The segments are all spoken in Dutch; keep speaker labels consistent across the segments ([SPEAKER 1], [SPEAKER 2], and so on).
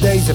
[SPEAKER 1] deze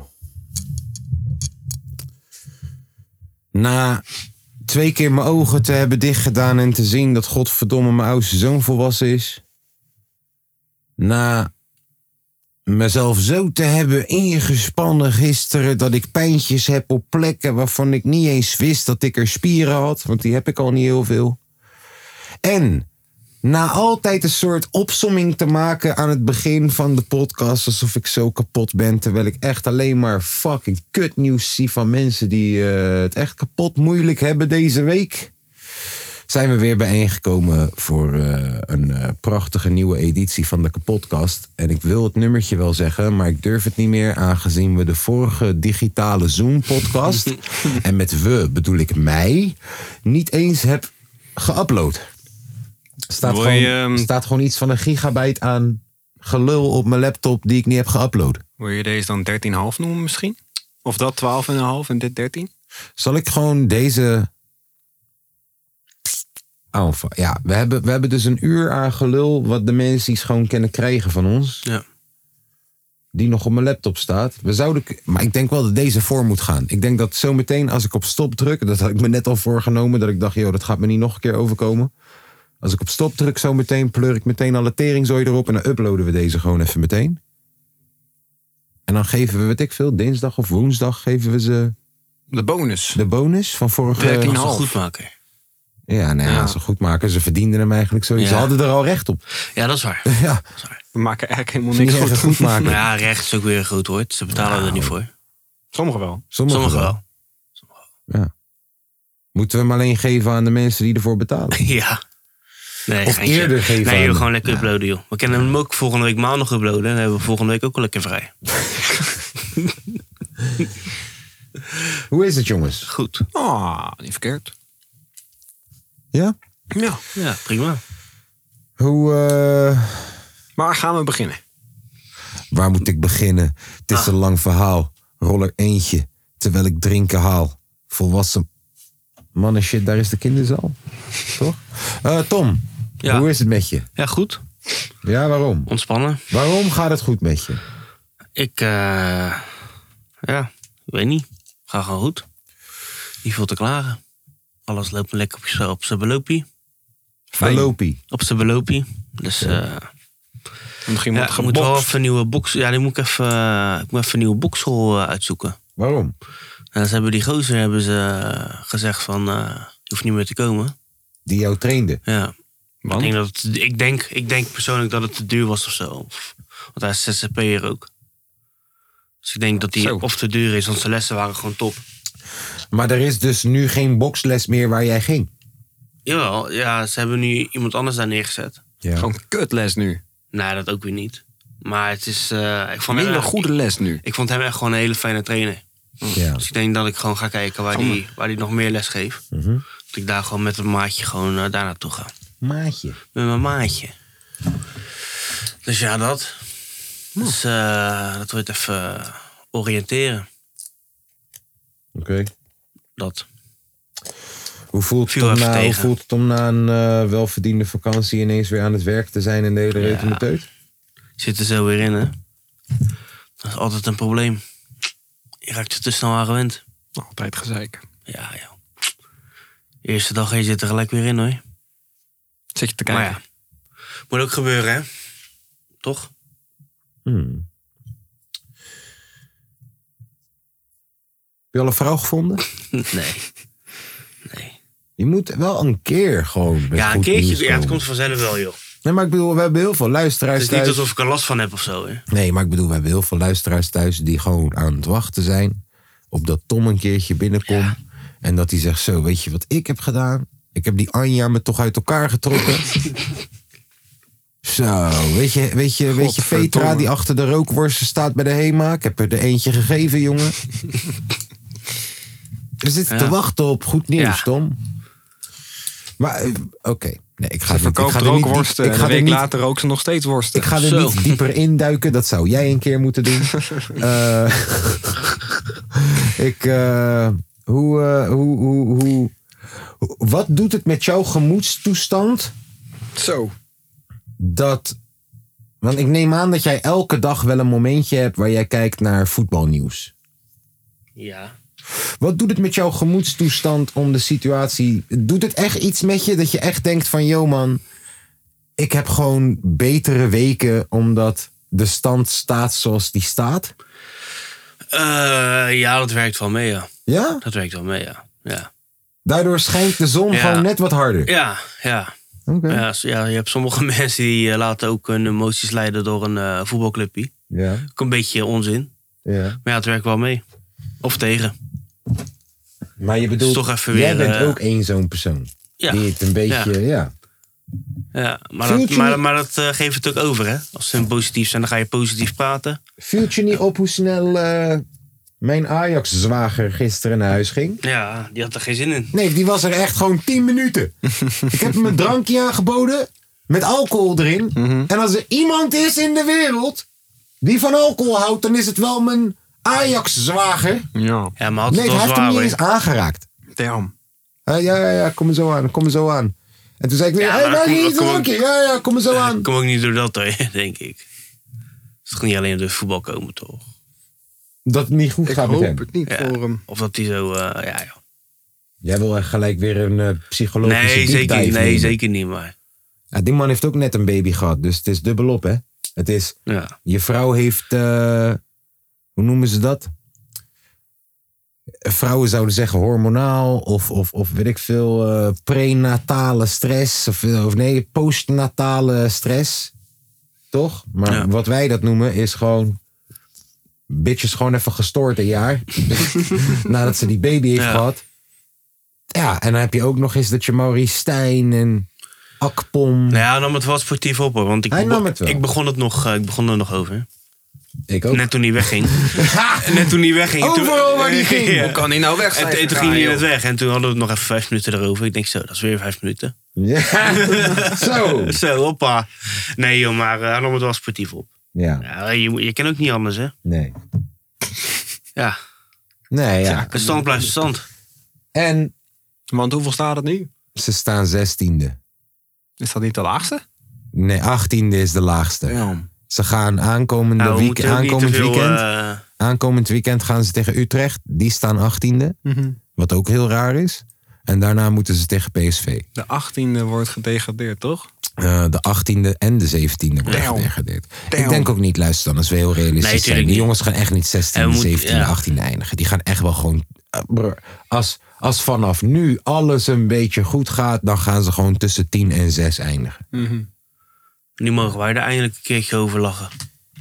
[SPEAKER 1] Na twee keer mijn ogen te hebben dichtgedaan en te zien dat godverdomme mijn oudste zoon volwassen is. Na mezelf zo te hebben ingespannen gisteren dat ik pijntjes heb op plekken waarvan ik niet eens wist dat ik er spieren had, want die heb ik al niet heel veel. En na altijd een soort opsomming te maken aan het begin van de podcast. Alsof ik zo kapot ben. Terwijl ik echt alleen maar fucking kutnieuws zie van mensen die eh, het echt kapot moeilijk hebben deze week. Zijn we weer bijeengekomen voor eh, een eh, prachtige nieuwe editie van de kapotkast. En ik wil het nummertje wel zeggen, maar ik durf het niet meer. Aangezien we de vorige digitale Zoom-podcast. en met we bedoel ik mij. niet eens heb geüpload. Staat,
[SPEAKER 2] Wil
[SPEAKER 1] gewoon,
[SPEAKER 2] je, ehm,
[SPEAKER 1] staat gewoon iets van een gigabyte aan gelul op mijn laptop die ik niet heb geüpload.
[SPEAKER 2] Wil je deze dan 13,5 noemen misschien? Of dat 12,5 en dit 13?
[SPEAKER 1] Zal ik gewoon deze. Oh, fu- ja, we hebben, we hebben dus een uur aan gelul wat de mensen iets gewoon kunnen krijgen van ons.
[SPEAKER 2] Ja.
[SPEAKER 1] Die nog op mijn laptop staat. We zouden, k- maar ik denk wel dat deze voor moet gaan. Ik denk dat zometeen als ik op stop druk, dat had ik me net al voorgenomen, dat ik dacht, joh, dat gaat me niet nog een keer overkomen. Als ik op stop druk zometeen, pleur ik meteen alle teringzooi erop en dan uploaden we deze gewoon even meteen. En dan geven we, weet ik veel, dinsdag of woensdag geven we ze
[SPEAKER 2] De bonus.
[SPEAKER 1] de bonus van vorige...
[SPEAKER 2] 13,5.
[SPEAKER 3] Als een goedmaker.
[SPEAKER 1] Ja, nou ja,
[SPEAKER 2] Ja.
[SPEAKER 1] ze goed maken. Ze verdienden hem eigenlijk sowieso.
[SPEAKER 3] Ja.
[SPEAKER 1] Ze hadden er al recht op.
[SPEAKER 3] Ja, dat is waar.
[SPEAKER 1] Ja,
[SPEAKER 3] Dat is waar.
[SPEAKER 2] We maken eigenlijk helemaal
[SPEAKER 1] niet
[SPEAKER 2] niks
[SPEAKER 1] echt
[SPEAKER 2] goed.
[SPEAKER 1] goed maken.
[SPEAKER 3] Maar ja, recht is ook weer goed hoor. Ze betalen er niet voor.
[SPEAKER 2] Sommigen wel.
[SPEAKER 1] Sommigen,
[SPEAKER 3] Sommigen
[SPEAKER 1] Nou, wel.
[SPEAKER 3] wel.
[SPEAKER 1] Moeten we hem alleen geven aan de mensen die ervoor betalen.
[SPEAKER 3] Ja. Nee,
[SPEAKER 1] Of
[SPEAKER 3] geintje.
[SPEAKER 1] eerder geven
[SPEAKER 3] Nee,
[SPEAKER 1] aan-
[SPEAKER 3] joh, gewoon lekker uploaden, joh. We kunnen hem ook volgende week maandag uploaden. Dan hebben we volgende week ook wel lekker vrij.
[SPEAKER 1] Hoe is het, jongens?
[SPEAKER 3] Goed.
[SPEAKER 2] Ah, niet verkeerd.
[SPEAKER 1] Ja?
[SPEAKER 2] Ja.
[SPEAKER 3] Ja, prima.
[SPEAKER 1] Hoe, eh,
[SPEAKER 2] Maar gaan we beginnen?
[SPEAKER 1] waar moet ik beginnen? Het is een lang verhaal. Rol er eentje, terwijl ik drinken haal. Volwassen mannen shit, daar is de kinderzaal. Toch? Eh, Tom,
[SPEAKER 3] Ja.
[SPEAKER 1] hoe is het met je?
[SPEAKER 3] Ja, goed.
[SPEAKER 1] Ja, waarom?
[SPEAKER 3] Ontspannen.
[SPEAKER 1] Waarom gaat het goed met je?
[SPEAKER 3] Ik, eh, ja, ik weet niet. Ga gewoon goed. Niet veel te klagen. Alles loopt lekker op, z'n- op zijn belopie.
[SPEAKER 1] Lopie.
[SPEAKER 3] Op zijn belopie. Dus eh
[SPEAKER 2] Misschien
[SPEAKER 3] ja,
[SPEAKER 2] wordt
[SPEAKER 3] ik moet wel
[SPEAKER 2] gebokst.
[SPEAKER 3] even een nieuwe box. Ja, die moet ik even, eh, ik moet even een nieuwe boxhol eh, uitzoeken.
[SPEAKER 1] Waarom?
[SPEAKER 3] En ze hebben die gozer hebben ze eh, gezegd van eh, je hoeft niet meer te komen.
[SPEAKER 1] Die jou trainde.
[SPEAKER 3] Ja. Ik
[SPEAKER 2] Want?
[SPEAKER 3] denk, dat het- ik, denk, ik denk persoonlijk dat het te duur was of zo. Of- want hij is zzp'er ook. Dus ik denk dat die
[SPEAKER 2] Zo.
[SPEAKER 3] of te duur is, want zijn lessen waren gewoon top.
[SPEAKER 1] Maar er is dus nu geen boksles meer waar jij ging.
[SPEAKER 3] Jawel, ja, ze hebben nu iemand anders daar neergezet.
[SPEAKER 1] Ja.
[SPEAKER 2] Gewoon kutles nu.
[SPEAKER 3] Nee, dat ook weer niet. Maar het is. eh, ik, vond hem,
[SPEAKER 2] Minder
[SPEAKER 3] echt-
[SPEAKER 2] goede les nu.
[SPEAKER 3] ik, ik vond hem echt gewoon een hele fijne trainer.
[SPEAKER 1] Ja.
[SPEAKER 3] Dus ik denk dat ik gewoon ga kijken waar die, waar die nog meer les geeft.
[SPEAKER 2] Mhm.
[SPEAKER 3] Dat ik daar gewoon met een maatje gewoon eh, daar naartoe ga.
[SPEAKER 1] Maatje.
[SPEAKER 3] Met mijn maatje. Dus ja, dat. Dus eh, dat wordt even oriënteren.
[SPEAKER 1] Oké.
[SPEAKER 3] Dat.
[SPEAKER 1] Hoe, voelt het
[SPEAKER 3] Viel
[SPEAKER 1] om
[SPEAKER 3] even
[SPEAKER 1] na- hoe
[SPEAKER 3] tegen.
[SPEAKER 1] voelt het om na een eh, welverdiende vakantie ineens weer aan het werk te zijn en de hele reet om de teut?
[SPEAKER 3] Zit er zo weer in, hè? Dat is altijd een probleem. Je raakt er te snel aan gewend.
[SPEAKER 2] Altijd gezeik.
[SPEAKER 3] Ja, ja. Eerste dag je zit er gelijk weer in, hoor.
[SPEAKER 2] Zit je te
[SPEAKER 3] Maar
[SPEAKER 2] kijken?
[SPEAKER 3] ja. Moet ook gebeuren, hè? Toch?
[SPEAKER 1] Hmm. Heb je al een vrouw gevonden?
[SPEAKER 3] Nee. Nee.
[SPEAKER 1] Je moet wel een keer gewoon. met
[SPEAKER 3] Ja, een
[SPEAKER 1] goed nieuws
[SPEAKER 3] keertje. Ja, het
[SPEAKER 1] komen.
[SPEAKER 3] komt vanzelf wel, joh.
[SPEAKER 1] Nee, maar ik bedoel, we hebben heel veel luisteraars
[SPEAKER 3] Het is niet
[SPEAKER 1] thuis.
[SPEAKER 3] alsof ik er last van heb of zo, hè?
[SPEAKER 1] Nee, maar ik bedoel, we hebben heel veel luisteraars thuis die gewoon aan het wachten zijn. Op dat Tom een keertje binnenkomt. En dat hij zegt: Zo, weet je wat ik heb gedaan? Ik heb die Anja me toch uit elkaar getrokken. Zo, weet je, weet je, weet je
[SPEAKER 2] Godverdomme.
[SPEAKER 1] Petra die achter de rookworsten staat bij de HEMA? Ik heb er de eentje gegeven, jongen. We zitten
[SPEAKER 3] Ja.
[SPEAKER 1] te wachten op goed nieuws,
[SPEAKER 3] Ja.
[SPEAKER 1] Tom. Maar eh, oké. Nee, ik ga
[SPEAKER 2] Ze
[SPEAKER 1] er niet- ik
[SPEAKER 2] verkoopt
[SPEAKER 1] ga er niet-
[SPEAKER 2] rookworsten.
[SPEAKER 1] Ik
[SPEAKER 2] en
[SPEAKER 1] ga
[SPEAKER 2] een
[SPEAKER 1] er
[SPEAKER 2] week
[SPEAKER 1] niet
[SPEAKER 2] later rook ze nog steeds worsten.
[SPEAKER 1] Ik ga er
[SPEAKER 3] Zo.
[SPEAKER 1] niet dieper induiken. Dat zou jij een keer moeten doen. Eh, ik, eh, hoe, eh, hoe, hoe, hoe, wat doet het met jouw gemoedstoestand?
[SPEAKER 2] Zo.
[SPEAKER 1] Dat, want ik neem aan dat jij elke dag wel een momentje hebt waar jij kijkt naar voetbalnieuws.
[SPEAKER 3] Ja.
[SPEAKER 1] Wat doet het met jouw gemoedstoestand om de situatie? Doet het echt iets met je dat je echt denkt van, yo man, ik heb gewoon betere weken omdat de stand staat zoals die staat?
[SPEAKER 3] Eh, ja, dat werkt wel mee, ja.
[SPEAKER 1] Ja?
[SPEAKER 3] Dat werkt wel mee, ja. Ja,
[SPEAKER 1] Daardoor schijnt de zon
[SPEAKER 3] Ja.
[SPEAKER 1] gewoon net wat harder.
[SPEAKER 3] ja. ja.
[SPEAKER 1] Oké.
[SPEAKER 3] Ja, s- ja, je hebt sommige mensen die eh, laten ook hun emoties leiden door een eh voetbalclubje.
[SPEAKER 1] Ja.
[SPEAKER 3] Ook een beetje onzin.
[SPEAKER 1] ja.
[SPEAKER 3] Maar ja, het werkt wel mee. Of tegen.
[SPEAKER 1] Maar je bedoelt,
[SPEAKER 3] toch even
[SPEAKER 1] jij
[SPEAKER 3] weer,
[SPEAKER 1] bent
[SPEAKER 3] eh,
[SPEAKER 1] ook één zo'n persoon.
[SPEAKER 3] Ja,
[SPEAKER 1] Die het een beetje, ja.
[SPEAKER 3] ja. Maar,
[SPEAKER 1] Voelt
[SPEAKER 3] dat,
[SPEAKER 1] je
[SPEAKER 3] maar,
[SPEAKER 1] niet-
[SPEAKER 3] maar dat eh, geeft het ook over, hè? Als ze positief zijn, dan ga je positief praten.
[SPEAKER 1] Viel je niet op hoe snel eh, mijn Ajax-zwager gisteren naar huis ging?
[SPEAKER 3] Ja, die had er geen zin in.
[SPEAKER 1] Nee, die was er echt gewoon 10 minuten. ik heb hem een drankje aangeboden met alcohol erin.
[SPEAKER 3] Mhm.
[SPEAKER 1] En als er iemand is in de wereld die van alcohol houdt, dan is het wel mijn Ajax-zwager.
[SPEAKER 2] Ja.
[SPEAKER 3] Ja, maar had
[SPEAKER 1] Nee,
[SPEAKER 3] het
[SPEAKER 1] hij
[SPEAKER 3] wel
[SPEAKER 1] heeft hem
[SPEAKER 3] zwaar,
[SPEAKER 1] niet
[SPEAKER 3] hoor.
[SPEAKER 1] eens aangeraakt.
[SPEAKER 2] Damn.
[SPEAKER 1] Hij, ja, ja, ja, kom er zo aan, kom er zo aan. En toen zei ik weer,
[SPEAKER 3] Ja,
[SPEAKER 1] hey,
[SPEAKER 3] maar
[SPEAKER 1] waar
[SPEAKER 3] kom-
[SPEAKER 1] is het
[SPEAKER 3] kom-
[SPEAKER 1] drankje? Ja, ja, kom er zo aan.
[SPEAKER 3] Ik kom ook niet door dat, hoor, denk ik. Het kan niet alleen door voetbal komen, toch?
[SPEAKER 1] Dat het niet goed
[SPEAKER 2] Ik
[SPEAKER 1] gaat met hem.
[SPEAKER 2] hoop het niet
[SPEAKER 3] Ja.
[SPEAKER 2] voor hem.
[SPEAKER 3] Of dat hij zo... eh, ja, joh.
[SPEAKER 1] Jij wil echt gelijk weer een eh, psychologische
[SPEAKER 3] Nee,
[SPEAKER 1] deep
[SPEAKER 3] zeker,
[SPEAKER 1] dive
[SPEAKER 3] niet. nee
[SPEAKER 1] nemen.
[SPEAKER 3] zeker niet, maar...
[SPEAKER 1] Ja, die man heeft ook net een baby gehad, dus het is dubbelop, hè? Het is,
[SPEAKER 3] Ja.
[SPEAKER 1] je vrouw heeft, eh, hoe noemen ze dat? Vrouwen zouden zeggen hormonaal of, of, of weet ik veel, eh, prenatale stress. Of, of nee, postnatale stress. Toch? Maar
[SPEAKER 3] Ja.
[SPEAKER 1] wat wij dat noemen is gewoon... Bitches gewoon even gestoord een jaar. nadat ze die baby heeft
[SPEAKER 3] Ja.
[SPEAKER 1] gehad. Ja, en dan heb je ook nog eens dat je Maurice Stijn en Akpom...
[SPEAKER 3] Nou ja, hij nam het wel sportief op hoor. Want ik,
[SPEAKER 1] Hij nam het wel.
[SPEAKER 3] ik begon het nog, eh, ik begon er nog over.
[SPEAKER 1] Ik ook.
[SPEAKER 3] Net toen hij wegging. Net toen hij wegging. toen-
[SPEAKER 1] Overal waar hij ging.
[SPEAKER 3] Ja.
[SPEAKER 2] Hoe kan hij nou weg zijn?
[SPEAKER 3] En, en toen ging hij net weg. En toen hadden we het nog even vijf minuten erover. Ik denk zo, dat is weer vijf minuten.
[SPEAKER 1] Ja, zo.
[SPEAKER 3] Zo, hoppa. Nee joh, maar eh, hij nam het wel sportief op.
[SPEAKER 1] Ja,
[SPEAKER 3] Ja, je, moet- je kan ook niet anders hè.
[SPEAKER 1] nee.
[SPEAKER 3] Ja,
[SPEAKER 1] Nee, ja.
[SPEAKER 3] de stand blijft de stand.
[SPEAKER 1] En
[SPEAKER 2] Want hoeveel staat het nu?
[SPEAKER 1] ze staan zestiende.
[SPEAKER 2] Is dat niet de laagste?
[SPEAKER 1] Nee, achttiende is de laagste.
[SPEAKER 2] Damn.
[SPEAKER 1] Ze gaan aankomende
[SPEAKER 3] Nou, we
[SPEAKER 1] week,
[SPEAKER 3] moeten ook niet te
[SPEAKER 1] aankomend,
[SPEAKER 3] veel...
[SPEAKER 1] weekend,
[SPEAKER 3] eh,
[SPEAKER 1] aankomend weekend gaan ze tegen Utrecht. Die staan achttiende,
[SPEAKER 2] Mhm.
[SPEAKER 1] wat ook heel raar is. En daarna moeten ze tegen PSV.
[SPEAKER 2] De 18e wordt gedegradeerd, toch?
[SPEAKER 1] Eh, de achttiende en de zeventiende worden
[SPEAKER 2] Damn.
[SPEAKER 1] gedegradeerd. Ik
[SPEAKER 2] Damn.
[SPEAKER 1] denk ook niet, luister dan, als we heel realistisch
[SPEAKER 3] Nee,
[SPEAKER 1] zijn.
[SPEAKER 3] tuurlijk
[SPEAKER 1] Die
[SPEAKER 3] niet.
[SPEAKER 1] jongens gaan echt niet 16,
[SPEAKER 3] En we moeten-
[SPEAKER 1] 17,
[SPEAKER 3] ja.
[SPEAKER 1] 18 eindigen. Die gaan echt wel gewoon... eh, brr, Als, als vanaf nu alles een beetje goed gaat, dan gaan ze gewoon tussen 10 en 6 eindigen.
[SPEAKER 3] nu mogen wij er eindelijk een keertje over lachen.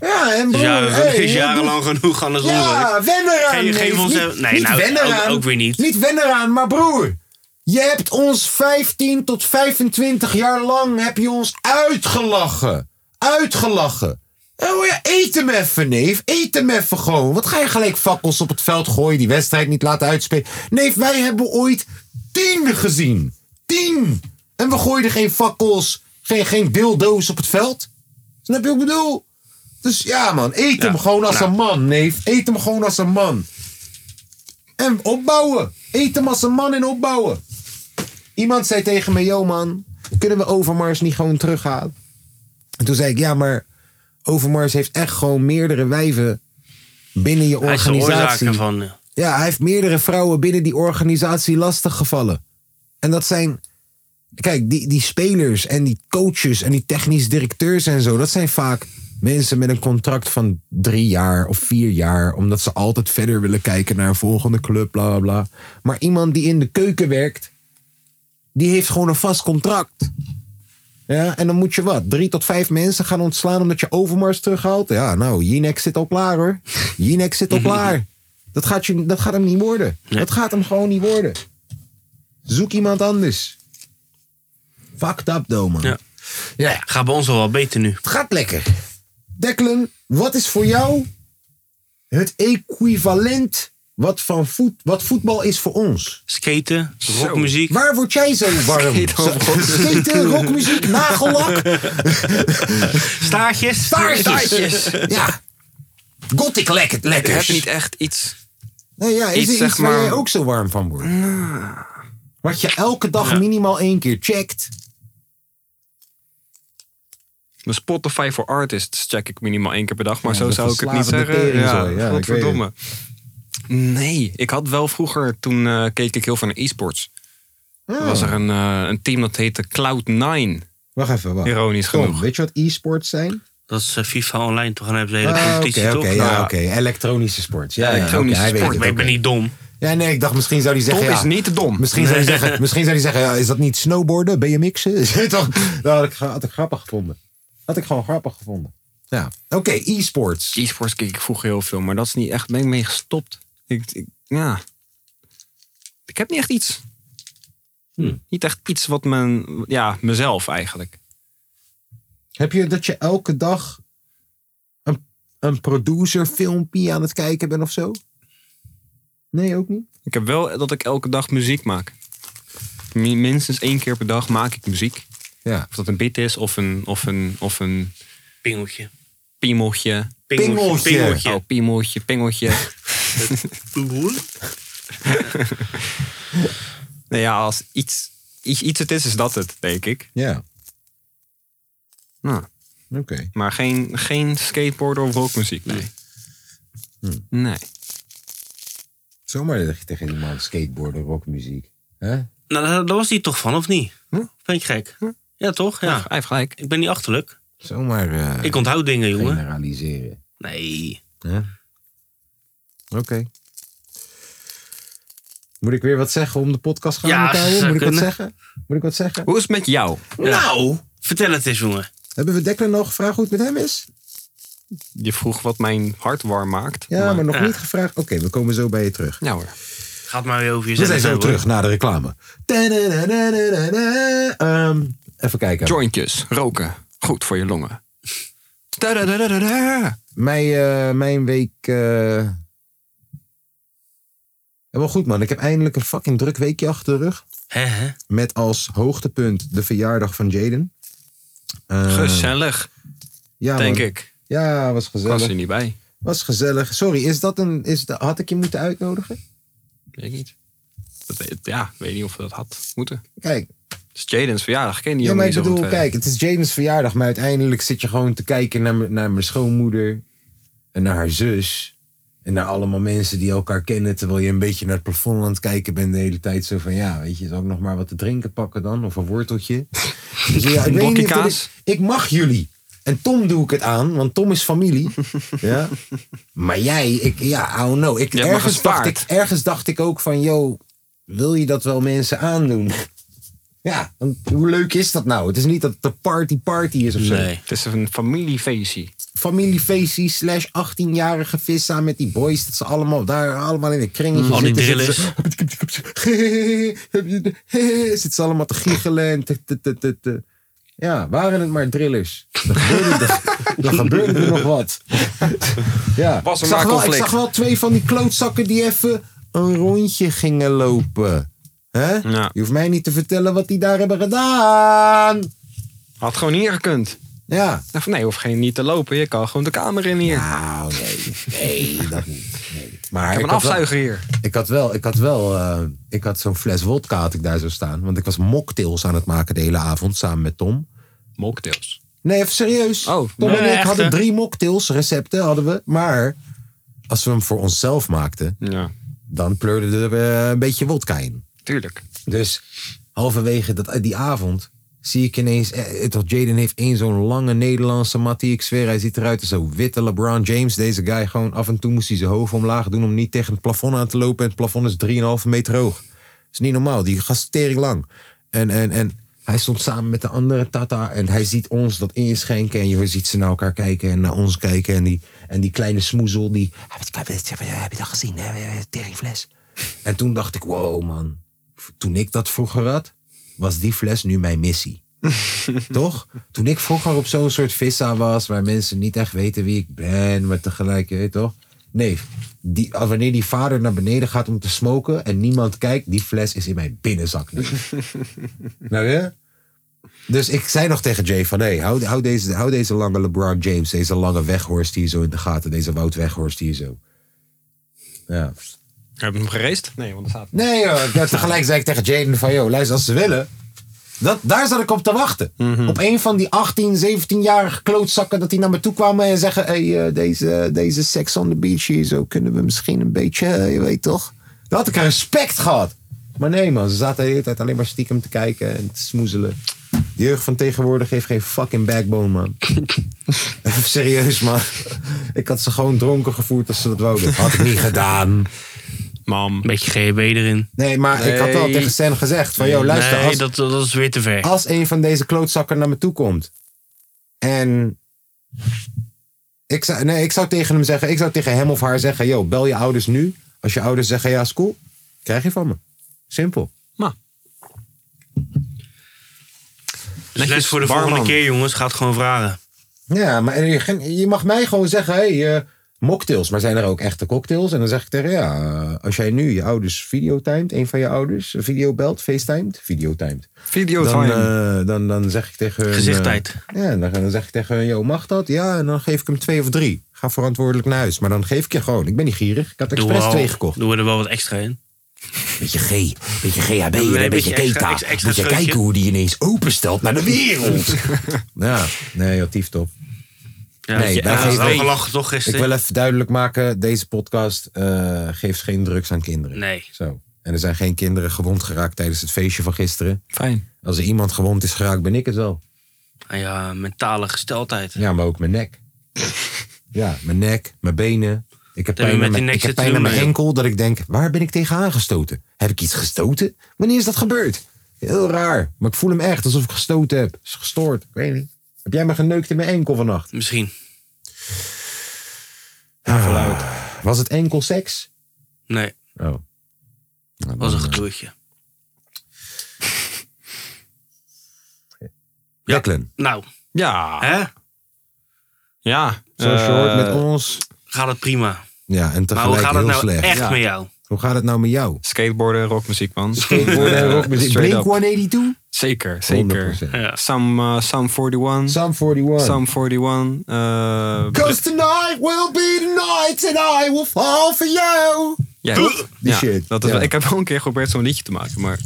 [SPEAKER 1] Ja, en
[SPEAKER 3] Dus ja, dat is jarenlang genoeg aan het onderwerp.
[SPEAKER 1] wennen
[SPEAKER 3] Geef- neef. geef ons Niet- even- nee, niet nou, wennen ook- eraan. ook weer niet.
[SPEAKER 1] Niet wennen eraan, maar broer. Je hebt ons 15 tot 25 jaar lang heb je ons uitgelachen. Uitgelachen. Oh ja, eet hem even, neef. Eet hem even gewoon. Wat ga je gelijk fakkels op het veld gooien, die wedstrijd niet laten uitspelen? Neef, wij hebben ooit tien gezien. Tien. En we gooiden geen fakkels, geen, geen dildo's op het veld. Snap je wat ik bedoel? Dus ja, man. Eet
[SPEAKER 3] Ja,
[SPEAKER 1] hem gewoon als
[SPEAKER 3] nou.
[SPEAKER 1] een man, neef. Eet hem gewoon als een man. En opbouwen. Eet hem als een man en opbouwen. Iemand zei tegen me, yo man, kunnen we Overmars niet gewoon terughalen? En toen zei ik, ja, maar Overmars heeft echt gewoon meerdere wijven binnen je
[SPEAKER 3] Hij is de oorzaak
[SPEAKER 1] organisatie.
[SPEAKER 3] ervan. eh. ja.
[SPEAKER 1] Ja, hij heeft meerdere vrouwen binnen die organisatie lastiggevallen. En dat zijn. Kijk, die, die spelers en die coaches en die technisch directeurs en zo, dat zijn vaak mensen met een contract van drie jaar of vier jaar, omdat ze altijd verder willen kijken naar een volgende club, bla bla bla. Maar iemand die in de keuken werkt, die heeft gewoon een vast contract. Ja, en dan moet je wat? Drie tot vijf mensen gaan ontslaan omdat je Overmars terughaalt? Ja, nou, Jinek zit al klaar hoor. Jinek zit al klaar. Dat gaat, je, dat gaat hem niet worden. Dat gaat hem gewoon niet worden. Zoek iemand anders. Fucked up, though, man.
[SPEAKER 3] Ja.
[SPEAKER 1] ja.
[SPEAKER 3] Gaat bij ons al wel beter nu.
[SPEAKER 1] Het gaat lekker. Declan, wat is voor jou het equivalent Wat, van voet, wat voetbal is voor ons.
[SPEAKER 3] Skaten, rockmuziek.
[SPEAKER 1] Waar word jij zo warm?
[SPEAKER 2] Skaten, rockmuziek.
[SPEAKER 1] Skaten, rockmuziek, nagellak,
[SPEAKER 3] Staartjes.
[SPEAKER 1] staartjes. Ja. Gothic lekker,
[SPEAKER 2] Ik heb
[SPEAKER 1] lekkers.
[SPEAKER 2] niet echt iets.
[SPEAKER 1] Nee, ja, is
[SPEAKER 2] Iets,
[SPEAKER 1] er iets
[SPEAKER 2] zeg
[SPEAKER 1] waar
[SPEAKER 2] maar- Nou.
[SPEAKER 1] jij ook zo warm van wordt? Wat je elke dag minimaal één keer checkt.
[SPEAKER 2] Mijn Spotify voor artists check ik minimaal één keer per dag. Maar zo
[SPEAKER 1] dat
[SPEAKER 2] zou
[SPEAKER 1] is
[SPEAKER 2] ik het niet
[SPEAKER 1] slavende
[SPEAKER 2] zeggen. Ja,
[SPEAKER 1] teringzooi. Ja, ik weet het.
[SPEAKER 2] godverdomme. Nee, ik had wel vroeger, toen eh, keek ik heel veel naar e-sports.
[SPEAKER 1] Ah.
[SPEAKER 2] Er was er een, eh, een team dat heette Cloud9.
[SPEAKER 1] Wacht even, wacht.
[SPEAKER 2] Ironisch
[SPEAKER 1] Tom,
[SPEAKER 2] genoeg.
[SPEAKER 1] weet je wat e-sports zijn?
[SPEAKER 3] Dat is eh, FIFA online toch? Dan hebben ze de hele
[SPEAKER 1] Ah,
[SPEAKER 3] competitie
[SPEAKER 1] Oké,
[SPEAKER 3] toch?
[SPEAKER 1] oké,
[SPEAKER 3] Nou,
[SPEAKER 1] ja, oké. elektronische sports. Ja, ja,
[SPEAKER 2] Elektronische
[SPEAKER 1] oké, hij weet
[SPEAKER 2] sport.
[SPEAKER 1] het,
[SPEAKER 3] maar ik ben
[SPEAKER 1] oké.
[SPEAKER 3] niet dom.
[SPEAKER 1] Ja, nee, ik dacht misschien zou hij
[SPEAKER 2] Tom
[SPEAKER 1] zeggen... ja,
[SPEAKER 2] is niet dom.
[SPEAKER 1] Misschien zou hij zeggen, misschien zou hij zeggen ja, is dat niet snowboarden, BMX'en? Is het toch? Dat had ik, gra- had ik grappig gevonden. Had ik gewoon grappig gevonden. Ja, oké, e-sports.
[SPEAKER 2] E-sports keek ik vroeger heel veel, maar dat is niet echt. Ben ik mee gestopt. Ik, ik- ja. Ik heb niet echt iets. Niet echt iets wat men. Ja, mezelf eigenlijk.
[SPEAKER 1] Heb je dat je elke dag een, een producer filmpje aan het kijken bent of zo? Nee, ook niet.
[SPEAKER 2] Ik heb wel dat ik elke dag muziek maak. Min- Minstens één keer per dag maak ik muziek.
[SPEAKER 1] Ja.
[SPEAKER 2] Of dat een beat is of een, of een, of een
[SPEAKER 3] Pingeltje.
[SPEAKER 2] piemeltje.
[SPEAKER 1] Pingeltje.
[SPEAKER 3] Pingeltje.
[SPEAKER 2] Oh, piemeltje, pingeltje. nou ja, als iets, iets, iets het is, is dat het, denk ik.
[SPEAKER 1] Ja,
[SPEAKER 2] Nou,
[SPEAKER 1] oké.
[SPEAKER 2] maar geen, geen skateboarden of rockmuziek, nee.
[SPEAKER 1] Hmm.
[SPEAKER 2] Nee.
[SPEAKER 1] Zomaar zeg je tegen iemand skateboarden, rockmuziek. hè?
[SPEAKER 3] Nou, daar, daar was hij toch van, of niet?
[SPEAKER 2] Hm?
[SPEAKER 3] Ben je gek? Ja, toch?
[SPEAKER 2] Ja,
[SPEAKER 1] Nou,
[SPEAKER 3] Ja.
[SPEAKER 2] Nou, hij heeft gelijk.
[SPEAKER 3] Ik ben niet achterlijk.
[SPEAKER 1] Zomaar eh,
[SPEAKER 3] Ik onthoud dingen, jongen.
[SPEAKER 1] generaliseren.
[SPEAKER 3] Nee.
[SPEAKER 1] hè? Oké. Moet ik weer wat zeggen om de podcast gaan
[SPEAKER 3] Ja,
[SPEAKER 1] te houden?
[SPEAKER 3] zou
[SPEAKER 1] Moet ik wat
[SPEAKER 3] kunnen.
[SPEAKER 1] zeggen? Moet ik wat zeggen?
[SPEAKER 2] Hoe is het met jou?
[SPEAKER 3] Nou! Vertel het eens, jongen.
[SPEAKER 1] Hebben we Declan al gevraagd hoe het met hem is?
[SPEAKER 2] Je vroeg wat mijn hart warm maakt.
[SPEAKER 1] Ja, maar, nog
[SPEAKER 3] ja.
[SPEAKER 1] niet gevraagd. Oké, we komen zo bij je terug.
[SPEAKER 2] Ja hoor.
[SPEAKER 3] Gaat maar weer over
[SPEAKER 1] We
[SPEAKER 3] jezelf.
[SPEAKER 1] zijn zo
[SPEAKER 3] hebben,
[SPEAKER 1] terug naar de reclame. Tadadadadadada. Ehm, even kijken.
[SPEAKER 2] Jointjes, roken, goed voor je longen. Tadadadadada.
[SPEAKER 1] Mijn, eh, mijn week. eh Wel goed, man. Ik heb eindelijk een fucking druk weekje achter de rug.
[SPEAKER 3] hoor. Hè, hè?
[SPEAKER 1] Met als hoogtepunt de verjaardag van Jaden. Eh,
[SPEAKER 2] Gezellig,
[SPEAKER 1] ja,
[SPEAKER 2] denk
[SPEAKER 1] man.
[SPEAKER 2] ik.
[SPEAKER 1] Ja, was
[SPEAKER 2] Ik was
[SPEAKER 1] gezellig.
[SPEAKER 2] er niet bij.
[SPEAKER 1] Was gezellig. Sorry, is dat een, is dat, had ik je moeten uitnodigen?
[SPEAKER 2] Weet ik niet. Dat weet- ja, weet niet of we dat had moeten.
[SPEAKER 1] Kijk,
[SPEAKER 2] Het is Jaden's verjaardag, ken die
[SPEAKER 1] Ja,
[SPEAKER 2] jongen
[SPEAKER 1] maar ik
[SPEAKER 2] niet zo
[SPEAKER 1] bedoel,
[SPEAKER 2] goed, eh.
[SPEAKER 1] kijk, het is Jaden's verjaardag, maar uiteindelijk zit je gewoon te kijken naar, m- naar mijn schoonmoeder en naar haar zus. En naar allemaal mensen die elkaar kennen, terwijl je een beetje naar het plafond aan het kijken bent de hele tijd. Zo van, ja, weet je, zal ik nog maar wat te drinken pakken dan? Of een worteltje? Dus ja, ik, weet niet of dat
[SPEAKER 2] Blokkiekaas.
[SPEAKER 1] ik, ik mag jullie. En Tom doe ik het aan, want Tom is familie. Ja? Maar jij, ik, ja, oh no. Ik,
[SPEAKER 2] Je hebt me
[SPEAKER 1] ergens, dacht ik,
[SPEAKER 2] gespaard.
[SPEAKER 1] ergens dacht ik ook van, yo, wil je dat wel mensen aandoen? Ja, want hoe leuk is dat nou? Het is niet dat het een party-party is of zo.
[SPEAKER 3] Nee.
[SPEAKER 2] Het is een familiefeestje.
[SPEAKER 1] Familiefeestje slash 18-jarige vissa met die boys. Dat ze allemaal daar allemaal in een kringetje
[SPEAKER 3] Al die
[SPEAKER 1] zitten. Zitten ze, zitten ze allemaal te giechelen. En te, te, te, te, te. Ja, waren het maar drillers. Dan gebeurde er, dan gebeurde er nog wat. Ja.
[SPEAKER 2] Was er
[SPEAKER 1] ik, zag
[SPEAKER 2] maar
[SPEAKER 1] wel, ik
[SPEAKER 2] conflict.
[SPEAKER 1] zag wel twee van die klootzakken die even een rondje gingen lopen. hè?
[SPEAKER 2] Ja.
[SPEAKER 1] Je hoeft mij niet te vertellen wat die daar hebben gedaan.
[SPEAKER 2] Had gewoon hier gekund.
[SPEAKER 1] Ja.
[SPEAKER 2] Nou, van nee, hoef geen niet te lopen. Je kan gewoon de kamer in hier.
[SPEAKER 1] Nou, nee. Nee, dat niet. Nee. Maar
[SPEAKER 2] ik heb een
[SPEAKER 1] had wel-
[SPEAKER 2] afzuiger hier.
[SPEAKER 1] Ik had wel, ik had wel, eh, ik had zo'n fles wodka had ik daar zo staan. Want ik was mocktails aan het maken de hele avond samen met Tom.
[SPEAKER 2] Mocktails.
[SPEAKER 1] Nee, even serieus.
[SPEAKER 2] Oh,
[SPEAKER 1] Tom
[SPEAKER 3] nee,
[SPEAKER 1] en
[SPEAKER 3] nee,
[SPEAKER 1] ik
[SPEAKER 3] echt,
[SPEAKER 1] hadden
[SPEAKER 3] hè?
[SPEAKER 1] drie mocktails recepten hadden we. Maar als we hem voor onszelf maakten,
[SPEAKER 2] Ja,
[SPEAKER 1] dan pleurden er eh, een beetje wodka in.
[SPEAKER 2] tuurlijk.
[SPEAKER 1] Dus halverwege dat, die avond zie ik ineens... Eh, toch, Jaden heeft één zo'n lange Nederlandse mattie. Ik zweer, hij ziet eruit als zo'n witte LeBron James. Deze guy gewoon af en toe moest hij zijn hoofd omlaag doen... om niet tegen het plafond aan te lopen. En het plafond is 3,5 meter hoog. Dat is niet normaal. Die gast is tering lang. En, en, en hij stond samen met de andere Tata. En hij ziet ons dat inschenken. En je ziet ze naar elkaar kijken en naar ons kijken. En die, en die kleine smoezel die... "Ah, Heb je dat gezien? hè? Teringfles. En toen dacht ik, wow man. Toen ik dat vroeger had, was die fles nu mijn missie. Toch? Toen ik vroeger op zo'n soort vissa was, waar mensen niet echt weten wie ik ben, maar tegelijk, je weet toch? Nee, die, ah, wanneer die vader naar beneden gaat om te smoken en niemand kijkt, die fles is in mijn binnenzak. nu. nou ja. Dus ik zei nog tegen Jay van, hey, hou, hou, deze, hou deze lange LeBron James, deze lange weghorst hier zo in de gaten, deze Wout weghorst hier zo. Ja.
[SPEAKER 2] Heb je hem gereest? Nee, want dat staat.
[SPEAKER 1] Nee, joh. Nou, tegelijk zei ik tegen Jaden van, joh, luister, als ze willen. Dat, daar zat ik op te wachten. Op een van die 18, 17-jarige klootzakken dat die naar me toe kwamen en zeggen... hey, eh, deze, deze Sex on the Beach hier zo kunnen we misschien een beetje, eh, je weet toch? Dan had ik respect gehad. Maar nee man, ze zaten de hele tijd alleen maar stiekem te kijken en te smoezelen. De jeugd van tegenwoordig heeft geen fucking backbone, man. Even serieus, man. Ik had ze gewoon dronken gevoerd als ze dat wouden. Had ik niet gedaan.
[SPEAKER 2] Mam.
[SPEAKER 3] Beetje GHB erin.
[SPEAKER 1] Nee, maar ik had wel
[SPEAKER 2] Nee.
[SPEAKER 1] tegen Sen gezegd van... joh, Oh, luister,
[SPEAKER 3] nee,
[SPEAKER 1] als,
[SPEAKER 3] dat, dat is weer te ver.
[SPEAKER 1] als een van deze klootzakken naar me toe komt. En ik zou, nee, ik zou tegen hem zeggen, ik zou tegen hem of haar zeggen, yo, bel je ouders nu. Als je ouders zeggen, ja, is cool, krijg je van me. Simpel.
[SPEAKER 2] Ma.
[SPEAKER 3] Dus les voor de volgende keer, jongens. Gaat gewoon vragen.
[SPEAKER 1] Ja, maar je, gen- je mag mij gewoon zeggen, hé, hey, eh, mocktails. Maar zijn er ook echte cocktails? En dan zeg ik tegen, ja, eh, als jij nu je ouders videotimed, een van je ouders, video belt, facetimed, videotimed. Dan,
[SPEAKER 2] Videotime.
[SPEAKER 1] eh, dan, dan zeg ik tegen hun...
[SPEAKER 3] Gezichttijd.
[SPEAKER 1] eh, Ja, dan, dan zeg ik tegen hun, joh, mag dat? Ja, en dan geef ik hem twee of drie. Ga verantwoordelijk naar huis. Maar dan geef ik je gewoon. Ik ben niet gierig. Ik had
[SPEAKER 3] Doen we
[SPEAKER 1] expres
[SPEAKER 3] al-
[SPEAKER 1] twee gekocht.
[SPEAKER 3] Doen we er wel wat extra in.
[SPEAKER 1] Beetje G, beetje GHB,
[SPEAKER 3] een
[SPEAKER 1] en een beetje
[SPEAKER 3] beetje extra-
[SPEAKER 1] keta.
[SPEAKER 3] extra- extra
[SPEAKER 1] Moet je
[SPEAKER 3] scheutje.
[SPEAKER 1] kijken hoe die ineens openstelt naar de wereld. ja, nee, joh, tief top.
[SPEAKER 3] Ja,
[SPEAKER 1] Nee,
[SPEAKER 3] je-
[SPEAKER 1] wij
[SPEAKER 3] ja, dat is
[SPEAKER 1] geven-
[SPEAKER 3] wel gelachen toch
[SPEAKER 1] Ik
[SPEAKER 3] gisteren?
[SPEAKER 1] wil even duidelijk maken, deze podcast eh, geeft geen drugs aan kinderen.
[SPEAKER 3] Nee.
[SPEAKER 1] Zo. En er zijn geen kinderen gewond geraakt tijdens het feestje van gisteren.
[SPEAKER 2] Fijn.
[SPEAKER 1] Als er iemand gewond is geraakt, ben ik het wel.
[SPEAKER 3] Ah ja, mentale gesteldheid.
[SPEAKER 1] Ja, maar ook mijn nek. ja, mijn nek, mijn benen. Ik heb
[SPEAKER 3] Dat heeft
[SPEAKER 1] pijn, aan
[SPEAKER 3] met
[SPEAKER 1] mijn,
[SPEAKER 3] die nek
[SPEAKER 1] ik heb
[SPEAKER 3] te
[SPEAKER 1] pijn aan
[SPEAKER 3] doen,
[SPEAKER 1] mijn
[SPEAKER 3] joh.
[SPEAKER 1] enkel dat ik denk, waar ben ik tegen aangestoten? Heb ik iets gestoten? Wanneer is dat gebeurd? Heel raar. Maar ik voel hem echt alsof ik gestoten heb. Is gestoord. Ik weet niet. Heb jij me geneukt in mijn enkel vannacht?
[SPEAKER 3] Misschien. Ah.
[SPEAKER 1] Was het enkel seks?
[SPEAKER 3] Nee,
[SPEAKER 1] Oh. eh,
[SPEAKER 3] was een getoertje.
[SPEAKER 1] Jacqueline.
[SPEAKER 3] Nou,
[SPEAKER 2] Ja.
[SPEAKER 3] hè?
[SPEAKER 2] Ja.
[SPEAKER 1] Zoals je
[SPEAKER 2] Eh,
[SPEAKER 1] hoort met ons.
[SPEAKER 3] Gaat het prima.
[SPEAKER 1] Ja, en
[SPEAKER 3] Maar hoe
[SPEAKER 1] tegelijk
[SPEAKER 3] gaat
[SPEAKER 1] heel
[SPEAKER 3] het nou
[SPEAKER 1] slecht.
[SPEAKER 3] echt
[SPEAKER 2] Ja.
[SPEAKER 3] met jou?
[SPEAKER 1] Hoe gaat het nou met jou?
[SPEAKER 2] Skateboarden, rockmuziek, man.
[SPEAKER 1] Skateboarden,
[SPEAKER 2] Eh,
[SPEAKER 1] rockmuziek.
[SPEAKER 2] straight
[SPEAKER 1] Blink
[SPEAKER 2] up.
[SPEAKER 1] 182?
[SPEAKER 2] Zeker, zeker.
[SPEAKER 1] 100%.
[SPEAKER 3] Ja.
[SPEAKER 2] Sam, eh, Sam 41.
[SPEAKER 1] Psalm 41.
[SPEAKER 2] Sam 41. eh,
[SPEAKER 1] Cause tonight will be the night and I will fall for you.
[SPEAKER 2] ja,
[SPEAKER 1] Die
[SPEAKER 2] ja,
[SPEAKER 1] shit,
[SPEAKER 2] Dat is,
[SPEAKER 1] ja.
[SPEAKER 2] Ik heb wel een keer geprobeerd zo'n liedje te maken, maar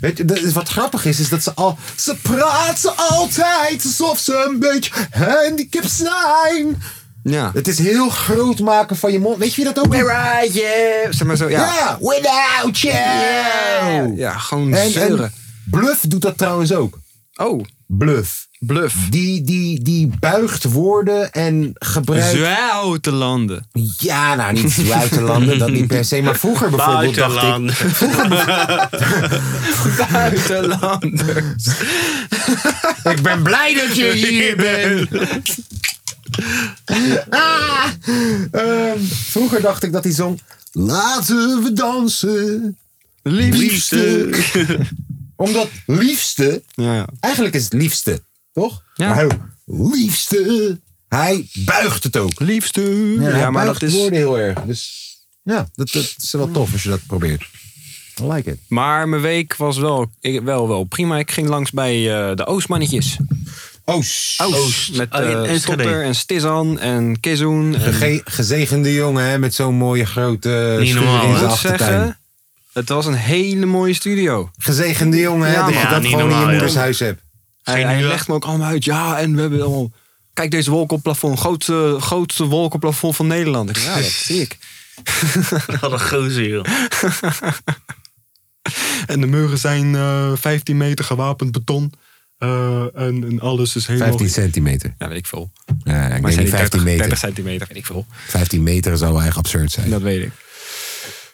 [SPEAKER 1] Weet je, dat is- wat grappig is, is dat ze al... Ze praten altijd alsof ze een beetje handicaps zijn.
[SPEAKER 2] ja.
[SPEAKER 1] Het is heel groot maken van je mond. Weet je wie dat ook doet?
[SPEAKER 2] Zeg maar zo, ja.
[SPEAKER 1] Ja, without you.
[SPEAKER 2] Ja, gewoon
[SPEAKER 1] En, en
[SPEAKER 2] zeuren.
[SPEAKER 1] Bluff doet dat trouwens ook.
[SPEAKER 2] oh,
[SPEAKER 1] Bluff.
[SPEAKER 2] bluff.
[SPEAKER 1] Die, die, die buigt woorden en gebruikt...
[SPEAKER 2] Zwaar te landen.
[SPEAKER 1] Ja, nou niet buitenlanden, dat niet per se. Maar vroeger bijvoorbeeld dacht ik...
[SPEAKER 3] Buitenland.
[SPEAKER 2] Buitenlanders.
[SPEAKER 1] Ik ben blij dat je hier bent. Ah, ehm, vroeger dacht ik dat hij zong. Laten we dansen, liefste. Omdat liefste,
[SPEAKER 2] Ja, ja.
[SPEAKER 1] eigenlijk is het liefste, toch?
[SPEAKER 2] Ja.
[SPEAKER 1] Maar hij- liefste, hij buigt het ook.
[SPEAKER 2] Liefste. Ja,
[SPEAKER 1] hij
[SPEAKER 2] maar
[SPEAKER 1] buigt
[SPEAKER 2] dat is...
[SPEAKER 1] woorden heel erg. Dus ja, dat, dat is wel tof als je dat probeert. I like it.
[SPEAKER 2] Maar mijn week was wel, ik, wel, wel prima. Ik ging langs bij eh, de Oostmannetjes.
[SPEAKER 1] Oh,
[SPEAKER 2] Oost. Met
[SPEAKER 3] Oh, in
[SPEAKER 2] eh
[SPEAKER 3] Enschede.
[SPEAKER 2] Stopper en Stizan en Kizoen. En
[SPEAKER 1] Gege- gezegende jongen, hè, met zo'n mooie grote
[SPEAKER 3] Niet
[SPEAKER 1] schuur
[SPEAKER 3] normaal,
[SPEAKER 1] in
[SPEAKER 3] hè?
[SPEAKER 2] ik
[SPEAKER 1] zijn
[SPEAKER 2] moet
[SPEAKER 1] achtertuin.
[SPEAKER 2] zeggen, het was een hele mooie studio.
[SPEAKER 1] Gezegende jongen, hè,
[SPEAKER 2] Ja,
[SPEAKER 1] dat
[SPEAKER 2] man.
[SPEAKER 1] je
[SPEAKER 3] Ja,
[SPEAKER 1] dat
[SPEAKER 3] niet
[SPEAKER 1] gewoon in je
[SPEAKER 3] normaal,
[SPEAKER 1] moeders
[SPEAKER 3] joh.
[SPEAKER 1] huis hebt.
[SPEAKER 2] Hij, hij
[SPEAKER 3] uur.
[SPEAKER 2] legt me ook allemaal uit. Ja, en we hebben allemaal... Kijk deze wolk op het plafond. Grootste, grootste wolk op het plafond van Nederland. Ik, ja, dat zie ik.
[SPEAKER 3] Wat een gozer, joh.
[SPEAKER 2] En de muren zijn 15 eh, meter gewapend beton. eh, en, alles is helemaal...
[SPEAKER 1] 15 centimeter.
[SPEAKER 2] Ja, weet ik veel.
[SPEAKER 1] Ja, ik
[SPEAKER 2] Maar
[SPEAKER 1] denk
[SPEAKER 2] zijn
[SPEAKER 1] niet
[SPEAKER 2] die
[SPEAKER 1] 15
[SPEAKER 2] 30,
[SPEAKER 1] meter.
[SPEAKER 2] 30 centimeter, weet ik veel.
[SPEAKER 1] 15 meter zou echt absurd zijn.
[SPEAKER 2] Dat weet ik.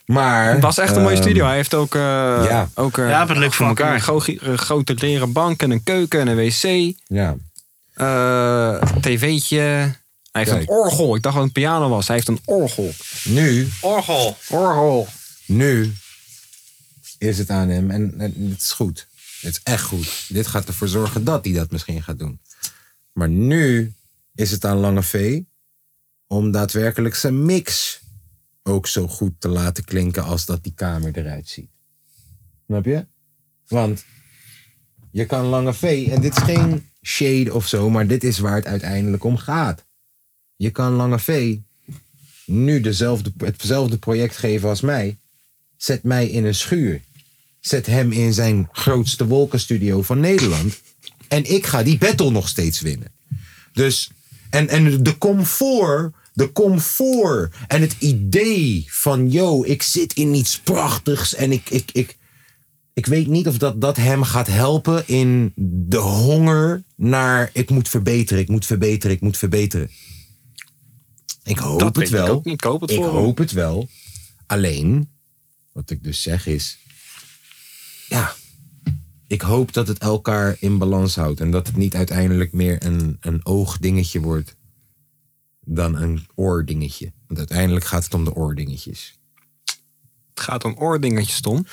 [SPEAKER 1] Maar...
[SPEAKER 2] Het was echt een mooie
[SPEAKER 1] ehm,
[SPEAKER 2] studio. Hij heeft ook... eh
[SPEAKER 1] ja.
[SPEAKER 2] ook eh,
[SPEAKER 3] Ja, wat leuk voor
[SPEAKER 2] fucking
[SPEAKER 3] elkaar.
[SPEAKER 2] gro- eh, grote leren bank en een keuken en een wc.
[SPEAKER 1] Ja.
[SPEAKER 2] eh tv'tje. Hij heeft
[SPEAKER 1] Kijk.
[SPEAKER 2] een orgel. Ik dacht dat het een piano was. Hij heeft een orgel.
[SPEAKER 1] Nu,
[SPEAKER 3] Orgel.
[SPEAKER 2] Orgel.
[SPEAKER 1] nu is het aan hem. En, en het is goed. Het is echt goed. Dit gaat ervoor zorgen dat hij dat misschien gaat doen. Maar nu is het aan Lange V om daadwerkelijk zijn mix ook zo goed te laten klinken als dat die kamer eruit ziet. Snap je? Want je kan Lange V, en dit is geen shade of zo, maar dit is waar het uiteindelijk om gaat. Je kan Lange V nu dezelfde, hetzelfde project geven als mij. Zet mij in een schuur. Zet hem in zijn grootste wolkenstudio van Nederland. En ik ga die battle nog steeds winnen. Dus, en, en de comfort, de comfort en het idee van, yo, ik zit in iets prachtigs en ik, ik, ik, ik weet niet of dat, dat hem gaat helpen in de honger naar, ik moet verbeteren, ik moet verbeteren, ik moet verbeteren. Ik hoop
[SPEAKER 2] Dat
[SPEAKER 1] het
[SPEAKER 2] weet
[SPEAKER 1] wel.
[SPEAKER 2] ik ook niet. Ik hoop het voor hem.
[SPEAKER 1] hoop het wel. Alleen, wat ik dus zeg is, ja, ik hoop dat het elkaar in balans houdt. En dat het niet uiteindelijk meer een, een oogdingetje wordt dan een oordingetje. Want uiteindelijk gaat het om de oordingetjes.
[SPEAKER 2] Het gaat om oordingetjes, Tom.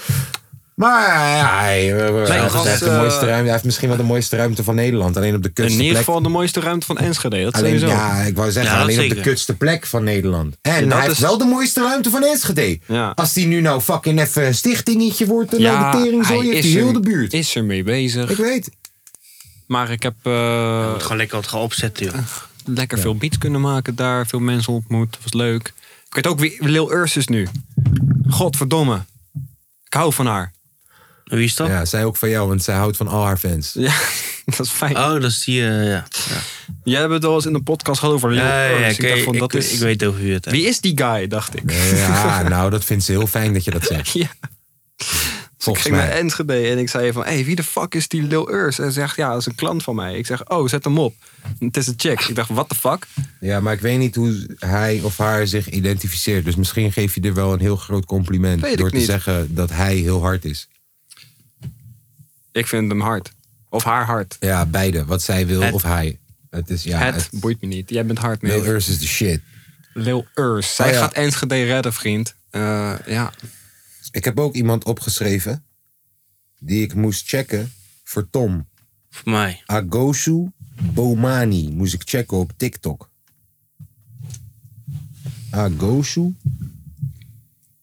[SPEAKER 1] Maar ja, hij, hij,
[SPEAKER 2] gast,
[SPEAKER 1] heeft de
[SPEAKER 2] eh,
[SPEAKER 1] mooiste ruimte, hij heeft misschien wel de mooiste ruimte van Nederland. Alleen op de
[SPEAKER 2] In
[SPEAKER 1] kutste
[SPEAKER 2] ieder
[SPEAKER 1] plek.
[SPEAKER 2] geval de mooiste ruimte van Enschede. Dat
[SPEAKER 1] Alleen,
[SPEAKER 2] sowieso.
[SPEAKER 1] ja, ik wou zeggen,
[SPEAKER 3] Ja, dat
[SPEAKER 1] alleen op de
[SPEAKER 3] zeker.
[SPEAKER 1] kutste plek van Nederland. En
[SPEAKER 2] dat
[SPEAKER 1] hij heeft
[SPEAKER 2] is-
[SPEAKER 1] wel de mooiste ruimte van Enschede.
[SPEAKER 2] Ja.
[SPEAKER 1] Als die nu nou fucking even een stichtingetje wordt, en
[SPEAKER 2] Ja,
[SPEAKER 1] de tering zo,
[SPEAKER 2] hij
[SPEAKER 1] heeft
[SPEAKER 2] is
[SPEAKER 1] die heel
[SPEAKER 2] er-
[SPEAKER 1] de buurt.
[SPEAKER 2] Is er mee bezig.
[SPEAKER 1] Ik weet.
[SPEAKER 2] Maar ik heb eh,
[SPEAKER 3] Moet gewoon lekker wat gaan opzetten, joh.
[SPEAKER 2] lekker veel beats kunnen maken daar. Veel mensen ontmoet. Dat was leuk. Ik weet ook wie Lil Urs is nu. Godverdomme. Ik hou van haar.
[SPEAKER 3] En Wie is dat?
[SPEAKER 1] Ja, zij ook van jou, want zij houdt van al haar fans.
[SPEAKER 2] Ja, dat is fijn.
[SPEAKER 3] Oh, dat is die... eh, ja.
[SPEAKER 2] Jij hebt het al eens in de podcast gehad over Lil
[SPEAKER 3] Ja, ja,
[SPEAKER 2] Urs.
[SPEAKER 3] ja,
[SPEAKER 2] ik
[SPEAKER 3] ik,
[SPEAKER 2] dacht
[SPEAKER 3] ik,
[SPEAKER 2] van, dat
[SPEAKER 3] ik-
[SPEAKER 2] is...
[SPEAKER 3] ik weet over wie het is.
[SPEAKER 2] Wie is die guy, dacht ik.
[SPEAKER 1] Ja, nou, dat vindt ze heel fijn dat je dat zegt.
[SPEAKER 2] Ja. Dus Ik
[SPEAKER 1] Volgens
[SPEAKER 2] ging naar
[SPEAKER 1] mij.
[SPEAKER 2] Enschede en ik zei van, hey, wie de fuck is die Lil Urs? En ze zegt, ja, dat is een klant van mij. Ik zeg, oh, zet hem op. Het is een chick. Ik dacht, what the fuck?
[SPEAKER 1] Ja, maar ik weet niet hoe hij of haar zich identificeert. Dus misschien geef je er wel een heel groot compliment
[SPEAKER 2] Weet ik
[SPEAKER 1] door te
[SPEAKER 2] niet.
[SPEAKER 1] zeggen dat hij heel hard is.
[SPEAKER 2] Ik vind hem hard. Of haar hard.
[SPEAKER 1] Ja, beide. Wat zij wil
[SPEAKER 3] Het-
[SPEAKER 1] of hij. Het is, ja,
[SPEAKER 2] het, boeit me niet. Jij bent hard mee.
[SPEAKER 1] Lil Urs is de shit.
[SPEAKER 2] Lil Urs. Zij
[SPEAKER 1] Oh, ja.
[SPEAKER 2] gaat Enschede redden, vriend. Eh, ja.
[SPEAKER 1] Ik heb ook iemand opgeschreven die ik moest checken voor Tom.
[SPEAKER 3] Voor mij.
[SPEAKER 1] Agosu Bomani moest ik checken op TikTok. Agosu?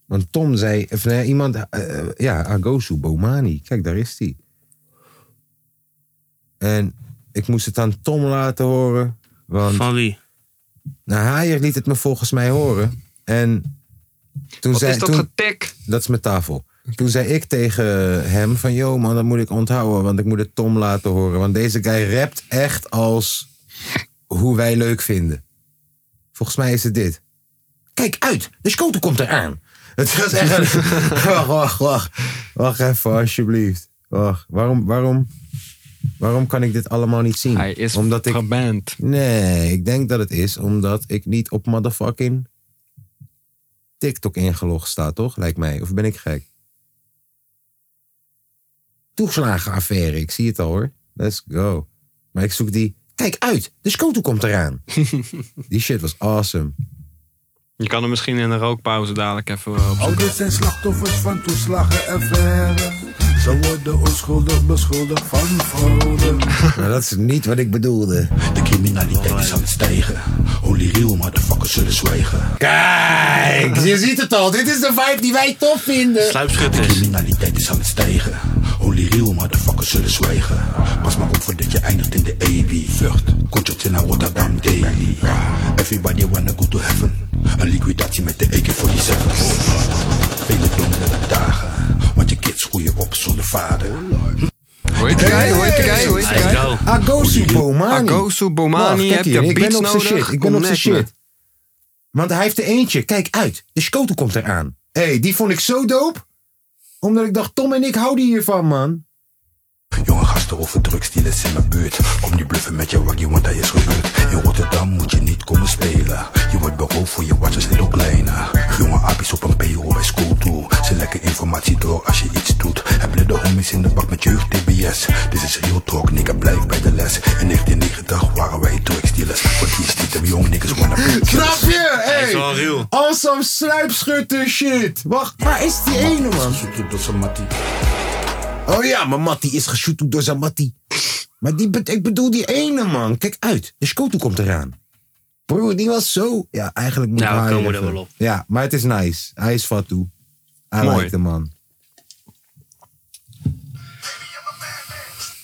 [SPEAKER 1] Want Tom zei, of nee, iemand, eh, eh, ja, Agosu Bomani. Kijk, daar is hij. En ik moest het aan Tom laten horen. Want
[SPEAKER 3] Van wie?
[SPEAKER 1] nou, Haier liet het me volgens mij horen. En toen
[SPEAKER 2] Wat
[SPEAKER 1] zei,
[SPEAKER 2] is dat
[SPEAKER 1] toen,
[SPEAKER 2] getik?
[SPEAKER 1] dat is mijn tafel. Toen zei ik tegen hem van... Yo man, dat moet ik onthouden, want ik moet het Tom laten horen. Want deze guy rapt echt als hoe wij leuk vinden. Volgens mij is het dit. Kijk uit, de scoter komt eraan. Het was echt een... wacht, wacht, wacht. Wacht even, alsjeblieft. Wacht, waarom, waarom, waarom kan ik dit allemaal niet zien?
[SPEAKER 2] Hij is
[SPEAKER 1] Hm. Omdat ik
[SPEAKER 2] geband.
[SPEAKER 1] Nee, ik denk dat het is omdat ik niet op motherfucking TikTok ingelogd sta, toch? Lijkt mij. Of ben ik gek? Toeslagenaffaire, ik zie het al hoor. Let's go. Maar ik zoek die. Kijk uit, de scoto komt eraan. die shit was awesome.
[SPEAKER 2] Je kan hem misschien in een rookpauze dadelijk even eh, opzoeken.
[SPEAKER 4] Ouders zijn slachtoffers van toeslagen en verre. Ze worden onschuldig beschuldigd van fraude.
[SPEAKER 1] Maar dat is niet wat ik bedoelde.
[SPEAKER 5] De criminaliteit is aan het stijgen. Holy real, motherfuckers zullen zwijgen.
[SPEAKER 1] Kijk, je ziet het al. Dit is de vibe die wij tof vinden.
[SPEAKER 3] Sluipschutters.
[SPEAKER 5] Criminaliteit is aan het stijgen. Holy real, motherfuckers zullen zwijgen. Pas maar op voordat je eindigt in de AB. Vlucht, Conchot in Rotterdam daily. Everybody wanna go to heaven. Een liquidatie met de AK-47. Vele donkere dagen. Want je kids groeien op zonder vader.
[SPEAKER 2] Hoor je het, guy? Hoor je het, guy? Hoor je het,
[SPEAKER 3] Let's
[SPEAKER 2] guy?
[SPEAKER 3] go.
[SPEAKER 1] Agosu Bomani.
[SPEAKER 2] Agosu
[SPEAKER 1] Wacht,
[SPEAKER 2] Bomani,
[SPEAKER 1] kijk
[SPEAKER 2] heb
[SPEAKER 1] hier,
[SPEAKER 2] je
[SPEAKER 1] ik
[SPEAKER 2] beats
[SPEAKER 1] ben op zijn
[SPEAKER 2] nodig?
[SPEAKER 1] shit. Ik ben op zijn
[SPEAKER 2] Connect me.
[SPEAKER 1] shit. Want hij heeft er eentje. Kijk uit. De Scoto komt eraan. Hé, hey, die vond ik zo dope. Omdat ik dacht, Tom en ik houden hiervan, man.
[SPEAKER 5] Jonge gasten over drugsdealers in mijn buurt. Kom niet bluffen met je waggie, want hij is gehuurd. In Rotterdam moet je niet komen spelen. Je wordt beroofd voor je watjes, little kleine. Jonge apies op een payroll bij school toe. Ze lekken informatie door als je iets doet. Heb de homies in de bak met jeugd TBS. Dit is real talk, nigga, blijf bij de les. In 1990 waren wij drugsdealers. Voor die stiekem jong niggas wanna be
[SPEAKER 1] Snap je?
[SPEAKER 3] Hij is
[SPEAKER 1] Hey.
[SPEAKER 3] wel real.
[SPEAKER 1] Awesome sluipschutter shit. Wacht, waar is die ene, man?
[SPEAKER 5] Zoet door zijn mattie.
[SPEAKER 1] Oh ja, mijn mattie is geshoot door zijn mattie. Maar die, bet- ik bedoel die ene, man. Kijk uit. De Scoto komt eraan. Broer, die was zo. Ja, eigenlijk moet
[SPEAKER 3] Nou,
[SPEAKER 1] hij
[SPEAKER 3] we komen
[SPEAKER 1] even-
[SPEAKER 3] er wel op.
[SPEAKER 1] Ja, maar het is nice. Hij is fat toe. Hij
[SPEAKER 2] Mooi.
[SPEAKER 1] lijkt de man.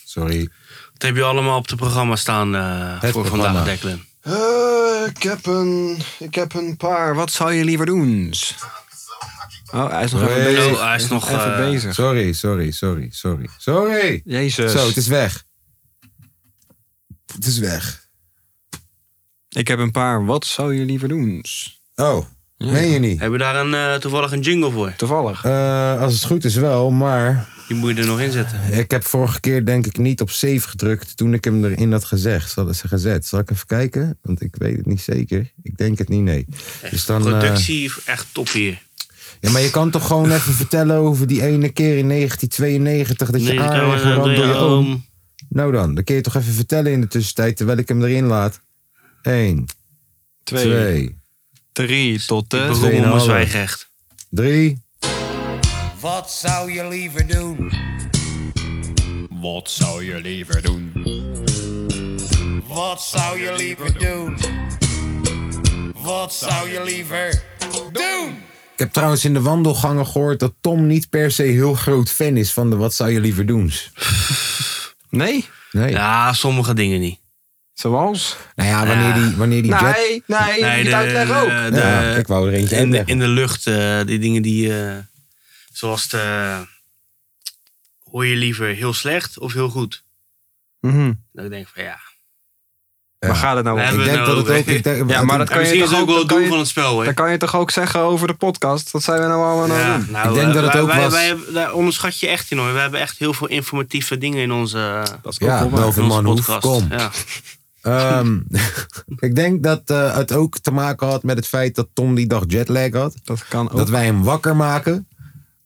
[SPEAKER 1] Sorry.
[SPEAKER 3] Wat heb je allemaal op het programma staan eh, voor
[SPEAKER 1] programma.
[SPEAKER 3] vandaag, Declan?
[SPEAKER 2] Eh, ik, heb een, ik heb een paar. Wat zou je liever doen? Oh, hij is nog even
[SPEAKER 1] Hey.
[SPEAKER 2] bezig.
[SPEAKER 3] Oh, hij is nog,
[SPEAKER 2] even
[SPEAKER 3] eh,
[SPEAKER 2] bezig.
[SPEAKER 1] Sorry, sorry, sorry, sorry. Sorry!
[SPEAKER 2] Jezus.
[SPEAKER 1] Zo, het is weg. Het is weg.
[SPEAKER 2] Ik heb een paar. Wat zou je liever doen?
[SPEAKER 1] Oh, meen je niet?
[SPEAKER 3] Hebben we daar een, eh, toevallig een jingle voor?
[SPEAKER 2] Toevallig.
[SPEAKER 1] Eh, als het goed is wel, maar
[SPEAKER 3] Die moet je er nog in zetten.
[SPEAKER 1] ik heb vorige keer denk ik niet op save gedrukt toen ik hem erin had gezegd. Zal, ze gezet. Zal ik even kijken? Want ik weet het niet zeker. Ik denk het niet, nee. Dus dan, eh,
[SPEAKER 3] Productie, echt top hier.
[SPEAKER 1] ja, maar je kan toch gewoon even vertellen over die ene keer in 1992 dat je
[SPEAKER 3] Nee,
[SPEAKER 1] aan
[SPEAKER 3] dat kan
[SPEAKER 1] aangerand
[SPEAKER 3] wel,
[SPEAKER 1] door
[SPEAKER 3] eh,
[SPEAKER 1] je oom.
[SPEAKER 3] oom.
[SPEAKER 1] Nou dan, dan kun je toch even vertellen in de tussentijd terwijl ik hem erin laat. Eén,
[SPEAKER 2] twee,
[SPEAKER 1] twee,
[SPEAKER 2] drie tot
[SPEAKER 3] Ik
[SPEAKER 2] de...
[SPEAKER 3] beroep me op mijn
[SPEAKER 1] tweeënhalve.
[SPEAKER 3] zwijgrecht.
[SPEAKER 1] drie.
[SPEAKER 6] Wat zou je liever doen?
[SPEAKER 7] Wat zou je liever doen?
[SPEAKER 6] Wat zou je liever doen? Wat zou je liever doen?
[SPEAKER 1] Ik heb trouwens in de wandelgangen gehoord dat Tom niet per se heel groot fan is van de Wat zou je liever doen?
[SPEAKER 2] Nee?
[SPEAKER 1] Nee.
[SPEAKER 3] Ja, sommige dingen niet.
[SPEAKER 2] Zoals?
[SPEAKER 1] Nou ja, wanneer die, wanneer die jet...
[SPEAKER 2] Nee, nee,
[SPEAKER 3] Nee,
[SPEAKER 2] niet
[SPEAKER 3] de-
[SPEAKER 2] uitleggen ook.
[SPEAKER 3] de-
[SPEAKER 1] Ja, ik wou er eentje
[SPEAKER 3] in, de,
[SPEAKER 1] uitleggen.
[SPEAKER 3] in de lucht, eh, die dingen die. eh, zoals de. Hoor je liever heel slecht of heel goed?
[SPEAKER 2] Mhm.
[SPEAKER 3] Dat ik denk van ja.
[SPEAKER 2] Maar gaat het nou
[SPEAKER 3] Nee,
[SPEAKER 2] om?
[SPEAKER 1] Ik denk
[SPEAKER 3] hebben
[SPEAKER 1] dat het
[SPEAKER 3] we
[SPEAKER 1] ook...
[SPEAKER 3] nou-
[SPEAKER 1] ik denk-
[SPEAKER 2] Ja, maar dat
[SPEAKER 3] En
[SPEAKER 2] kan je
[SPEAKER 3] misschien is
[SPEAKER 2] toch
[SPEAKER 3] ook wel
[SPEAKER 2] ook-
[SPEAKER 3] het
[SPEAKER 2] kan
[SPEAKER 3] doel
[SPEAKER 2] je-
[SPEAKER 3] van het spel, hè?
[SPEAKER 2] Dan kan je toch ook zeggen over de podcast? Wat zijn we nou allemaal aan het
[SPEAKER 3] Ja,
[SPEAKER 2] doen?
[SPEAKER 3] nou,
[SPEAKER 1] Ik denk
[SPEAKER 3] eh,
[SPEAKER 1] dat het
[SPEAKER 3] wij-
[SPEAKER 1] ook
[SPEAKER 3] wij,
[SPEAKER 1] was-
[SPEAKER 3] wij hebben- daar onderschat je echt in hoor. We hebben echt heel veel informatieve dingen in onze, eh,
[SPEAKER 2] Dat is ook
[SPEAKER 1] Ja,
[SPEAKER 2] wel waar.
[SPEAKER 1] wel
[SPEAKER 3] in
[SPEAKER 1] van
[SPEAKER 3] onze
[SPEAKER 1] Manhoef,
[SPEAKER 3] podcast.
[SPEAKER 1] kom.
[SPEAKER 3] Ja.
[SPEAKER 1] Ehm, ik denk dat eh, het ook te maken had met het feit dat Tom die dag jetlag had.
[SPEAKER 2] Dat kan ook.
[SPEAKER 1] Dat wij hem wakker maken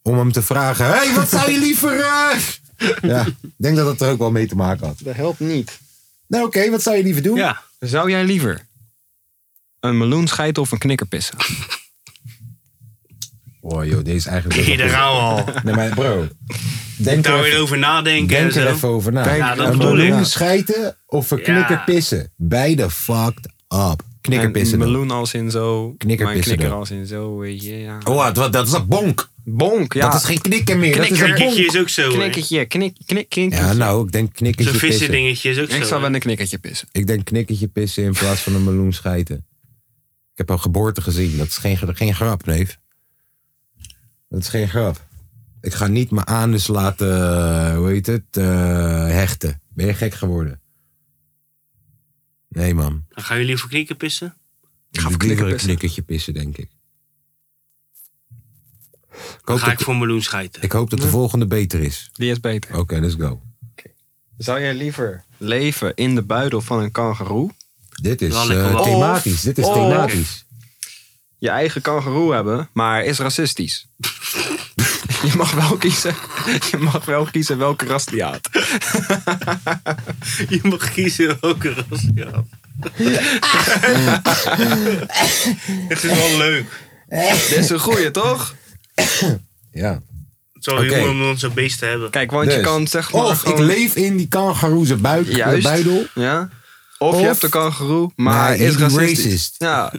[SPEAKER 1] om hem te vragen... Hé, hey, wat zou je liever... eh?" ja, ik denk dat dat er ook wel mee te maken had.
[SPEAKER 2] Dat helpt niet.
[SPEAKER 1] Nou oké, wat zou je liever doen?
[SPEAKER 3] ja.
[SPEAKER 2] Zou jij liever een meloen scheiden of een knikker pissen?
[SPEAKER 1] Oh joh, deze is eigenlijk...
[SPEAKER 3] Hier, daar gaan we al.
[SPEAKER 1] Nee, maar bro. Denk er
[SPEAKER 3] Daar
[SPEAKER 1] even-
[SPEAKER 3] weer over nadenken en
[SPEAKER 1] Denk
[SPEAKER 3] zo.
[SPEAKER 1] er even over na.
[SPEAKER 2] Ja,
[SPEAKER 3] dat
[SPEAKER 1] een
[SPEAKER 3] bedoel
[SPEAKER 1] meloen
[SPEAKER 2] ik.
[SPEAKER 1] schijten of verknikken
[SPEAKER 3] Ja.
[SPEAKER 1] pissen. Beide fucked up.
[SPEAKER 2] En
[SPEAKER 1] Knikkerpissen. dan.
[SPEAKER 2] meloen als in zo. maar een
[SPEAKER 1] Knikkerpissen
[SPEAKER 2] knikker
[SPEAKER 1] dan.
[SPEAKER 2] als in zo. weet je, ja.
[SPEAKER 1] Oh, wat, wat, dat is een bonk.
[SPEAKER 2] Bonk, ja.
[SPEAKER 1] Dat is geen knikken meer.
[SPEAKER 2] Dus
[SPEAKER 1] dat is een
[SPEAKER 3] Knikkertje
[SPEAKER 1] bonk.
[SPEAKER 3] is ook zo. hoor.
[SPEAKER 2] knikkertje. Knik, knik, knik.
[SPEAKER 1] Ja, nou, ik denk knikkertje
[SPEAKER 3] Zo'n
[SPEAKER 1] pissen.
[SPEAKER 3] vissen dingetje is ook zo.
[SPEAKER 2] ik zou
[SPEAKER 3] hoor.
[SPEAKER 2] wel een knikkertje pissen.
[SPEAKER 1] Ik denk knikkertje pissen in plaats van een meloen schijten. Ik heb al geboorte gezien. Dat is geen, geen grap, neef. Dat is geen grap. Ik ga niet mijn anus laten, eh, hoe heet het, eh, hechten. Ben je gek geworden? Nee, man.
[SPEAKER 3] Dan gaan jullie voor knikken pissen?
[SPEAKER 1] Ik ga voor
[SPEAKER 2] knikker
[SPEAKER 1] een
[SPEAKER 2] pissen.
[SPEAKER 1] knikkertje pissen, denk ik. Ik
[SPEAKER 3] Dan
[SPEAKER 1] hoop,
[SPEAKER 3] ga ik
[SPEAKER 1] dat,
[SPEAKER 3] voor meloen schijten.
[SPEAKER 1] ik hoop dat de volgende beter is.
[SPEAKER 2] Die is beter.
[SPEAKER 1] Oké, let's go.
[SPEAKER 2] Zou jij liever leven in de buidel van een kangeroe?
[SPEAKER 1] Dit is
[SPEAKER 3] Wel lekker
[SPEAKER 1] eh,
[SPEAKER 3] wel.
[SPEAKER 1] thematisch. Dit is
[SPEAKER 2] Of-
[SPEAKER 1] thematisch.
[SPEAKER 2] Je eigen kangeroe hebben, maar is racistisch. je mag wel kiezen. Je mag wel kiezen welke ras die haat.
[SPEAKER 3] Je mag kiezen welke ras je hebt. Het is wel leuk.
[SPEAKER 2] Dit is een goeie, toch?
[SPEAKER 1] Ja.
[SPEAKER 3] Het is wel
[SPEAKER 1] Oké.
[SPEAKER 3] heel mooi om ons zo'n beest te hebben.
[SPEAKER 2] Kijk, want je
[SPEAKER 1] Dus,
[SPEAKER 2] kan zeg maar.
[SPEAKER 1] Of ik
[SPEAKER 2] gewoon-
[SPEAKER 1] leef in die kangaroeze buik,
[SPEAKER 2] Juist.
[SPEAKER 1] buidel.
[SPEAKER 2] Ja. Of,
[SPEAKER 1] Of-
[SPEAKER 2] je hebt een kangeroe, maar
[SPEAKER 1] Nee,
[SPEAKER 2] hij is
[SPEAKER 1] die
[SPEAKER 2] racistisch.
[SPEAKER 1] racist.
[SPEAKER 2] Ja.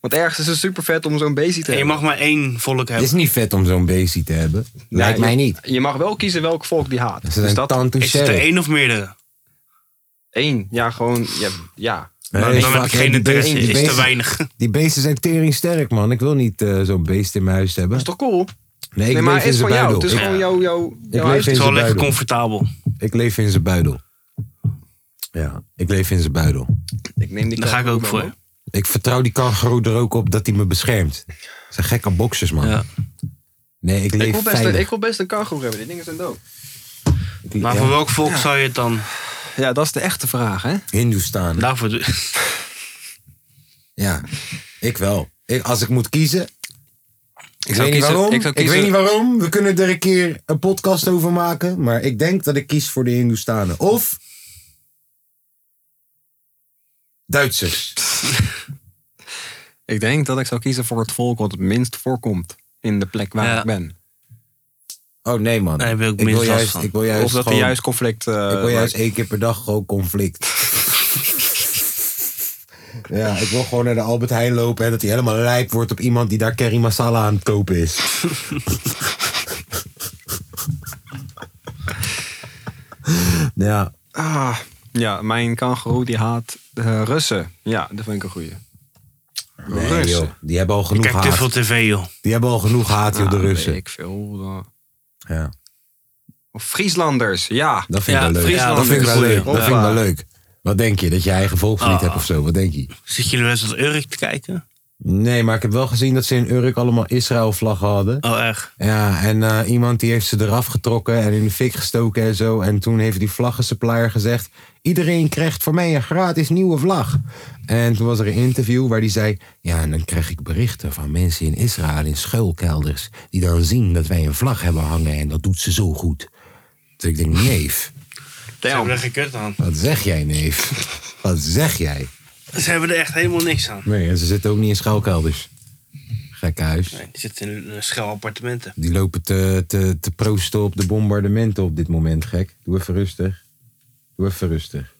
[SPEAKER 2] Want ergens is het super vet om zo'n beestje te
[SPEAKER 3] En je
[SPEAKER 2] hebben.
[SPEAKER 3] mag maar één volk
[SPEAKER 1] Het is
[SPEAKER 3] hebben.
[SPEAKER 1] niet vet om zo'n beestie te hebben. Lijkt
[SPEAKER 2] Ja,
[SPEAKER 1] mij
[SPEAKER 2] je-
[SPEAKER 1] niet.
[SPEAKER 2] Je mag wel kiezen welk volk die haat.
[SPEAKER 1] Ze
[SPEAKER 2] dus
[SPEAKER 1] zijn
[SPEAKER 2] dat
[SPEAKER 1] tantoe
[SPEAKER 3] Is het er
[SPEAKER 1] sheriff.
[SPEAKER 3] één of meerdere?
[SPEAKER 2] één. Ja, gewoon. Ja. ja.
[SPEAKER 3] Nou,
[SPEAKER 1] Nee,
[SPEAKER 3] dan heb
[SPEAKER 1] fuck,
[SPEAKER 3] ik geen
[SPEAKER 1] die
[SPEAKER 3] interesse.
[SPEAKER 1] beesten- die
[SPEAKER 3] Is te
[SPEAKER 1] beesten-
[SPEAKER 3] weinig.
[SPEAKER 1] Die beesten zijn tering sterk, man. Ik wil niet eh, zo'n beest in mijn huis hebben.
[SPEAKER 2] Dat is toch cool?
[SPEAKER 1] Nee, ik
[SPEAKER 2] nee,
[SPEAKER 1] leef
[SPEAKER 2] maar het
[SPEAKER 1] in
[SPEAKER 2] is
[SPEAKER 1] zijn
[SPEAKER 2] van jou. Het
[SPEAKER 1] buidel.
[SPEAKER 2] is
[SPEAKER 1] Ik,
[SPEAKER 2] gewoon jouw. jouw, jouw
[SPEAKER 1] leef
[SPEAKER 2] huis.
[SPEAKER 1] in
[SPEAKER 3] Het is wel
[SPEAKER 1] zijn
[SPEAKER 3] lekker
[SPEAKER 1] buidel.
[SPEAKER 3] comfortabel.
[SPEAKER 1] Ik leef in zijn buidel. Ja, ik leef in zijn buidel.
[SPEAKER 2] Ik neem die
[SPEAKER 3] Daar ga ik ook
[SPEAKER 2] kangeroe
[SPEAKER 3] voor.
[SPEAKER 2] dan,
[SPEAKER 1] Ik vertrouw die kangaroo er ook op dat hij me beschermt. Dat zijn gekke boxers, man.
[SPEAKER 3] Ja.
[SPEAKER 1] Nee, ik
[SPEAKER 2] hoor.
[SPEAKER 1] leef
[SPEAKER 2] Ik wil, best een,
[SPEAKER 1] veilig.
[SPEAKER 2] ik wil best een kangeroe hebben. Die dingen zijn dood.
[SPEAKER 1] Ik-
[SPEAKER 3] Maar
[SPEAKER 1] ja,
[SPEAKER 3] voor welk volk zou je het dan?
[SPEAKER 2] Ja, dat is de echte vraag, hè?
[SPEAKER 1] Hindoestaan.
[SPEAKER 3] Daarvoor doe-
[SPEAKER 1] Ja, ik wel. Ik, als ik moet kiezen. Ik,
[SPEAKER 2] zou
[SPEAKER 1] weet, niet
[SPEAKER 2] kiezen-
[SPEAKER 1] waarom.
[SPEAKER 2] ik
[SPEAKER 1] Ik,
[SPEAKER 2] zou kiezen-
[SPEAKER 1] weet niet waarom. We kunnen er een keer een podcast over maken. Maar ik denk dat ik kies voor de Hindoestanen. Of. Duitsers.
[SPEAKER 2] Ik denk dat ik zou kiezen voor het volk wat het minst voorkomt in de plek waar
[SPEAKER 3] Ja.
[SPEAKER 2] ik ben.
[SPEAKER 1] Oh nee, man.
[SPEAKER 3] Daar heb ik ook
[SPEAKER 1] wil
[SPEAKER 3] minstens last
[SPEAKER 1] juist,
[SPEAKER 3] van.
[SPEAKER 1] ik wil juist.
[SPEAKER 2] of dat
[SPEAKER 1] gewoon,
[SPEAKER 2] er juist conflict. eh,
[SPEAKER 1] ik wil juist
[SPEAKER 2] maakt.
[SPEAKER 1] één keer per dag gewoon conflict. Ja, ik wil gewoon naar de Albert Heijn lopen. En dat hij helemaal lijp wordt op iemand die daar curry masala aan het kopen is. ja.
[SPEAKER 2] Ah, ja, mijn kangoeroe die haat eh, Russen. Ja, dat vind ik een goeie.
[SPEAKER 1] Nee, joh. Die hebben al genoeg
[SPEAKER 3] Kijk te veel
[SPEAKER 1] haat.
[SPEAKER 3] tv, joh.
[SPEAKER 1] Die hebben al genoeg haat, joh, de
[SPEAKER 2] Ah,
[SPEAKER 1] Russen.
[SPEAKER 2] weet Ik veel. eh,
[SPEAKER 1] Ja.
[SPEAKER 2] Of Frieslanders, ja.
[SPEAKER 1] Dat vind ik wel
[SPEAKER 3] Ja,
[SPEAKER 1] leuk.
[SPEAKER 3] Friesland
[SPEAKER 1] dat vind ik
[SPEAKER 3] is
[SPEAKER 1] wel
[SPEAKER 3] een
[SPEAKER 1] leuk.
[SPEAKER 3] goeie.
[SPEAKER 1] Dat vind ik wel leuk. Wat denk je? Dat je eigen volkslied
[SPEAKER 3] Ah.
[SPEAKER 1] hebt of zo? Wat denk je?
[SPEAKER 3] Zit jullie wel eens als Urk te kijken?
[SPEAKER 1] Nee, maar ik heb wel gezien dat ze in Urk allemaal Israël-vlaggen hadden.
[SPEAKER 3] Oh, echt?
[SPEAKER 1] Ja, en eh, iemand die heeft ze eraf getrokken en in de fik gestoken en zo. En toen heeft die vlaggensupplier gezegd... iedereen krijgt voor mij een gratis nieuwe vlag. En toen was er een interview waar die zei... ja, en dan krijg ik berichten van mensen in Israël in schuilkelders... die dan zien dat wij een vlag hebben hangen en dat doet ze zo goed. Dus ik denk, neef,
[SPEAKER 3] Ze hebben er geen kut aan.
[SPEAKER 1] wat zeg jij, neef? Wat zeg jij?
[SPEAKER 3] Ze hebben er echt helemaal niks aan.
[SPEAKER 1] Nee, en ze zitten ook niet in schuilkelders. Gekke huis.
[SPEAKER 3] Nee, die zitten in een schel appartementen.
[SPEAKER 1] Die lopen te, te, te proosten op de bombardementen op dit moment, gek. Doe even rustig. Doe even rustig.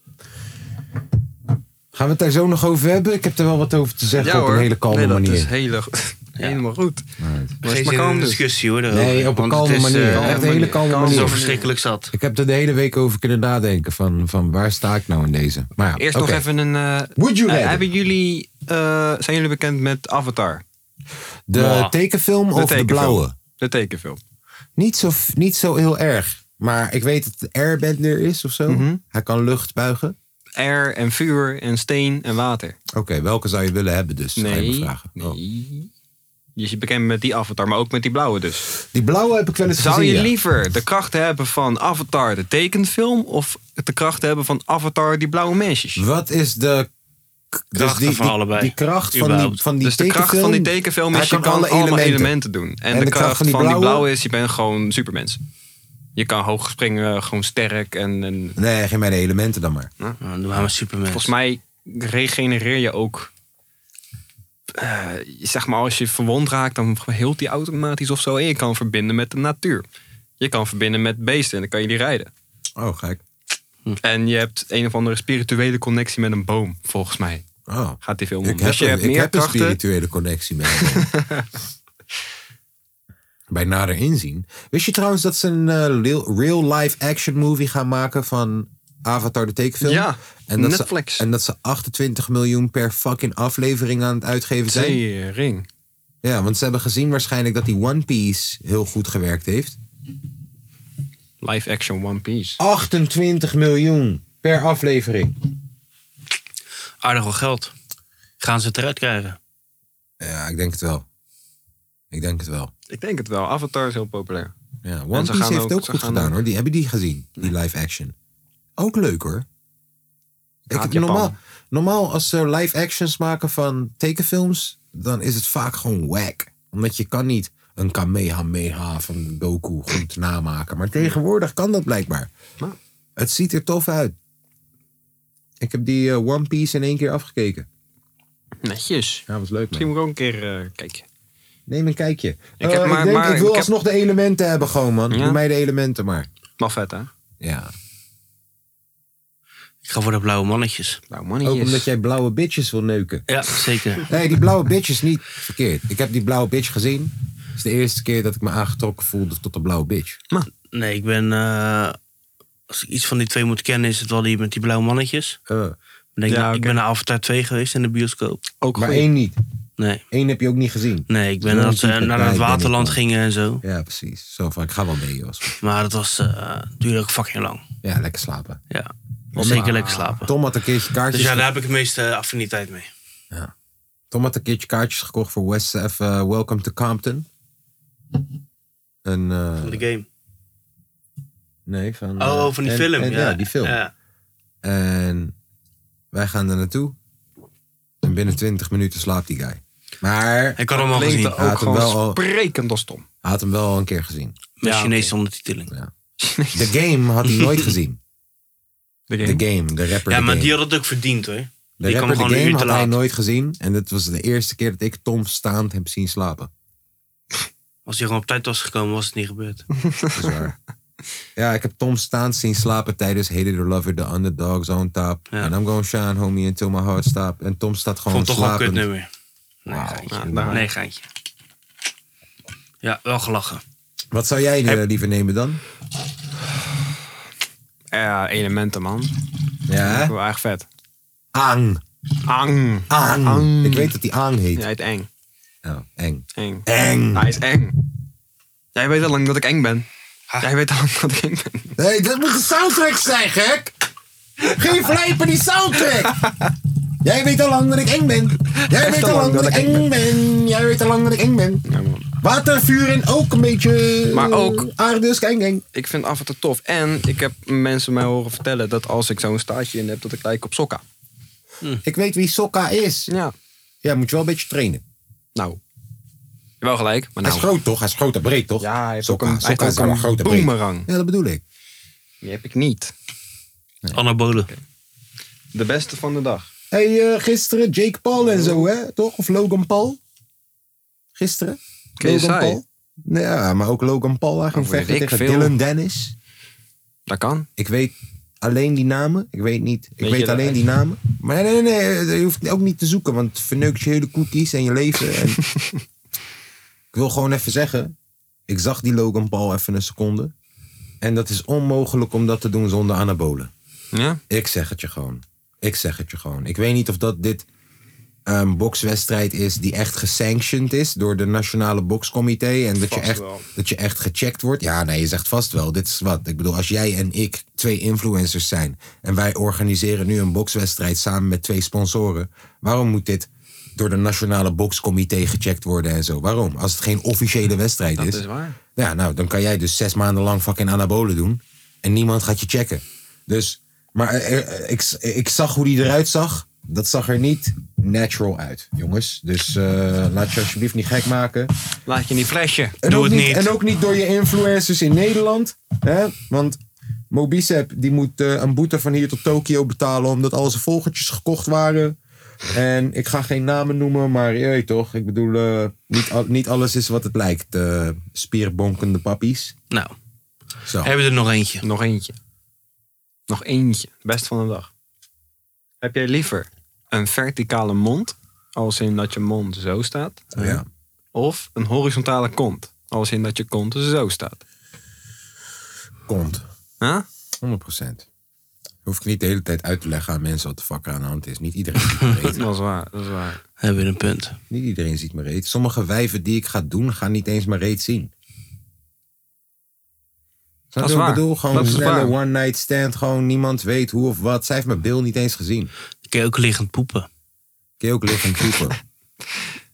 [SPEAKER 1] Gaan we het daar zo nog over hebben? Ik heb er wel wat over te zeggen op
[SPEAKER 2] hoor.
[SPEAKER 1] een hele kalme
[SPEAKER 2] nee, dat
[SPEAKER 1] manier.
[SPEAKER 2] Is hele, Helemaal goed. Maar
[SPEAKER 3] Geen
[SPEAKER 2] is maar
[SPEAKER 3] zin in een
[SPEAKER 2] kalm dus.
[SPEAKER 3] discussie, hoor. daarover.
[SPEAKER 1] Nee, op een
[SPEAKER 3] Want
[SPEAKER 1] kalme
[SPEAKER 3] het is,
[SPEAKER 1] manier.
[SPEAKER 3] eh,
[SPEAKER 1] Echt een hele kalme
[SPEAKER 3] Het is
[SPEAKER 1] manier.
[SPEAKER 3] zo verschrikkelijk zat.
[SPEAKER 1] Ik heb er de hele week over kunnen nadenken van, van waar sta ik nou in deze. Maar ja,
[SPEAKER 2] Eerst
[SPEAKER 1] oké.
[SPEAKER 2] nog even een... eh,
[SPEAKER 1] Would you
[SPEAKER 2] eh,
[SPEAKER 1] rather?
[SPEAKER 2] hebben jullie, eh, zijn jullie bekend met Avatar?
[SPEAKER 1] De
[SPEAKER 3] Mwah.
[SPEAKER 1] tekenfilm of de
[SPEAKER 2] tekenfilm.
[SPEAKER 1] blauwe?
[SPEAKER 2] De tekenfilm.
[SPEAKER 1] Niet zo, niet zo heel erg. Maar ik weet dat de airbender is of zo.
[SPEAKER 2] Mhm.
[SPEAKER 1] Hij kan lucht buigen.
[SPEAKER 2] Air en vuur en steen en water.
[SPEAKER 1] Oké, welke zou je willen hebben dus? Ga je me
[SPEAKER 2] Nee,
[SPEAKER 1] vragen. Oh.
[SPEAKER 2] nee. Je is bekend met die Avatar, maar ook met die blauwe dus.
[SPEAKER 1] Die blauwe heb ik wel eens
[SPEAKER 2] Zou
[SPEAKER 1] gezien.
[SPEAKER 2] je
[SPEAKER 1] ja.
[SPEAKER 2] liever de kracht hebben van Avatar, de tekenfilm... of de kracht hebben van Avatar, die blauwe mensjes?
[SPEAKER 1] Wat is de k- dus
[SPEAKER 3] Krachten
[SPEAKER 1] die,
[SPEAKER 3] van
[SPEAKER 1] die-
[SPEAKER 3] allebei.
[SPEAKER 1] Die kracht van die,
[SPEAKER 3] Überhaupt.
[SPEAKER 1] van die
[SPEAKER 2] dus de kracht van die tekenfilm
[SPEAKER 1] hij
[SPEAKER 2] is, je kan alle elementen, doen. En, de, kracht van die, blauwe? is, je bent gewoon supermens. Je kan hoog springen, gewoon sterk. En, en
[SPEAKER 1] Nee, geen mijn elementen dan maar.
[SPEAKER 3] Nou, Dan doen we maar Superman.
[SPEAKER 2] volgens mij regenereer je ook... eh, zeg maar, als je verwond raakt, dan heelt die automatisch of zo. En je kan verbinden met de natuur. Je kan verbinden met beesten en dan kan je die rijden.
[SPEAKER 1] Oh, gek.
[SPEAKER 2] En je hebt een of andere spirituele connectie met een boom, volgens mij.
[SPEAKER 1] Oh.
[SPEAKER 2] Gaat die film om.
[SPEAKER 1] Ik heb,
[SPEAKER 2] Dus je
[SPEAKER 1] een-
[SPEAKER 2] hebt
[SPEAKER 1] ik
[SPEAKER 2] meer
[SPEAKER 1] heb een
[SPEAKER 2] krachten.
[SPEAKER 1] spirituele connectie met hem. Bij nader inzien. Wist je trouwens dat ze een eh, real-life action movie gaan maken van Avatar de tekenfilm?
[SPEAKER 2] Ja,
[SPEAKER 1] en dat
[SPEAKER 2] Netflix.
[SPEAKER 1] Ze, en dat ze 28 miljoen per fucking aflevering aan het uitgeven zijn.
[SPEAKER 2] Tering.
[SPEAKER 1] Ja, want ze hebben gezien waarschijnlijk dat die One Piece heel goed gewerkt heeft.
[SPEAKER 2] Live action One Piece.
[SPEAKER 1] 28 miljoen per aflevering.
[SPEAKER 3] Aardig wel geld. Gaan ze het eruit krijgen?
[SPEAKER 1] Ja, ik denk het wel. Ik denk het wel.
[SPEAKER 2] Ik denk het wel. Avatar is heel populair.
[SPEAKER 1] Ja,
[SPEAKER 2] En
[SPEAKER 1] One
[SPEAKER 2] ze
[SPEAKER 1] Piece
[SPEAKER 2] gaan
[SPEAKER 1] heeft
[SPEAKER 2] ook-
[SPEAKER 1] het ook
[SPEAKER 2] ze
[SPEAKER 1] goed
[SPEAKER 2] gaan
[SPEAKER 1] gedaan
[SPEAKER 2] ook-
[SPEAKER 1] hoor. Die, heb je die gezien? Die live action. Ook leuk hoor. Ik
[SPEAKER 2] haat
[SPEAKER 1] heb
[SPEAKER 2] Japan.
[SPEAKER 1] normaal, normaal als ze live actions maken van tekenfilms, dan is het vaak gewoon whack. Omdat je kan niet een Kamehameha van Goku goed namaken. Maar tegenwoordig kan dat blijkbaar.
[SPEAKER 2] Ja.
[SPEAKER 1] Het ziet er tof uit. Ik heb die eh, One Piece in één keer afgekeken.
[SPEAKER 2] Netjes.
[SPEAKER 1] Ja, was leuk man.
[SPEAKER 2] Misschien moet ik ook een keer eh, kijken.
[SPEAKER 1] Neem een kijkje. Ik,
[SPEAKER 2] heb maar-
[SPEAKER 1] ik denk,
[SPEAKER 2] maar-
[SPEAKER 1] ik wil
[SPEAKER 2] ik heb-
[SPEAKER 1] alsnog de elementen hebben gewoon, man.
[SPEAKER 2] Ja.
[SPEAKER 1] Doe mij de elementen maar.
[SPEAKER 2] Maar vet, hè?
[SPEAKER 1] Ja.
[SPEAKER 3] Ik ga voor de blauwe mannetjes.
[SPEAKER 2] Nou,
[SPEAKER 1] Ook
[SPEAKER 2] mannetjes.
[SPEAKER 1] omdat jij blauwe bitches wil neuken.
[SPEAKER 3] Ja, zeker.
[SPEAKER 1] Nee, die blauwe bitch is niet verkeerd. Ik heb die blauwe bitch gezien. Het is de eerste keer dat ik me aangetrokken voelde tot een blauwe bitch.
[SPEAKER 3] Nee, ik ben... eh, als ik iets van die twee moet kennen, is het wel die met die blauwe mannetjes.
[SPEAKER 1] Eh,
[SPEAKER 3] Ik, denk,
[SPEAKER 2] Ja,
[SPEAKER 3] ik
[SPEAKER 2] oké.
[SPEAKER 3] ben naar Avatar 2 geweest in de bioscoop.
[SPEAKER 2] Ook
[SPEAKER 1] maar
[SPEAKER 2] goed.
[SPEAKER 1] één niet.
[SPEAKER 3] Nee,
[SPEAKER 1] Eén heb je ook niet gezien.
[SPEAKER 3] nee ik ben
[SPEAKER 1] Zo'n
[SPEAKER 3] dat ze
[SPEAKER 1] type
[SPEAKER 3] naar
[SPEAKER 1] guy
[SPEAKER 3] het
[SPEAKER 1] ben ik
[SPEAKER 3] waterland
[SPEAKER 1] wel.
[SPEAKER 3] gingen en zo.
[SPEAKER 1] Ja, precies. Zo van, ik ga wel mee, Jos.
[SPEAKER 3] Maar dat was, eh duurde ook fucking lang.
[SPEAKER 1] Ja, lekker slapen.
[SPEAKER 3] Ja, zeker lekker slapen.
[SPEAKER 1] Tom had een keertje
[SPEAKER 3] Dus
[SPEAKER 1] kaartjes,
[SPEAKER 3] ja, daar heb ik de meeste affiniteit mee.
[SPEAKER 1] Tom had een keertje kaartjes gekocht voor West F, eh, Welcome to Compton. Een, eh,
[SPEAKER 3] Van de game.
[SPEAKER 1] nee, van... eh,
[SPEAKER 3] Oh, van die
[SPEAKER 1] en-
[SPEAKER 3] film.
[SPEAKER 1] en-
[SPEAKER 3] ja.
[SPEAKER 1] die film.
[SPEAKER 3] Ja.
[SPEAKER 1] En wij gaan daar naartoe. En binnen 20 minuten slaapt die guy. Maar hij
[SPEAKER 3] Ik had hem al
[SPEAKER 2] Klinkt
[SPEAKER 3] gezien.
[SPEAKER 2] ook
[SPEAKER 1] Hij had hem
[SPEAKER 2] gewoon
[SPEAKER 1] wel al-
[SPEAKER 2] sprekend als Tom.
[SPEAKER 1] had hem wel al een keer gezien.
[SPEAKER 3] Met
[SPEAKER 2] Ja,
[SPEAKER 3] Chinese ondertiteling.
[SPEAKER 1] The Game had hij nooit gezien.
[SPEAKER 2] De game.
[SPEAKER 1] The Game, de rapper.
[SPEAKER 3] Ja,
[SPEAKER 1] The
[SPEAKER 3] maar
[SPEAKER 1] Game.
[SPEAKER 3] die had het ook verdiend hoor.
[SPEAKER 1] de
[SPEAKER 3] die kwam
[SPEAKER 1] rapper
[SPEAKER 3] gewoon
[SPEAKER 1] The
[SPEAKER 3] een
[SPEAKER 1] Game
[SPEAKER 3] uur te
[SPEAKER 1] had hij
[SPEAKER 3] laat.
[SPEAKER 1] nooit gezien. En dat was de eerste keer dat ik Tom staand heb zien slapen.
[SPEAKER 3] Als hij gewoon op tijd was gekomen, was het niet gebeurd.
[SPEAKER 1] Dat is waar. Ja, ik heb Tom staan zien slapen tijdens Hated or Lover, The Underdogs on top.
[SPEAKER 3] Ja.
[SPEAKER 1] And I'm gonna shine, homie, until my heart stops. En Tom staat gewoon
[SPEAKER 3] Vond toch wel een
[SPEAKER 1] slapend.
[SPEAKER 3] kutnummer. Nee, geintje. nee, geintje. Ja, wel gelachen.
[SPEAKER 1] Wat zou jij eh, liever nemen dan?
[SPEAKER 2] Ja, elementen, man. Dat
[SPEAKER 1] Ja,
[SPEAKER 2] wel echt vet.
[SPEAKER 1] Ang.
[SPEAKER 2] Ang.
[SPEAKER 1] Ang.
[SPEAKER 2] Ang.
[SPEAKER 1] Ik weet dat die Ang heet.
[SPEAKER 2] Ja, het eng.
[SPEAKER 1] Nou, eng.
[SPEAKER 2] Eng.
[SPEAKER 1] Eng.
[SPEAKER 2] Hij is eng. Jij weet al lang dat ik eng ben.
[SPEAKER 1] Ah.
[SPEAKER 2] Jij weet al lang dat ik eng ben.
[SPEAKER 1] Nee, dat moet de soundtrack zijn, gek! Geen vlijpen die soundtrack! Jij weet al lang dat ik eng ben. Jij weet al lang dat ik eng ben. Jij weet al lang dat ik eng ben.
[SPEAKER 2] Ja, man.
[SPEAKER 1] Water, vuur en ook een beetje.
[SPEAKER 2] Maar ook-
[SPEAKER 1] Aarde, dus eng, eng.
[SPEAKER 2] Ik vind af en toe tof. En ik heb mensen mij horen vertellen dat als ik zo'n staartje in heb, dat ik lijk op sokka.
[SPEAKER 1] Ik weet wie Sokka is.
[SPEAKER 2] Ja.
[SPEAKER 1] Ja, moet je wel een beetje trainen.
[SPEAKER 2] Nou. Wel gelijk, maar
[SPEAKER 1] Hij
[SPEAKER 2] nou.
[SPEAKER 1] is groot, toch? Hij is groot en breed, toch?
[SPEAKER 2] Ja, hij heeft
[SPEAKER 1] Sokka-
[SPEAKER 2] ook een- hij
[SPEAKER 1] Sokka
[SPEAKER 2] heeft
[SPEAKER 1] is wel
[SPEAKER 2] ook
[SPEAKER 1] een
[SPEAKER 2] een
[SPEAKER 1] grote breed.
[SPEAKER 2] boemerang.
[SPEAKER 1] Ja, dat bedoel ik.
[SPEAKER 2] Die heb ik niet.
[SPEAKER 3] Anabolen.
[SPEAKER 2] De beste van de dag.
[SPEAKER 1] Hey, eh, gisteren Jake Paul en zo, hè? Toch? Of Logan Paul? Gisteren?
[SPEAKER 2] KSI.
[SPEAKER 1] Nee, ja, maar ook Logan Paul. Hij ging
[SPEAKER 2] Oh, Weet
[SPEAKER 1] vechten
[SPEAKER 2] ik
[SPEAKER 1] tegen
[SPEAKER 2] veel.
[SPEAKER 1] Dylan Dennis.
[SPEAKER 2] Dat kan.
[SPEAKER 1] Ik weet alleen die namen. Ik weet niet. Ik
[SPEAKER 2] Weet je
[SPEAKER 1] weet
[SPEAKER 2] dat
[SPEAKER 1] alleen
[SPEAKER 2] echt?
[SPEAKER 1] die namen. Maar nee, nee, nee. Je hoeft ook niet te zoeken, want het verneukt je hele cookies en je leven. En... ik wil gewoon even zeggen. Ik zag die Logan Paul even een seconde. En dat is onmogelijk om dat te doen zonder anabolen.
[SPEAKER 2] Ja?
[SPEAKER 1] Ik zeg het je gewoon. Ik zeg het je gewoon. Ik weet niet of dat dit een bokswedstrijd is die echt gesanctioned is door de Nationale Bokscomité. En dat je,
[SPEAKER 2] Vast
[SPEAKER 1] echt,
[SPEAKER 2] wel.
[SPEAKER 1] dat je echt gecheckt wordt. Ja, nee, je zegt vast wel. Dit is wat. Ik bedoel, als jij en ik twee influencers zijn. en wij organiseren nu een bokswedstrijd samen met twee sponsoren. waarom moet dit door de Nationale Bokscomité gecheckt worden en zo? Waarom? Als het geen officiële wedstrijd
[SPEAKER 2] Dat is waar.
[SPEAKER 1] ja, nou, dan kan jij dus zes maanden lang fucking anabolen doen. En niemand gaat je checken. Dus, maar eh, eh, ik, ik zag hoe die eruit zag. Dat zag er niet natural uit, jongens. Dus eh, laat je alsjeblieft niet gek maken.
[SPEAKER 2] Laat je niet flashen.
[SPEAKER 1] En
[SPEAKER 3] Doe
[SPEAKER 1] ook
[SPEAKER 3] het niet.
[SPEAKER 1] En ook niet door je influencers in Nederland. Hè? Want Mobicep die moet eh, een boete van hier tot Tokio betalen. omdat al zijn volgertjes gekocht waren. En ik ga geen namen noemen, maar je weet toch. Ik bedoel, eh, niet, al- niet alles is wat het lijkt. eh, spierbonkende pappies.
[SPEAKER 3] Nou,
[SPEAKER 1] Zo.
[SPEAKER 3] hebben we er nog eentje.
[SPEAKER 2] Nog eentje. Nog eentje. Best van de dag. Heb jij liever een verticale mond, als in dat je mond zo staat?
[SPEAKER 1] Oh, Ja.
[SPEAKER 2] Of een horizontale kont, als in dat je kont zo staat?
[SPEAKER 1] Komt.
[SPEAKER 2] Huh?
[SPEAKER 1] 100%. Hoef ik niet de hele tijd uit te leggen aan mensen wat de fuck er aan de hand is. Niet iedereen ziet me reet.
[SPEAKER 2] Dat is waar, dat is waar.
[SPEAKER 3] Hebben we een punt.
[SPEAKER 1] Niet iedereen ziet me reet. Sommige wijven die ik ga doen, gaan niet eens mijn reet zien. Snap je
[SPEAKER 2] Dat is
[SPEAKER 1] wat ik
[SPEAKER 2] waar.
[SPEAKER 1] bedoel? Gewoon
[SPEAKER 2] Dat
[SPEAKER 1] een
[SPEAKER 2] is
[SPEAKER 1] snelle
[SPEAKER 2] waar.
[SPEAKER 1] one night stand. Gewoon niemand weet hoe of wat. Zij heeft mijn bil niet eens gezien.
[SPEAKER 3] Dan kun je ook liggend poepen.
[SPEAKER 1] Kun je ook liggen en poepen.